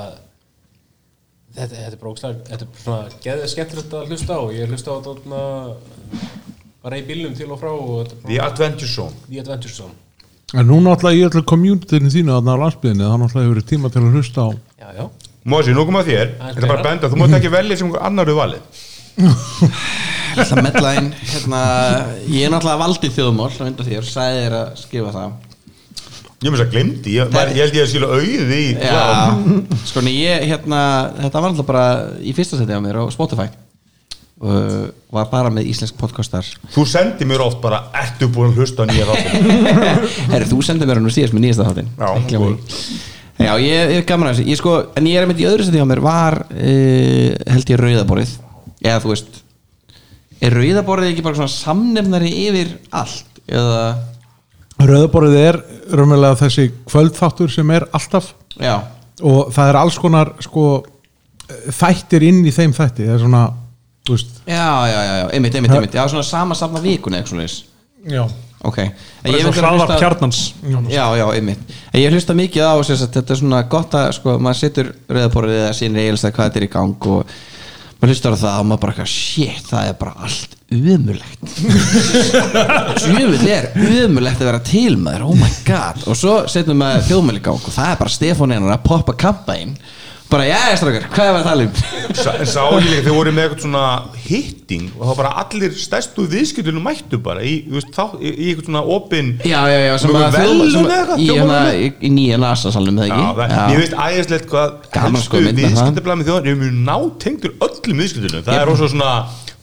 S7: þetta, þetta er bara ógeðslega þetta er bara svona geðið skemmtilegt að hlusta á ég hlusta á þetta þarna, bara í bílnum til og frá og þetta er
S2: The
S7: bara
S2: Adventure Zone
S7: The Adventure Zone
S3: [laughs] En nú náttúrulega í öllu communityinu þínu þarna á landsbyðinu, þá náttúrulega hefur verið tíma til að hlusta á
S7: já, já
S2: Mósi, nú kom að þér, þetta er bara að benda þú mátt ekki velja sem einhver annar við valið
S8: Það mella inn hérna, Ég er náttúrulega valdi þjóðmál á undan þér, sagði þér að skrifa það
S2: ég mér svo glemdi, ég, var, ég held ég að skilja auði í klám.
S8: Já, sko en ég hérna Þetta var náttúrulega bara í fyrsta seti á mér á Spotify og var bara með íslensk podcastar
S2: þú sendi mér oft bara ertu búin að hlusta á nýja þáttum
S8: Herri, þú sendið mér hann og síðast með nýjasta þáttinn
S2: Já,
S8: Ekki gleyma
S2: cool.
S8: því. Já, ég ég er gaman að þessu ég, sko, En ég er með í öðru seti á mér var uh, held ég rauðaborið Eða þú veist Er rauðaborið ekki bara svona samnefnari yfir allt? Eða,
S3: Rauðaborðið er raunverulega þessi kvöldþáttur sem er alltaf
S8: já
S3: og það er alls konar sko, þættir inn í þeim þætti það er svona, þú veist
S8: Já, já, já, já, einmitt, einmitt, einmitt Já, svona sama safna vikun eða eitthvað svoleiðis
S3: Já,
S8: Ok En
S4: Bara
S8: ég
S4: eins
S8: hef
S4: og hraðvarp
S8: hlusta-
S4: kjarnans
S8: Já, já, einmitt En ég hlusta mikið á sem sagt, þetta er svona gott að sko, maður setur reyðaborðið eða sín reylst að hvað þetta er í gang og maður hlustar á það og maður bara eitthvað, shit, það er bara allt umulegt Sjöfull er umulegt að vera til maður, oh my god og svo setjum maður þjóðmæli í gang og það er bara Stefán einar að poppa kampaðinn bara, já, strákar, hvað er að tala um?
S2: Sa- en sá ég líka, þau voru með eitthvað svona hitting og það var bara allir stærstu viðskiptunum mættu bara í, þú veist, þá, í, í eitthvað svona opin
S8: Já, já, já, sem
S2: Mjög
S8: að
S2: velun
S8: þjóðmál- sem
S2: eða eitthvað,
S8: að- í,
S2: þjóðmál-
S8: hérna, í, í nýja NASA-salnum eða
S2: Já,
S8: ekki?
S2: það, ég veist æðislegt hvað
S8: Gaman
S2: helstu
S8: sko að mynda það.
S2: viðskiptablaðið þjóðan eru mjög nátengdur öllum viðskiptunum það
S8: Jep.
S2: er rosa svona,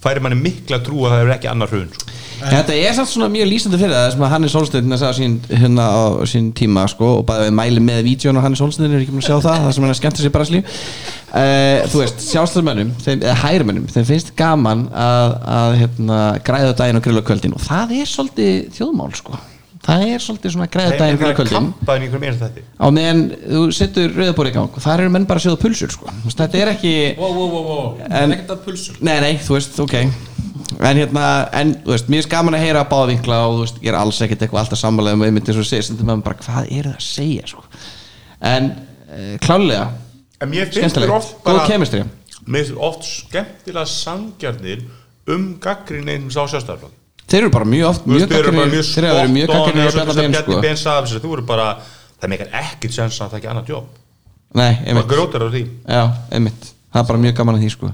S2: færi manni mikla trú að það er ekki annar hrun sko.
S8: Þetta er samt svona mjög lýsandi fyrir það sem að Hannes Solsteinn sagði á sín, hérna, á sín tíma sko, og bæði við mæli með vídjón og Hannes Solsteinn er ekki búin að sjá það, það sem hann skemmtir sér bara slíf uh, Þú veist, sjálfstæðmönnum þeim- eða hærumönnum, þeim finnst gaman að, að hérna, græða á daginn og grilla á kvöldin og það er svolítið þjóðmál sko. það er svolítið svona græða á
S2: það er
S8: daginn og grilla á
S2: einhverja kampaðin í
S8: kvöldin
S2: einhverjum einasta þetta
S8: á meðan þú setur rauðabóri í gang og þar eru menn bara að sjóða pulsur sko. Þú veist, þetta er ekki
S7: wow, wow, wow, wow.
S8: En-
S7: ekkert að pulsum
S8: Nei, nei, þú veist, ok En hérna, en þú veist, mér er gaman að heyra báða vinkla og þú veist, ég er alls ekkert eitthvað alltaf sammálega um einmitt eins og segir, stundum maður bara hvað eru það að segja, sko En uh, klálega,
S2: en mér finnst þér
S8: skemmtilegt,
S2: oft
S8: góð
S2: bara
S8: kemistri
S2: mér finnst þér oft skemmtilega sangjarnir um gaggrinni eins á sjálfstæðarflokk
S8: Þeir eru bara mjög oft, mjög
S2: þeir eru bara
S8: gagnrýnir-
S2: mjög
S8: þeir eru verið mjög
S2: spot on
S8: kakkinni
S2: eins
S8: að
S2: og þess
S8: bjarna
S2: að
S8: bein,
S2: Bjarni
S8: sko
S2: Ben sagði af þessu, þú eru bara það meikar ekkert sens að það ekki annað jobb
S8: Nei,
S2: það
S8: einmitt,
S2: grótar á því
S8: já, einmitt Það er bara mjög gaman að því, sko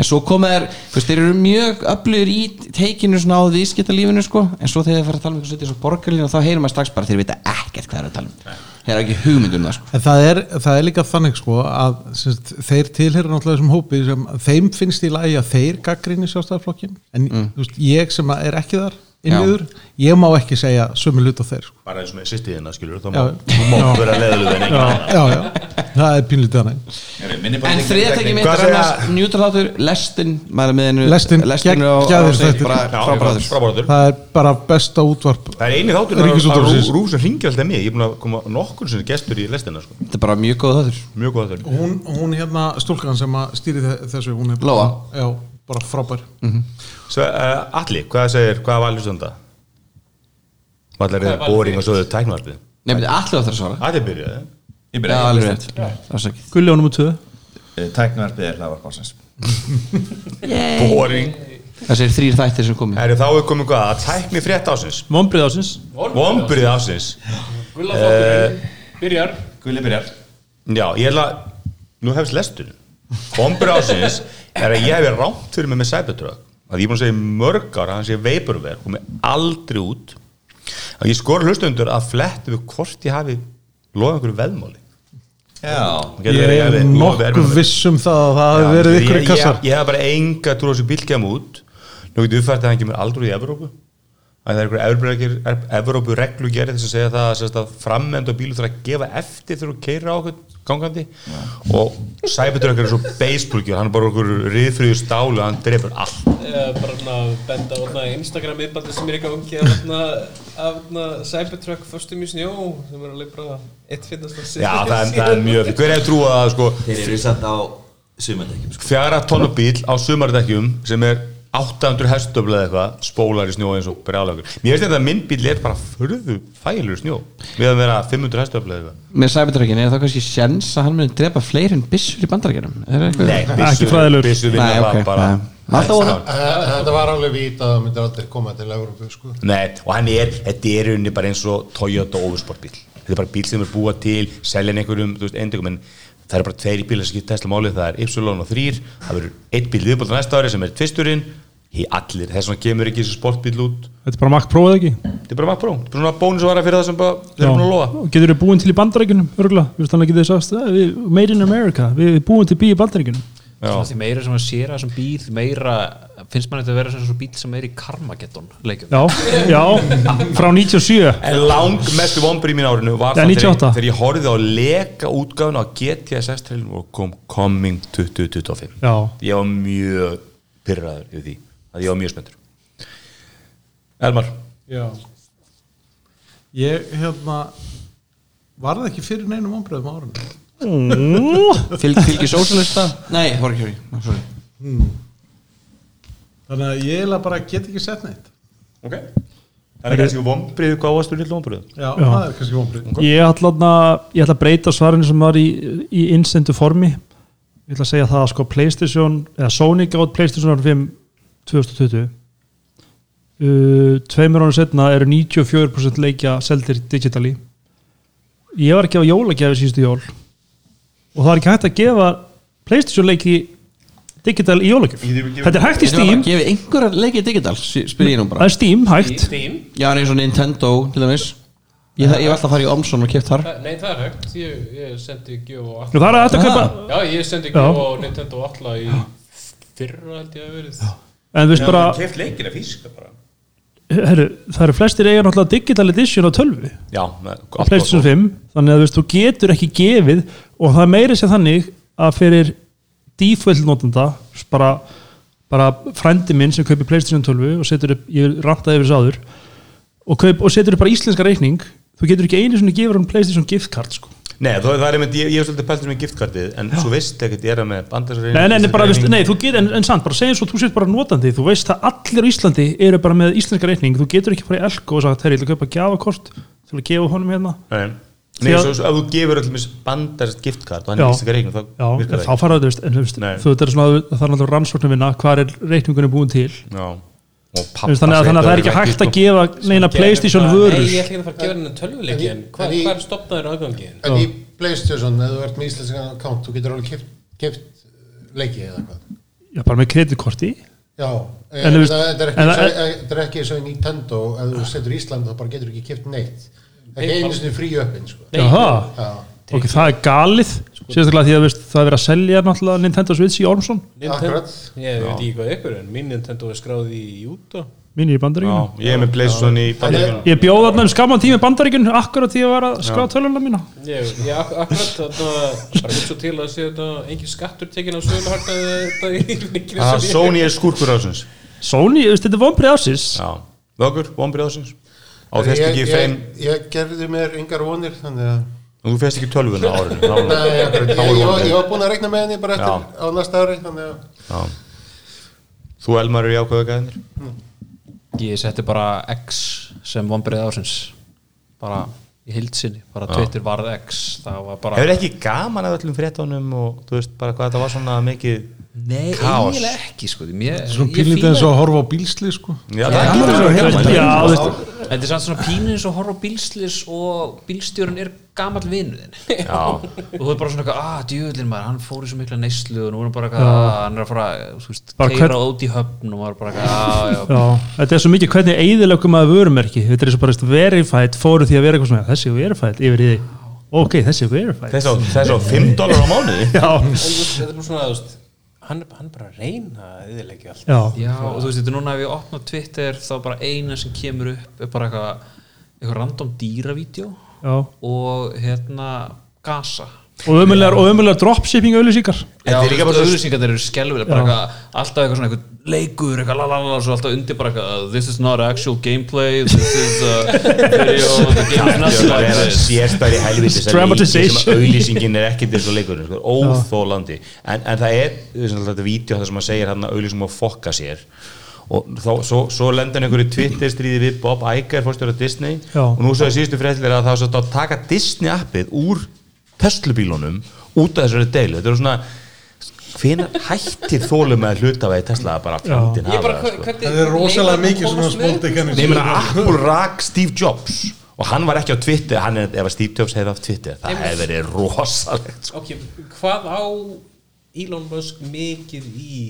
S8: En svo koma þeir, þú veist, þeir eru mjög öflugir í teikinu svona á viðskiptalífinu, sko En svo þegar þeir fara að tala um eitthvað svolítið svo borgarlínu þá heyrir maður strax bara þeir vita ekkert hvað þeir eru að tala um Þeir eru ekki hugmynd um það, sko
S3: En það er, það er líka þannig sko að semst, þeir tilherir náttúrulega þessum hópi sem þeim finnst í lagi að þeir gaggrinni sjálfstæðarflokkin en
S2: Mm.
S3: þú veist, ég sem að er ekki þar innviður, ég má ekki segja sömu hlut á þeir sko.
S2: bara eins og með sýstiðina skilur þá
S3: Já.
S2: má- þú má vera leðilega en engin annar
S3: já, já, það er pínlítið þannig
S8: En þriðatæki mitt
S2: Hvað
S8: er
S2: segja-
S8: annars Njútraláttur, lestin maður er með hennu
S3: Lestin,
S8: lestin
S3: gegn-
S8: og
S3: gæðir
S8: Ásgeir,
S3: þættir.
S8: bara
S2: Já,
S8: frábæður
S2: frábæður
S3: það er bara besta útvarp
S2: Það er eini þáttur
S3: Ríkisútvarpsins.
S2: Rú sem hringir alltaf í mig Ég er búin að koma nokkur sem gestur í lestina sko.
S8: þetta er bara mjög góð þáttur Mhm.
S2: Mjög góð þáttur
S3: hún, hún hérna stúlkan sem að stýri þe- þessu hún er
S8: Lóa.
S3: já, bara frábær
S2: Mhm. Sve, uh, Alli, hvað segir, hvað var hlustanda? Vallar er boring og svo er tæknvarpið
S8: Nei, betur allir áttur að svara
S2: Alli byrjaði
S6: Ég
S8: Já,
S6: byrja
S8: alveg
S6: ekki
S8: rétt Afsakið.
S4: Gulli á nummer 2
S6: Tæknarpið er hlaðvarp ásins
S2: Boring
S8: Þessi er þrýr þættir sem komið
S2: Mm. Herri, þá er komið hvað, að tækni frétt ásins
S4: Vombrið ásins
S2: Vombrið ásins
S7: Gulla þátturinn byrjar
S6: Gulli byrjar
S2: Eh, Já, ég ætla Nú hefst lestur Vombrið ásins er að ég hef rámt fyrir mig með Cybertruck að ég er búin að segja í mörg ára að hann sé veiburver komið aldrei út að ég skora hlustundur að flettu við hvort ég hafi loðið einhverju veðmáli
S6: Já
S3: ég er nokkuð viss um það að það hafi verið ykkur í
S2: ég,
S3: kassar
S2: ég, ég hef bara enga trú á þessu bíl kem út nú getur uppfært að hann kemur aldrei í Evrópu að það er einhver Evrópu reglu gerði þess að segja það að, sem sagt að framend og bílu þarf að gefa eftir þegar þú keira á okkur gangandi og sæbetur er svo baseballgjör, hann er bara okkur riðfriðu stálu, hann drefur allt
S7: Eh, bara svona að benda á þarna Instagram yfirbandi sem er í gangi af þarna af þarna Cybertruck föstum í snjó sem er alveg bara eitt finnast að
S2: Já, það er, það er mjög, hver er trúið að sko,
S6: Þeir eru satt á sumandekjum sko.
S2: fjara tonnu bíl á sumardekkjum sem er 800 hestöfla eða eitthvað spólar í snjó eins og brjálagur mér finnst þetta að minn bíl er bara furðu fælur í snjó við að vera 500 hestöfla eða eitthvað
S8: með Cybertruckin er það kannski sjens að hann muni drepa fleiri en byssur í bandarækjunum
S2: Nei,
S4: Ekki fræðilegur.
S2: Bissu vinna
S8: Nei,
S2: það
S8: ok,
S2: bara
S8: nei. Alltaf voru-
S2: Nei,
S9: Eh, Þetta var alveg vít að það myndir aldrei koma til Európu sko.
S2: Nei, og hann er, þetta er í rauninni bara eins og Toyota Oversport bíl þetta er bara bíl sem er búa til, selja hann einhverjum þú veist, endingum, en það er bara tveir bílar sem getur Tesla málið, það er Ypsilon og þrýr það verður eitt bíl viðbólta næsta ári sem er tvisturinn í allir, þess vegna kemur ekki þessi sportbíl út
S4: [laughs] Þetta er bara makk prófið ekki
S2: Þetta er bara Mac Pro, þetta er bara svona bónusvara fyrir það sem bara, þeir eru búin að lofa
S4: Getur þið búin til í bandarækjunum, örgulega Þú veist þannig að getur þið sagt "Eh, við- Made in America, við við búin til bí í bandarækjunum
S5: Svona því meira sem að séra þessum bíl því meira finnst mann þetta að vera sem svo bíl sem er í Karmageddon leikjum
S4: Já, já, frá 97
S2: En lang mestu vonbrið mín árinu var
S4: Já,
S2: það
S4: 98.
S2: þegar, þegar ég horfið á leka útgáfuna á GTSS trillin og kom Coming 2025
S4: Já,
S2: Ég var mjög pyrraður yfir því, að ég var mjög spenntur Elmar
S3: Já Ég hérna Var það ekki fyrir neinum ombröðum árunum?
S8: Fylg, fylgir sósalista nei, það var ekki sorry. Sorry.
S3: Þannig að ég eiginlega bara get ekki sett neitt
S2: Ok Það er kannski vonbrið, hvað varstu lill vonbrið?
S3: Já, það er kannski ombröð
S4: ég ætla, að- ég ætla að breyta svarinu sem var í, í innsendu formi Ég ætla að segja það að sko Playstation, eða Sony gátt Playstation 5 2020 uh, Tveimur ánum setna eru 94% leikja seldir digitali Ég var ekki á jólagjafi síðustu jól og það er ekki hægt að gefa Playstation leiki digital í jólagjöf Þetta er hægt í
S8: Ég ætla bara
S4: Steam
S8: að gefa einhverja leikið digital sí- spyr ég nú
S4: Það
S8: bara
S4: er Steam hægt
S7: Steam?
S8: já, en eins og Nintendo til dæmis ég, ég var alltaf að fara í Omson og kipta þar
S7: Nei, það er hægt, ég, ég sendi gjöf á
S4: Nú
S7: alla
S4: það er að þetta kaupa
S7: Já, ég sendi
S4: Já.
S7: gjöf á Nintendo alla í fyrra held ég að verið
S4: En þú veist bara,
S6: Keft leikir að físka bara
S4: herru, það eru flestir eiga náttúrulega digital edition á tölvu
S2: Já, með-
S4: á PlayStation 5 þannig að þú veist, þú getur ekki gefið og það er meira sér þannig að fyrir default notanda bara, bara frændi minn sem kaupir PlayStation 12 og setur upp, ég rantaði yfir sáður og, kaup, og setur upp bara íslenska reikning þú getur ekki einu sinni gefur hann PlayStation gift card sko.
S2: Nei, það, það er einmitt, ég, ég er svolítið pæltur með giftkartið en svo veist ekkert ég er það með bandarsarinn
S4: nei, nei, nei, bara, veist, nei, þú getur, en, en samt, bara segjum svo þú sétt bara notandi, þú veist að allir á Íslandi eru bara með íslenska reikning, þú getur ekki bara í elko og sagt, herri, ég ætla að kaupa gjafakort til að gefa honum hérna
S2: Nei, nei
S4: Því að-
S2: svo, svo, ef þú gefur öllum bandarsart giftkart og hann
S4: Já.
S2: er íslenska reiknum, þá
S4: Já,
S2: virkar
S4: en
S2: það
S4: þá fara þetta, veist, en, þú veist,
S2: Nei.
S4: þú veist, það er svona, það er náttúrulega rannsóknum vinna, hvað er reikningunni búin til þú
S2: Já og pappa
S4: veist, þannig, að, þannig að það er ekki
S2: sko.
S4: hægt að gefa neina Playstation
S7: Nei,
S4: vörur
S7: ég ætla ekki að fara að gefa henni tölvuleiki en hvað hva er stopnaður aðgangi?
S9: En í Playstation, ef þú ert með íslenska account þú getur alveg kipt, kipt leiki eða hvað
S4: já, bara með kreditkorti
S9: Já, eh,
S4: En þú veist-
S9: það- þetta er ekki
S4: en
S9: eins
S4: það-
S9: og- eh, þetta er ekki eins og í Nintendo ef þú setur Ísland þá bara getur ekki kipt neitt ekki einu sinni frí öppin sko.
S4: Jaha,
S9: Já, Sko-
S4: ok, það er galið sérstaklega því að þú veist, það er verið að selja náttúrulega Nintendo Switch í Ormsson
S7: Nintendo,
S9: akkurat
S7: ég veit ekki hvað ykkur en mín Nintendo er skráð í Júta
S4: minni í bandaríkjunum
S2: Ég er með Playstation í bandaríkjunum
S4: ég bjóð þarna um skaman tími bandaríkjun akkurat því að vera að skraða töluna mína
S7: Ég, ég ak akkurat þarna bara hugsa til að sé þetta engin skattur tekinn á söluhartaði þetta í líkinu
S2: Ah, Sony er skúrkur ásins
S4: Sony, þú veist, þetta er vonbrið ásins
S2: Já, vöggur, vonbrið ásins Á
S9: En
S2: þess
S9: ég,
S2: ekki feim
S9: ég, ég gerði mér yngar vonir þannig að
S2: Þú fest ekki tölvuna á
S9: [laughs]
S2: árinu Þá var-
S9: Nei, akkurat,
S2: þá
S9: ég,
S2: voru
S9: ég, var- ég
S2: vonbrið
S9: var búin að regna með henni bara eftir
S2: Já.
S9: á næsta ári þannig að
S2: Já. Þú Elmar eru jákvæðu gæðinir
S5: ég setti bara X sem vonbreið ásins bara í hildsinni bara Twitter varð X það var bara
S2: Hefur ekki gaman af öllum fréttónum og þú veist bara hvað þetta var svona mikið
S5: nei,
S2: Kaos.
S5: eiginlega ekki sko, því mér,
S3: Svona
S5: ég
S3: pínlítið
S5: fíla-
S3: eins og að horfa á bílsli sko
S2: Já, það er ekki
S4: já, þú veist, já, þú veist
S5: Þetta er samt svona pínu eins og horfa á bílslis og bílstjórun er gamall vinuðin
S2: Já,
S5: og þú er bara svona eitthvað, að djöðlin maður, hann fór í svo mikla neyslu og nú er hann bara eitthvað, að hann er að fara þú veist,
S4: Bara
S5: keira
S4: hvern-
S5: út í höfn og maður bara eitthvað, að já,
S4: Já, þetta er svo mikið hvernig eðilegum að vörumerki þetta er svo bara veist, verified fóru því að vera eitthvað svona þessi er verified yfir í því ok, þessi er verified
S3: [laughs]
S2: þess á- þess á 5 dólar á mánuði
S4: Já,
S7: Þetta er bara svona, þú veist hann, er- hann er bara að reyna að eðilegja allt
S4: já,
S5: Já, og þú veist, þetta er núna ef ég opna Twitter þá bara eina sem kemur upp er bara eitthvað, eitthvað random dýravídjó
S4: já.
S5: og hérna gasa
S4: og ömulegar, og ömulegar dropshipping auðlýsingar
S5: Já,
S6: Þetta er líka
S5: þú
S6: bara
S5: veist,
S6: svo-
S5: auðlýsingarnir eru skelvilega bara
S4: Já.
S5: eitthvað, alltaf eitthvað svona eitthvað leikur, eitthvað lalala og svo alltaf undir bara eitthvað, uh, this is not actual gameplay this is a
S4: [laughs]
S5: video of the game is nothing like this
S2: sérstæri helviti
S4: Dramatization.
S2: auðlýsingin er ekkert eins og leikurinn sko, óþólandi en, en það er þú veist, þetta vídeo það sem maður segir hann að auðlýsingum að fokka sér og þá, svo, svo lendan einhverju Twitter stríði við Bob Iger fórstjóra Disney
S4: Já.
S2: og nú svo er síðustu fréttilega að það var svolítið að taka Disney appið úr Tesla-bílunum út af þessari deilu þetta er svona hvenær hættir þólum með hlutavæði Tesla að bara framtíðin
S10: Ég bara,
S2: hafa það, sko.
S10: hvernig
S3: það er rosalega mikið svona
S2: Nei, ég
S3: smóltekanir
S2: meina, ah, Apple rak Steve Jobs og hann var ekki á Twitter, hann er, ef að Steve Jobs hefði haft Twitter, það hefði verið rosalegt sko.
S7: ok, hvað á Elon Musk mikið í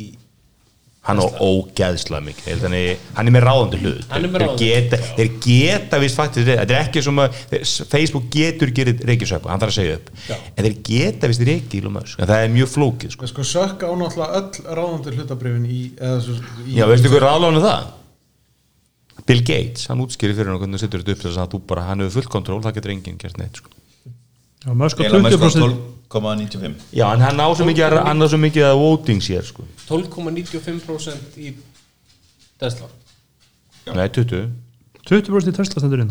S2: hann á ógeðslega mikið Ég held hann er- hann er með ráðandi hlut
S7: Hann er með
S2: Þeir
S7: ráðandi hlut,
S2: geta, þeir geta vist faktiskt re- þetta er ekki sem að þeir- Facebook getur gerir reykjusöku, hann þarf að segja upp en þeir geta vist reykji í Musk en það er mjög flókið sko.
S3: sko sökk á náttúrulega öll ráðandi hlutabrifin í, eða, svo, í
S2: já, veistu hver ráðlónu það? Bill Gates, hann útskýrir fyrir hann hvernig þú setur þetta upp þess að þú bara, hann hefur full kontról, það getur enginn gert neitt sko.
S4: já, mörg og
S6: Elon Musk var
S4: 20%
S6: 12,95
S2: já, en hann á svo mikið, að- hann á svo mikið að voting sér sko.
S7: 12,95% í Tesla
S2: Nei, 20
S4: 20% í Tesla stendur inn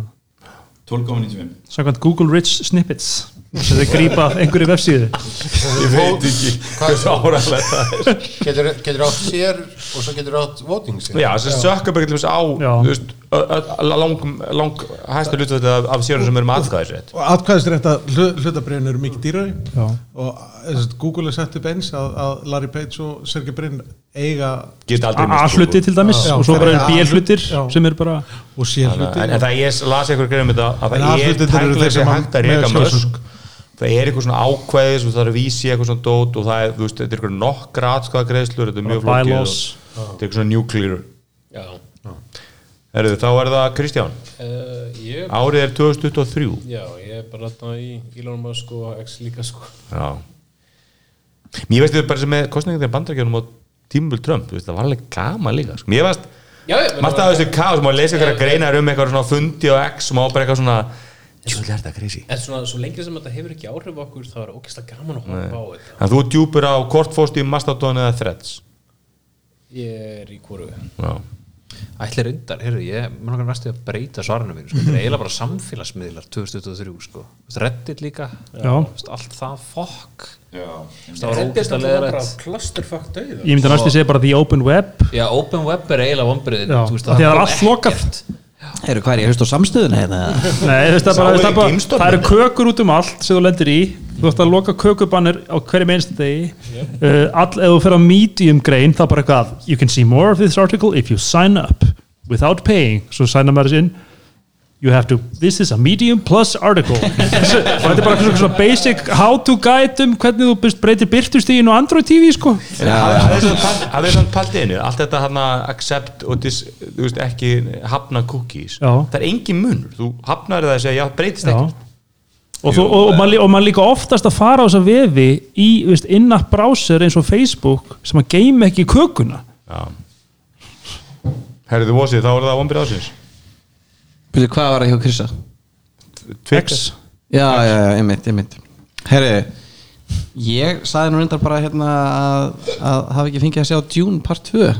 S6: 12,95
S4: samkvæmt Google Rich Snippets sem þau grípa einhverju vefsíðu
S2: [laughs] Ég veit ekki hversu áraðlega það er
S9: Getur, getur átt sér og svo getur átt voting sér.
S2: Já, þess að Zuckerberg til dæmis á
S4: Já.
S2: þú veist, ö- ö- lang, lang hæsta hlutvætti af, af sérum sem er með aðkvæðisrétt
S3: og atkvæðisrætta hlutabrifin eru mikið dýrari
S4: Já.
S3: og eða, svo, Google er sett upp eins að, að Larry Page og Sergey Brin eiga
S2: Gist aldrei mist
S4: A-hluti til dæmis
S3: Já.
S4: og svo bara
S3: Já.
S4: B-hlutir
S3: Já.
S4: sem er bara
S3: og sér
S2: En,
S3: hluti
S2: en það ég las einhver greið um þetta að
S3: En
S2: það er
S3: aðhlutirnir eru
S2: tæknilega
S3: þeir sem
S2: sem
S3: hann-
S2: hægt að
S3: með
S2: reyka
S3: sjálfsögðu.
S2: mörsk það er eitthvað svona ákvæðis og það er að vísi eitthvað svona dót og það er, þú veist, þetta er eitthvað nokkra atkvæða greiðslur, þetta er mjög flókið og-
S4: bylaws
S2: þetta er eitthvað svona nuclear
S7: já
S2: Herðu, þá er það Kristján,
S7: uh, ég,
S2: árið er 2023
S7: já, ég er bara þarna í Elon Musk og X líka sko
S2: Já Mér veist þetta bara sem með kostningar þegar bandarækjunum á tímul Trump, þú veist, það var alveg gama líka sko. Mér veist,
S7: já, ég meina-
S2: margt af þessu kaos maður leysa
S4: Eh,
S2: ykkur að greina um eitthvað svona fundi og X og maður bara eitthvað svona Júli, er þetta crazy?
S7: En svona, svo lengi sem þetta hefur ekki áhrif á okkur þá er ógeðslega gaman að horfa á þetta
S2: Þannig að þú djúpur á hvort fórst í Mastodon eða Threads
S7: Ég er í hvoru
S2: Já,
S5: Ætli reyndar, heyrðu, ég mér langar næstu að breyta svarinu mínu, sko. Þetta er eiginlega bara samfélagsmiðlar 2023, sko. Þú veist, Reddit líka.
S4: Já.
S5: Þú veist, Allt það fokk.
S6: Já
S5: Þú veist, Það var ógeðslega leðrætt.
S7: Clusterfuck döið
S4: ég myndi að næstu segja bara The Open Web
S5: Já, Open Web er eiginlega vombriðin.
S4: Já, af því að það er allt lokað.
S8: Eru hvað er ég að hlusta á samstöðuna hérna?
S4: Nei, veist, það, bara, veist,
S2: Sáu
S4: það,
S2: ekki
S4: bara,
S2: geimstorminn?
S4: það eru kökur út um allt sem þú lendir í þú ætti að loka kökubannir á hverjum einstu degi uh, all, ef þú fer á medium grein þá bara eitthvað you can see more of this article if you sign up without paying svo signa maður sér inn you have to, this is a medium plus article og þetta er bara eitthvað svona basic how to guide um hvernig þú byrst- breytir byrtustígin og Android TV sko
S2: Það er svona paldiðinu, allt þetta hann að accept og dis, þú veist, ekki hafna cookies
S4: Já.
S2: Það er engin munur, þú hafnar það að segja, já, breytist ekki
S4: Og, þú, og, og, maður, lí- og maður líka oftast að fara á þessa vefi í veist, innapp browser eins og Facebook sem að geima ekki kökuna
S2: Herðu, Vosið, þá er það vombrið ásins
S8: Býtu, hvað var það hjá Krissa?
S2: Twitter
S8: Já, já, já, einmitt, einmitt Herri, ég saði nú reyndar bara hérna að, að hafa ekki fengið að sjá Dune part 2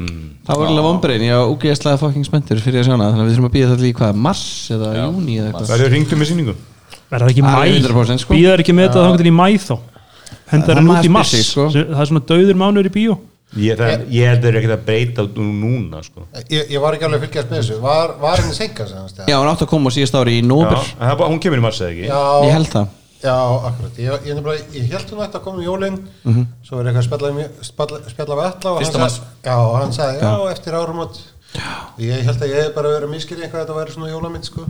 S2: Mm.
S8: Það var alveg vombriðin, ég var úgeðslega fucking spenntur fyrir að sjá hana Þannig að við þurfum að býða það til í hvað, mars eða júni eða eitthvað
S2: Verður ringtum í sýningum
S4: verður það ekki
S8: Það er
S4: mæ
S8: 100% sko.
S4: býðar ekki með þetta þá getur í mæ þá
S8: Það-
S4: hendar
S8: það
S4: hann út
S8: maður
S4: í
S8: spyr
S4: mass
S8: sig, sko.
S4: það er svona dauður mánuður í bíó
S2: Ég, það, ég held þeir ekkert að breyta nú- núna sko.
S9: Ég, ég var ekki alveg að fylgjast með þessu. Var, var henni senka sem hans
S8: Já, hún átti að koma á síðast ári í
S2: Já,
S8: nóber
S2: það er bara- Hún kemur í mars eða ekki
S8: Ég held það
S9: Já, akkurat. Ég, ég, nefnilega, ég held hún ætti að koma í jólinn,
S8: Mhm.
S9: svo var eitthvað að spjalla, við mér- spjalla, spjalla við alla og hann
S6: Fyrsta
S9: sagði,
S6: mars.
S9: já, og hann sagði, já, eftir áramót. Ég held að ég hef bara verið að miskilja eitthvað að þetta væri svona jólamynd, sko.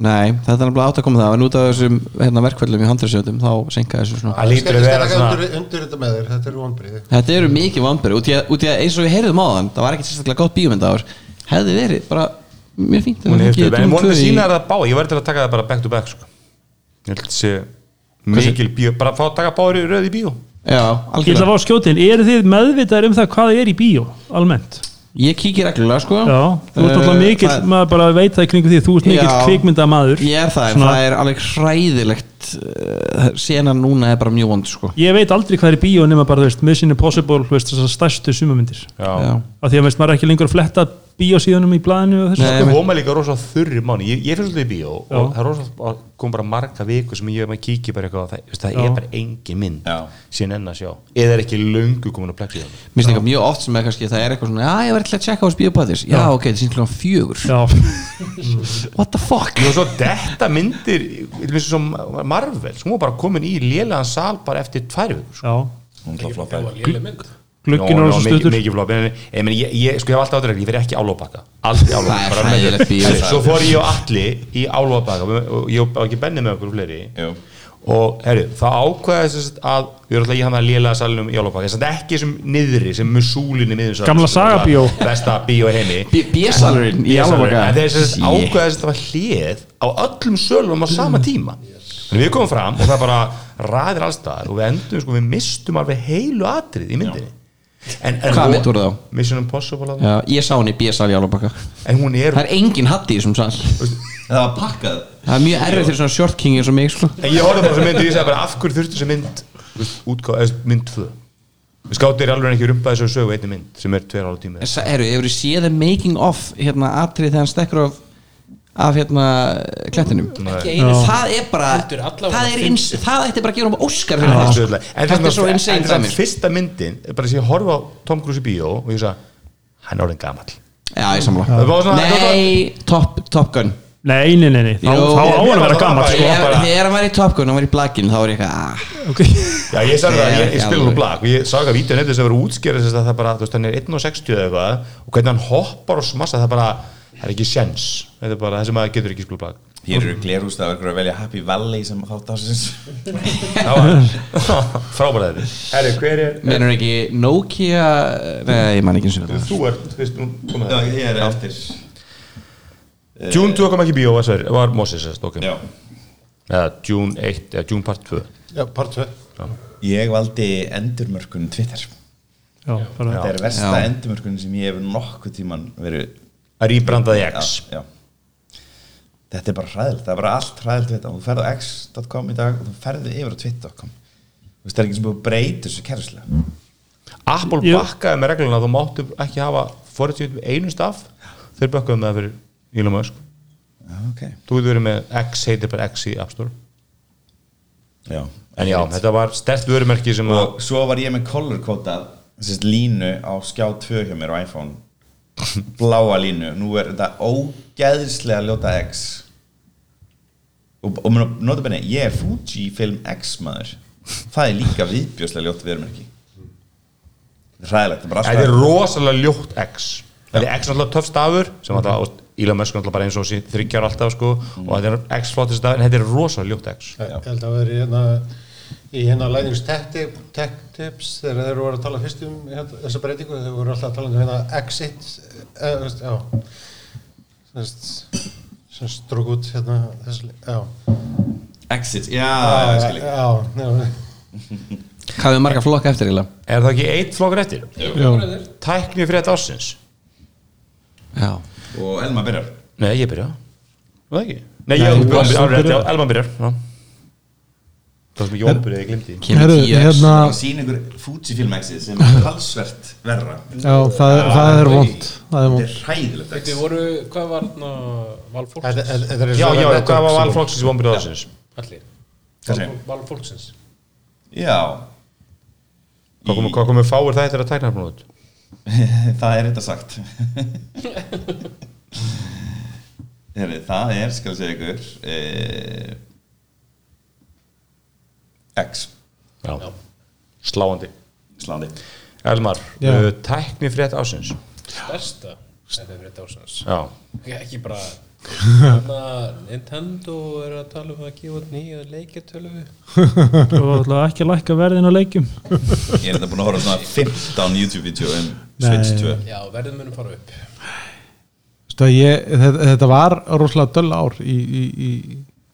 S8: Nei, þetta er náttúrulega átt að koma það en út af þessum hérna, verkvöldum í handriðsjöldum þá senka þessu svona
S2: Það lítur að vera
S9: svona.
S2: svona
S9: Undir, undir þetta með þér, þetta eru vonbriði.
S8: Þetta eru mikið vambur út, í að- út í að eins og við heyrðum á þann það var ekki sérstaklega gott bíómynd ár hefði verið bara mjög fínt að
S2: Hún
S8: við
S2: hefur
S8: fengið
S2: stöðu, en
S8: Dune
S2: vonandi
S8: 2 í-
S2: sína er það bá Ég verður til að taka það bara back to back sko. Ég held að sé mikil bíó Bara fá að taka bári röð í bíó
S4: Ég
S8: Já,
S4: ætla að
S8: algjörlega
S4: fá að skjóta inn, eru þið meðvitaðir um það hvað er í bíó, almennt?
S8: Ég kíkir reglulega sko
S4: Já, þú ert
S8: Eh,
S4: náttúrulega mikill,
S8: það-
S4: maður bara veit það í kringu því, þú ert mikill
S8: Já.
S4: kvikmyndamaður
S8: Ég er það,
S4: Svona-
S8: það er alveg hræðilegt uh, Senan núna er bara mjög vond sko
S4: Ég veit aldrei hvað er í bíó nema bara, þú veist, Mission Impossible, þú veist, þessar stærstu sumamyndir
S2: Já.
S4: Af því að, veist, maður er ekki lengur að fletta bíósíðunum í blaðinu og þessu
S8: Nei.
S2: Það koma Sko, líka rosa þurri mánu Ég, ég fyrir svolítið í bíó
S4: Já.
S2: og það er rosa að kom bara marga viku sem ég maður kíkir bara eitthvað á það, veist, það
S4: Já.
S2: er bara engin mynd
S6: Já.
S2: síðan enn að sjá eða er ekki löngu komin á plexi
S8: Mér finnst eitthvað mjög oft sem er kannski það er eitthvað svona Já, ég var eitthvað að tjekka á þessu bíópaðis Já, ok, þetta er klokkan fjögur
S4: Eh,
S8: [laughs]
S4: Já, Mm.
S8: What the fuck
S2: og svo detta myndir til dæmis sem Marvel, hún var bara komin í lélegan sal bara eftir tvær vikur sko.
S4: já,
S6: Hún er flott
S7: Það var léleg mynd
S4: glugginn
S2: Nó,
S4: er
S2: nó,
S4: svo
S2: mikið-
S4: stuttur
S2: mikið flop en, en, en, en ég, ég, sko, ég hef alltaf áttur regl, ég fyrir ekki álópakka aldrei
S8: Það er
S2: álópakka
S8: hræðilegt bíó.
S2: svo fór ég og Alli í álópakka og ég var ekki benni með okkur fleiri
S6: Jú.
S2: og herru, það ákvæði þess að við erum alltaf í hann að lélega salunum í álópakka þess að ekki sem niðri, sem musúlinni miðum salnum,
S4: Gamla
S2: sem er
S4: sagabíó.
S2: bara besta bíó í heimi
S8: Bíósalurinn í Álfabaka
S2: En þeir sem ákveðast að það var hlið á öllum sölum á sama tíma Þannig við komum fram og það bara ræðir allstaðar og við endum sko, við mistum alveg heilu atrið í myndinni en, en
S8: Hvaða mynd voru þá?
S2: Mission Impossible að
S8: Já, ég sá hann í bíósal í Álfabaka
S2: En hún er,
S8: Það er engin hatt í þessum sal Það
S6: Það var pakkað
S8: er mjög erfið fyrir svona short king eins og mig sko
S2: en ég horfði bara þessu mynd og ég sagði bara af hverju þurftu þessu mynd útgáð, eða mynd 2 Við skáttir alveg ekki rumpa þessu sögu einni mynd sem er tveir ára tími
S8: Sa- Herru, hefur þið séð the making of hérna atrið þegar hann stekkur af af hérna klettinum
S2: Nei.
S8: einu, það er bara
S7: Heldur allavega
S8: það, er
S7: fyndið.
S8: ins, það ætti bara að gera um Óskar fyrir það, sko.
S2: Absolutely. en
S8: þetta er svo
S2: en
S8: insane
S2: þess að
S8: dæmi. sko.
S2: fyrsta myndin er bara þess að ég horfa á Tom Cruise í bíó og ég sagði, hann er orðin gamall
S8: já, ég samla
S2: Það var svona-
S8: nei, top, top Gun
S4: Nei, nei, nei, nei, þá,
S8: Jú.
S4: þá á hann að vera
S2: Ég-
S4: gammal sko.
S2: Ég-
S8: þegar
S2: bara-
S8: þegar hann var í Top Gun, hann sko, var í Blackin þá var ég eitthvað ah,
S4: okay.
S2: Já, ég sagði það,
S8: Nei,
S2: ég, ég
S8: ekki
S2: spila nú
S8: alveg.
S2: blag og ég sagði að vítjum eftir þess að vera útskjæri þess að það bara, þú veist, hann er 1.60 eða eitthvað og hvernig hann hoppar og smassa það bara það er ekki sjens, þetta er bara það sem að getur ekki spila blag
S6: Hér eru glerúst að verður að velja Happy Valley sem þátt ásins
S2: [laughs] Það var frábæra þetta Herri, hver er,
S8: mennur ekki Nokia eh, nei, ég man ekki eins og það
S2: þú ert, fyrst, nú komið
S6: Já,
S2: það
S6: ég er eftir
S2: Eh, June 2 kom ekki í bíó, var, Sverrir- var Moses, sérst, ok
S6: Já
S2: um. Eða June 1, eða June part 2
S9: Já, part 2
S6: Ég valdi endurmörkun Twitter
S4: já, bara,
S6: Þetta er versta
S8: Já.
S6: endurmörkun sem ég hef nokkuð tíman verið
S2: að rýbrandaði X
S6: já, já. Þetta er bara hræðilegt, það er bara allt hræðilegt við þetta. Þú ferð á x.com í dag og þú ferði yfir á twitter.com Þú veist, það er ekki sem búið að breyta þessu kerfislega
S2: Apple
S4: Jú.
S2: bakkaði með regluna að þú máttu ekki hafa forutjöfum einu staf þeir bakkaði með það fyrir Elon Musk
S6: Já, ok
S2: Þú getur verið með X, heitir bara X í App Store
S6: Já,
S2: En já, þetta var stert vörumerki sem að
S6: Og svo var ég með color quota sérst, línu á skjá 2 hjá mér á
S2: [laughs]
S6: iPhone bláa línu, nú er þetta ógeðslega ljóta X og, og notabenni, ég er Fuji Film X maður það er líka viðbjóslega ljótt verumerki Þetta er hræðilegt, það er bara allt
S2: Þetta er
S6: hræðilegt.
S2: rosalega ljótt X Þetta er X náttúrulega töff stafur sem alltaf, og Elon Musk náttúrulega bara eins og sí, þryggjar alltaf sko,
S6: Mm.
S2: og þetta er X flottir stafur en þetta er rosalega ljótt X
S9: Ég held að vera í hérna í hérna lænings tech, tip, tech tips þegar þeir voru að tala fyrst um hérna, þessa breytingu, þeir voru alltaf að tala um hérna exit eh, þú veist, já semst sem strók út hérna þess, já,
S6: Exit, já, já, já, já,
S9: já, já,
S8: hvað er marga flokka eftir eiginlega
S2: Er það ekki eitt flokkur eftir?
S3: Já.
S2: Tækni fyrir þetta ársins?
S8: já,
S6: og Elma byrjar
S2: Nei, ég byrja Það ekki? Nei, ég Elman
S3: varst
S2: byrjar,
S3: þú
S2: alveg rétt, já,
S3: byrjar.
S2: Elman byrjar já. Það sem ég ombyrði, ég glimti
S8: kemur
S3: Herru,
S8: tíu
S3: hérna,
S6: Það sýn ykkur Fujifilm X-ið sem er halsvert verra
S3: já, það, það er vond það er
S6: Þetta
S3: vond
S6: er hræðilegt
S7: Þetta
S6: X
S7: voru, hvað var þarna valfólksins?
S9: Þetta- þetta- þetta er
S2: Já, já,
S9: svona
S2: hvað var
S9: network-
S2: valflokksins sem ombyrði ársins?
S7: Allir
S6: Hvað segir?
S7: Valfólksins
S6: Já,
S2: Hvað komu- Hvað komið fáir það eftir að tækna hann út?
S6: [laughs] það er þetta sagt Heri, Það er, skal ég segja ykkur eh, X
S2: Já, sláandi
S6: Íslandi
S2: Elmar,
S3: Já.
S2: uh, tækni frétt ásins
S7: Besta Þetta er fyrir dásans
S2: Já,
S7: Ekki bara Þarna Nintendo er að tala um að gefa út nýja leikjartölu
S4: og ætla ekki að lækka verðin á leikjum
S6: Ég er þetta búin að horfa á svona 15 YouTube-vídeó um Switch 2
S7: Já, verðin munum fara upp
S3: Veistu að ég, þetta, þetta var rosalega döll ár í, í, í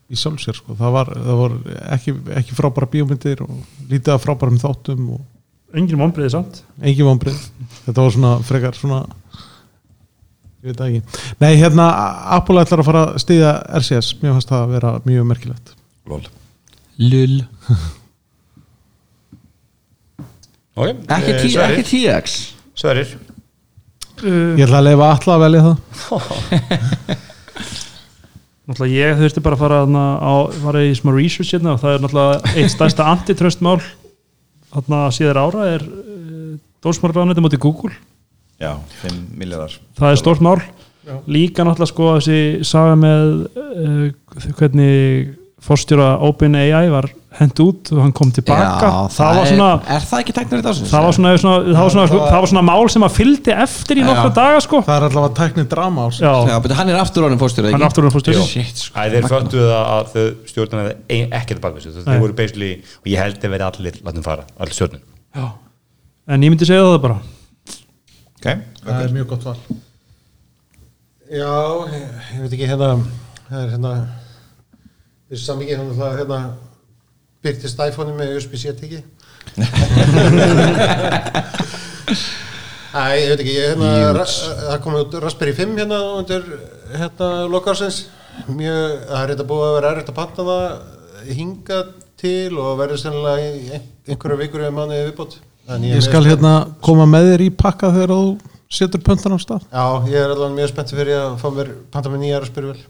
S3: í sjálfsér sko. það var, það var ekki, ekki frábæra bíómyndir og lítið af frábærum þáttum og
S4: engin vonbreiði samt
S3: engin vonbrið þetta var svona frekar svona ég veit það ekki nei hérna Apple ætlar að fara að stiðja RCS mér fannst það að vera mjög merkilegt
S2: Lol.
S8: Lull
S2: Ok,
S8: Ekki,
S2: eh,
S8: tí,
S2: Sverrir.
S8: ekki TX
S2: Sverrir
S3: ég ætla að leifa alla að velja það
S4: [laughs] Náttúrulega ég þurfti bara að fara, þarna á, fara í smá research hérna og það er náttúrulega eitt stærsta antitröstmál þarna síðar ára er uh, dómsmálránætti móti Google
S6: Já, 5 miljardar
S4: það er stórt mál líka náttúrulega sko þessi saga með uh, hvernig forstjóra OpenAI var hent út og hann kom tilbaka
S8: Já,
S4: það var
S8: er-
S4: svona
S8: Er það ekki teknir í sko? dagsins?
S4: það var svona, svona, það var svona, það var svona mál sem að fylgdi eftir í nokkra daga sko
S3: það er allavega tæknir drama ás
S4: já,
S8: Já, betur hann er aftur honum fórstjóra
S4: hann aftur hún fórstjóri
S8: Shit, sko
S2: Æ, þeir föttu það að þau stjórnarnið ekkert bara þessu,
S4: Nei.
S2: þeir voru basically og ég held að vera allir látnum fara, allir stjórnin
S4: en ég myndi segja það bara
S6: okay.
S3: það er mjög gott val
S9: Já, ég, ég veit ekki hérna það er hérna þessi samvikið hann alltaf hérna byrtist iPhone-i með USB-C teki Æ, ég veit ekki ég, hérna, ra- það kom út Raspberry 5 hérna undir hérna lokarsins mjög, það er þetta búið að vera erfitt að panta það hinga til og verður sennilega í ein- einhverja vikur eða mánuði viðbót En er
S3: ég skal
S9: mjög-
S3: hérna koma með þér í pakka þegar þú setur pöntan á stað
S9: Já, ég er allavega mjög spenntið fyrir að fá mér panta mér nýjar að spyrja vel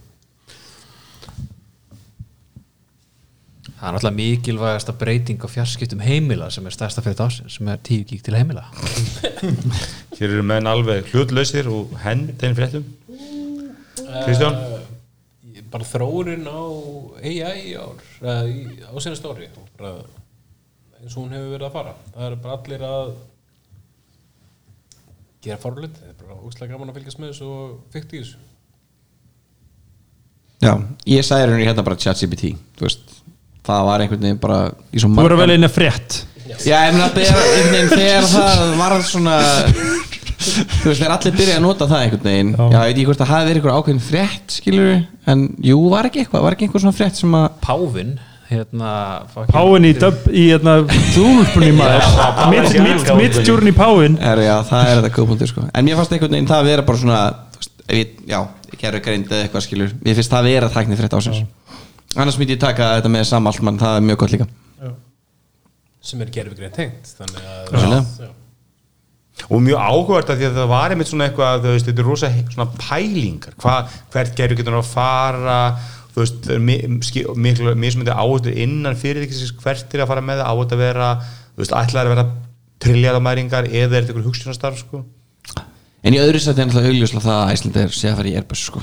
S5: Það er náttúrulega mikilvægasta breyting á fjarskiptum heimila sem er stærsta fyrir dásinn sem er 10 gík til heimila
S2: Hér eru menn alveg hlutlausir og henn þeim fréttum Kristján,
S7: Eh, Ég- bara þróunin á AI í ár, eða í- á sinni stóri bara eins og hún hefur verið að fara það eru bara allir að gera forlut það er bara ógstlega gaman að fylgjast með þessu og fyrkt í þessu
S8: Já, ég sagði henni hérna bara ChatGPT Þú veist Það var einhvern veginn bara í svo
S4: þú verður
S8: margan-
S4: vel einu frétt
S8: Já, ég meina þegar, einhvern veginn, þegar það var svona Þú veist, þegar allir byrja að nota það einhvern veginn Já, ég veit ekki hvort það hafi verið einhver ákveðin frétt, skilur En jú, var ekki eitthvað, var ekki einhver svona frétt sem að
S5: Pávin hérna fucking-
S4: Páin í döb í hérna dúlpunni maður mitt djúrn í Páin
S8: er, Já, það er þetta góðbundur, sko En mér fannst einhvern veginn það að vera bara svona þú veist, ef ég, Já, ég kæru greind eða eitthvað, skilur Mér finnst það að vera tæknið frétt á sér Annars myndi ég taka þetta með samaltmann, það er mjög gott líka
S7: sem er gerfi greið tengt þannig að
S8: Vissulega.
S7: Já.
S2: og mjög áhugavert að því að það var einmitt svona eitthvað þú veist, þetta er rosa he- svona pælingar Hva, hvert gerur getur hann að fara þú veist, það er mi- ski- miklu mismyndi áhugavert innan fyrirtækis hvert er að fara með það, áhugavert að vera þú veist, ætlaðar að vera trilljarðamæringar eða er þetta eitthvað hugstjónastarf sko?
S8: En í öðru sætti er náttúrulega augljóslega það að Æsland er sé að fara í Airbus sko.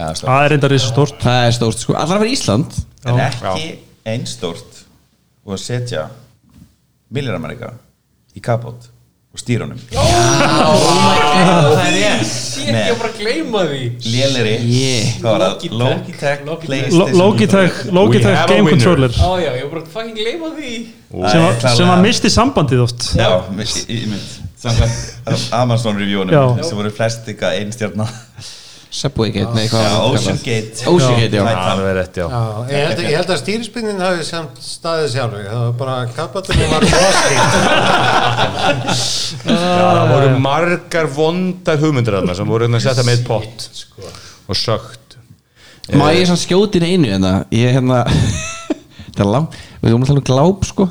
S4: það er enda reysa stórt
S8: Það er stórt sko, allar að fara í Ísland
S6: En ekki einstórt og að setja miljardamaríka í kapot og stýrunum
S8: Það er rétt
S7: Shit, ég var bara að gleyma því
S6: léleri
S8: Yeah.
S6: hvað var það? Logitech PlayStation
S4: Logitech Logitech
S2: have a
S4: Game
S2: winner.
S4: Controller
S7: Ó já, ég var bara að fucking gleyma því
S4: sem, að- sem að misti sambandið oft
S6: Já, miss- í- í mynd Samkvæmt Amazon reviewunum
S4: Já.
S6: sem voru flest ykkar einstjarna
S8: Subway Gate, nei hvað
S6: Já,
S8: var það
S6: Ocean
S8: kallað?
S6: Gate
S8: Ocean Gate, já
S2: það er rétt, já
S9: Já, ég held, ég held að stýrispinnin hafi samt staðið sjálfur, það var bara kapatunum var frostið.
S2: [laughs] Ah, Já, það voru margar vondar hugmyndir þarna sem voru hérna að setja með í pott og sögt
S8: Má
S2: Eh.
S8: ég svona skjóti inn einu hérna Ég hérna [laughs] Það er langt Við erum að tala um gláp sko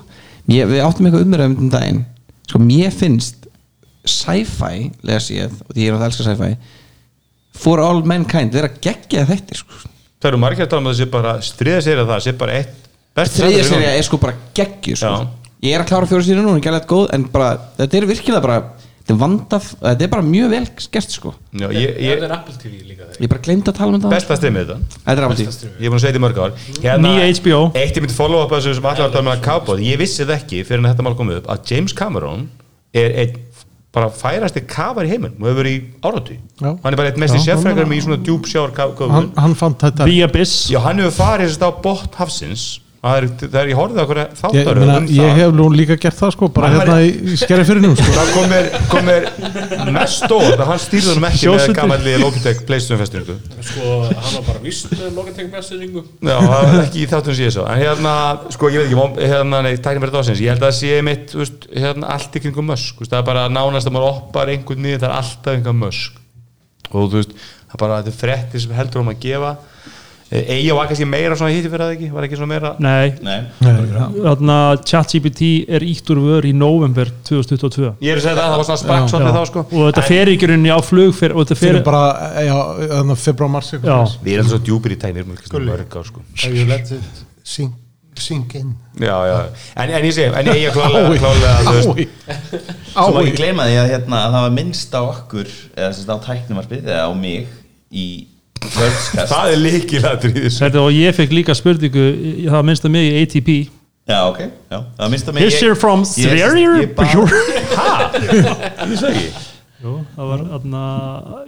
S8: ég, Við áttum eitthvað umræðum um daginn Sko mér finnst Sci-fi Les ég Og því ég er að elska sci-fi For all mankind Vera geggja þetta sko
S2: það eru margar að tala um að það sé bara stríða sér að það sé bara eitt best
S8: Þriðja serið er sko bara geggju sko.
S2: Já.
S8: Ég er að klára fjóru sérið núna Ég gæla þetta góð En bara Þetta er virkilega bara Þetta er vandaf Þetta er bara mjög vel gert sko
S2: Já, ég, ég,
S7: það er Apple TV líka þegar
S8: Ég bara gleymd að tala um þetta
S2: besta streymið þetta
S8: Þetta er átíð
S2: ég er búin að segja þetta í mörg ár hérna,
S4: Nýja HBO.
S2: eitt ég myndi follow up að þessu sem allar var að tala með um að kápa ég vissi það ekki fyrir en þetta mál kom upp að James Cameron er einn bara færasti kafar í heiminn og hefur verið í áratu
S3: Já.
S2: hann er bara eitt mesti
S3: Já,
S2: sérfrækar með í svona djúpsjár
S3: hann,
S2: kafun
S3: hann fann þetta
S4: The Abyss
S2: já hann hefur farið þess að á botn hafsins það er, það er ég horfði okkur
S3: Ég,
S2: þáttar
S3: meina, ég hef nú líka gert það sko bara
S2: Mamma
S3: hérna í, í skerri fyrir nú sko.
S2: það kom mér, kom mér mest óvart að hann stýrði honum ekki með
S4: Sjósundur.
S2: gamalli Logitech Playstation festingu
S7: sko, hann var bara vist með Logitech messaging
S2: Já, það var ekki í þáttum sem ég svo en hérna, sko ég veit ekki mom- hérna, nei, tæknir mér þetta ásins, ég held að það sé mitt þú veist, hérna, allt í kringum mösk þú veist, það er bara nánast að maður oppar einhvern niður það er alltaf einhver mösk og þú veist, það er bara þetta er frettir sem heldur um að gefa Egi var kannski meira svona hitti fyrir það ekki var ekki svona meira
S4: Nei,
S6: Nei,
S4: þarna ChatGPT er ítt úr vör í november 2022
S2: ég er að segja það, það var svona sprakk
S4: Já.
S2: svolítið þá sko
S4: og þetta fer ekki rauninni á flug fer, og þetta fer
S3: fyrir bara já, þarna februar mars eitthvað
S4: Já.
S3: svoleiðis.
S2: við erum svo djúpir í tæknir mjög
S9: Gulli.
S2: mörg ár sko
S9: Have you let it sink, sink in?
S2: já, já. En, en ég segi, en ég er klálega, klálega þú veist,
S3: Ái.
S6: Svo má
S3: Ái.
S6: ekki gleyma því að, hérna, að það var minnst á okkur eða sérst á tæknumarpið eða á mig í Worldskast
S2: það er líkilættur í þessu
S4: Herðu, og ég fekk líka spurningu í- það minnst að mig í ATP
S6: Já, ok, já, það var minnst á mig
S4: Is she from
S6: ég- ég-
S4: Sverige?
S6: ég bara-
S4: Jú, það var þarna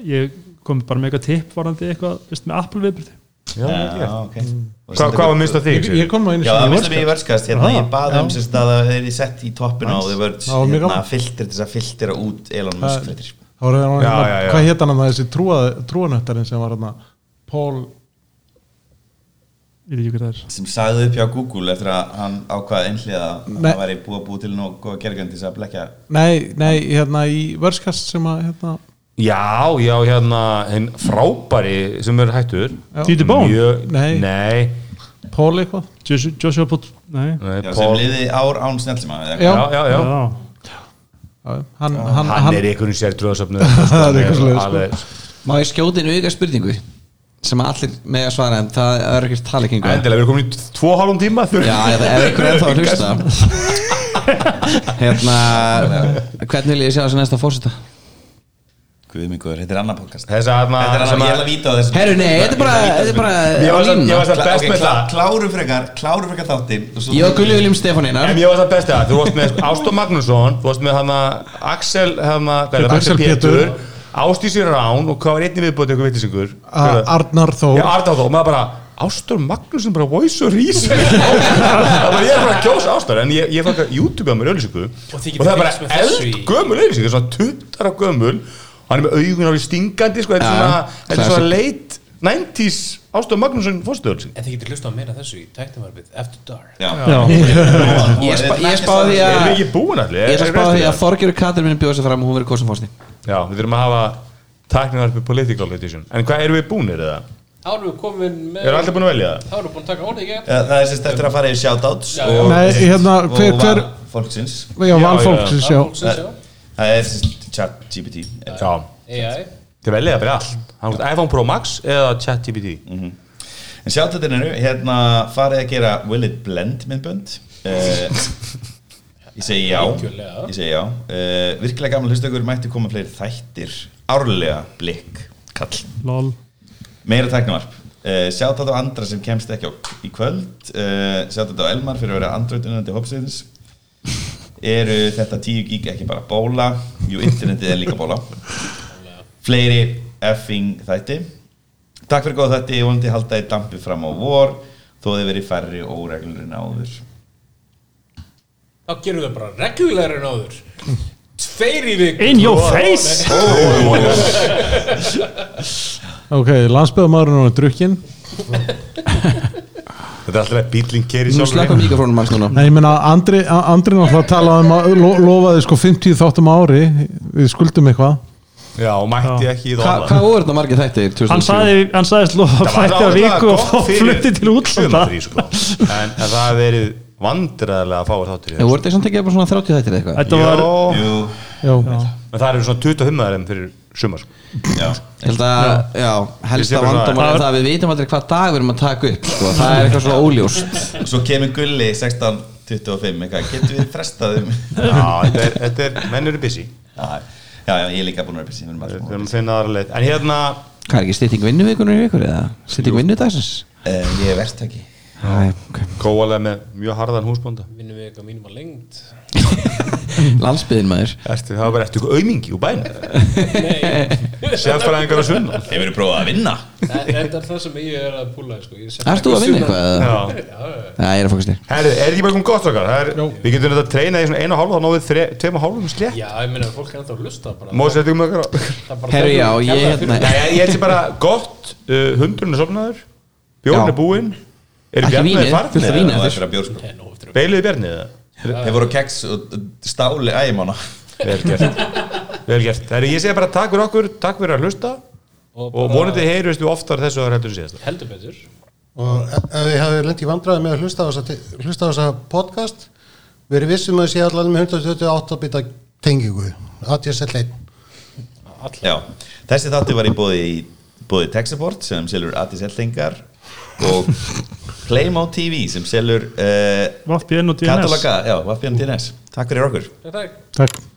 S4: ég kom bara með eitthvað tipp varandi eitthvað veist, með Apple viðbyrði
S2: já,
S6: Já,
S2: já.
S6: ok Mm.
S2: Hva, hvað var minnst á þig?
S3: ég, Mm. ég kom nú einu
S6: Já, það var
S3: sinni í Ah,
S6: minnst á mig í Worldskast hérna,
S4: Aha,
S6: ég baði um sérst að það er sett í toppin á The World
S3: Það var mjög
S6: hérna,
S3: gaman.
S6: filter til þess að filtera út Elon Musk fréttir
S3: Það var hérna,
S2: Já, já, já.
S3: hvað hétt hann að þessi trúa, trúanöttarinn sem var hérna Paul
S4: Ég veit ekki hvað það er
S6: sem sagði upp hjá Google eftir að hann ákvaði einhliða að
S3: Nei.
S6: það væri búið að búið til nóg góða gergandi þess að blekja
S3: nei, nei, hérna í vörskast sem að hérna,
S2: já, já, hérna hinn frábæri sem er hættur
S3: Já.
S4: Dieter Bohn,
S2: Mjög-
S3: Nei.
S2: nei,
S3: Paul eitthvað
S4: Joshua Joshua Pot Nei,
S2: nei
S6: Já, sem
S2: Paul, já,
S6: liði ár án snjálsima
S3: Já.
S2: já, já
S4: já,
S3: Já, hann, hann,
S2: hann, er einhvern sér trúðasöfnu
S4: [laughs]
S3: Það er eitthvað svoleiðis, sko.
S8: Má ég skjóti inn auka spurningu sem allir með að svara en það er ekkert talekingu
S2: endilega, við erum komin í t- tvo hálfum tíma þurr-
S8: Já, ef ef einhver er þá
S2: [laughs]
S8: að hlusta Hérna Hvernig vil ég sjá þessi næsta fórseta?
S6: Guðmingur, þetta er annar podcast
S2: þess að hérna
S6: Þetta er hann
S2: sem
S6: að
S2: að-
S6: ég er að víta á þessu
S8: Herru, nei, þetta er bara, þetta er
S2: ég
S8: bara á
S2: var samt- ég
S8: línu
S2: var samt best með það
S6: Kláru frekar, kláru frekar þáttinn og svo-
S8: Ég og Gulli Viljum Stefán Einar
S2: En ég var það besti að þú varst með Ástó Magnússon, þú varst með hana Axel, hana, hvað er
S3: Pétur,
S2: það, Axel
S3: Axel
S2: Pétur,
S3: Pétur.
S2: Ástísi Rán og hvað var einni viðbútið eitthvað vittisingur?
S3: hann Arnar Þó
S2: Ég arði á þó, maður bara, Ástór Magnússon bara voice og rís. Það er bara, ég er bara að kjósa Ástór, en ég, ég fann að YouTube á mér auðlýsingu og,
S7: þið getið
S2: það er
S7: fylgst
S2: bara
S7: með þessu í-
S2: eldgömmul auðlýsingu, svona tuttara gömmul, hann er með augun árið stingandi, sko, þetta er
S8: Já,
S2: svona, þetta er
S8: classic.
S2: svona late 90s Ástór Magnússon fórstöðulýsing.
S7: en þið getur hlusta á meira af þessu í tæknumarbið After Dark
S6: Já.
S4: já,
S8: [laughs] Ég spá- ég spáði því
S2: Erum við
S8: að
S2: ekki búin allir?
S8: Ég
S2: Er-
S8: ætla að
S2: er-
S8: spá því að Þorgjörg Katrin minn bjóð sér fram og hún verið kosin fórsti
S2: Já, við þurfum að hafa tæknivarpi political edition En hvað erum við búnir eða?
S7: þá erum við komin með
S2: Erum allir búin að velja það?
S7: þá erum við búin að taka orðið í gegn
S6: Eh, Það er sérst eftir að fara í shoutouts
S7: Já, já.
S6: og-
S3: Nei, hérna,
S6: og
S3: hver- hver-
S6: val Fólksins
S3: Já, valfólksins, já
S7: Fólksins, já.
S6: Það er sérst chat GPT
S2: Já,
S7: AI
S2: þið velja það fyrir allt Hann hvort iPhone Pro Max eða ChatGPT
S6: Mhm. En shoutoutin eru, hérna farið að gera Will it blend myndbönd Eh, Ég segi já
S7: Algjörlega.
S6: Ég segi já Eh, Virkilega gaman hlustökur mætti koma fleiri þættir Árlega blikk kall
S4: lol
S6: Meira tæknumarp uh, Sjátt á Andra sem kemst ekki á í kvöld uh, Sjátt á Elmar fyrir að vera andröðunandi hópsveitins Eru þetta 10 gig ekki bara bóla Jú, internetið er líka bóla Fleiri effing þætti Takk fyrir góða þætti, ég vonandi halda í dampi fram á vor Þó þið verið færri og óreglur en áður
S7: þá gerum við bara reglulegar en áður tveir í vik
S4: In your
S7: [laughs]
S4: face
S2: Oh,
S3: Ok, landsbyðamæðurinn er drukkin
S2: Þetta er alltaf að bílinn keri
S8: Nú slakka mikrofónum hans núna
S3: Nei, ég meina, Andri, Andri náttúrulega talaði um að lo, lofaði sko 50 þáttum á ári Við skuldum eitthvað
S2: Já, og mætti ekki í
S8: Hva-
S2: það
S8: Hvað voru þetta margir þættir? 2007?
S4: Hann sagði, hann sagðist lofa að fætti að viku og flutti til útlanda
S2: sko. En en það hefur verið vandræðilega að fá þáttur í
S8: Nei,
S2: þessu.
S8: voru þetta samt ekki bara svona 30 þættir eða eitthvað?
S4: Þetta var,
S2: Jó,
S6: Jú,
S3: Já,
S2: en það eru svona 25 þeim fyrir sumar sko.
S6: já
S8: Ég held að, já,
S2: Ég sé
S8: helsta
S2: bara svona-
S8: vandamál er það að við vitum aldrei hvað dag við erum að taka upp sko. Það er eitthvað svo óljóst
S6: Svo kemur Gulli 16.25 eitthvað, Getum við frestað um
S2: Já, þetta er, þetta er, menn eru busy
S6: Já, já, já, ég er líka búin að vera byrja Við
S2: Við
S6: erum
S2: þurfum að finna aðra leið En hérna,
S8: Hvað er ekki stytting vinnuvikunum í ykkur eða? Stytting vinnudagsins?
S6: Eh, Ég er verktaki
S8: Æ, ok.
S2: kóalega með mjög harðan húsbónda
S7: vinnum við eitthvað mínum að lengt
S8: Landsbyðin maður
S2: Ertu, það var bara eftir aumingi úr bænum
S7: nei [laughs]
S2: Sérfræðingar að sunna
S6: Hefur þið prófað að vinna?
S7: Þetta er það sem ég er að púla sko. Ég set-
S8: Ert þú að vinna eitthvað? eða?
S2: Já.
S8: Nei, ég er að fokast þér
S2: Herri, er ekki bara komið gott okkar? Það Er, við getum þetta að treyna í svona einu og hálfa þá náðum við þre- tveim og hálfum slétt
S7: Já, ég meina að fólk er ennþá að lusta bara
S2: Mósi, þetta er um okkar
S7: Það bara
S8: Herru,
S7: tekur-
S8: já, ég
S7: kærlega
S8: hérna
S7: fyrir-
S2: Nei, ég- ég held sér bara gott uh, Hundurinn er sopnaður Bjórn
S8: Já.
S2: er búinn Er
S8: Ekki vínið,
S2: bjarnið
S8: fullt af
S2: farnið?
S6: Það
S8: víni
S6: er
S8: eftir
S6: fyrir að bjórn sko
S7: Nei, nóg eftir um.
S2: Beiliði bjarnið það?
S6: Þeir voru á keks og stáli ægimána
S2: Vel gert Vel gert Það er ég segja bara takk fyrir okkur Takk fyrir að hlusta
S7: Og
S2: Og
S7: bara-
S2: vonandi heyrjumst við oftar þessu að heldur en síðast
S7: Heldur betur
S9: og ef ef þið hafið lent í vandræði með að hlusta á þessa, hlusta á þessa podcast verið vissum að þið sé allan með 128 bita tengingu ATSL1
S6: Já, þessi þáttu var í bóði í bóði Texaport sem selur Addis Eltingar og Playmo TV sem selur uh,
S4: VPN og DNS
S6: kataloga, já, Vafbjörn DNS Takk fyrir okkur
S7: Takk, Takk
S4: Takk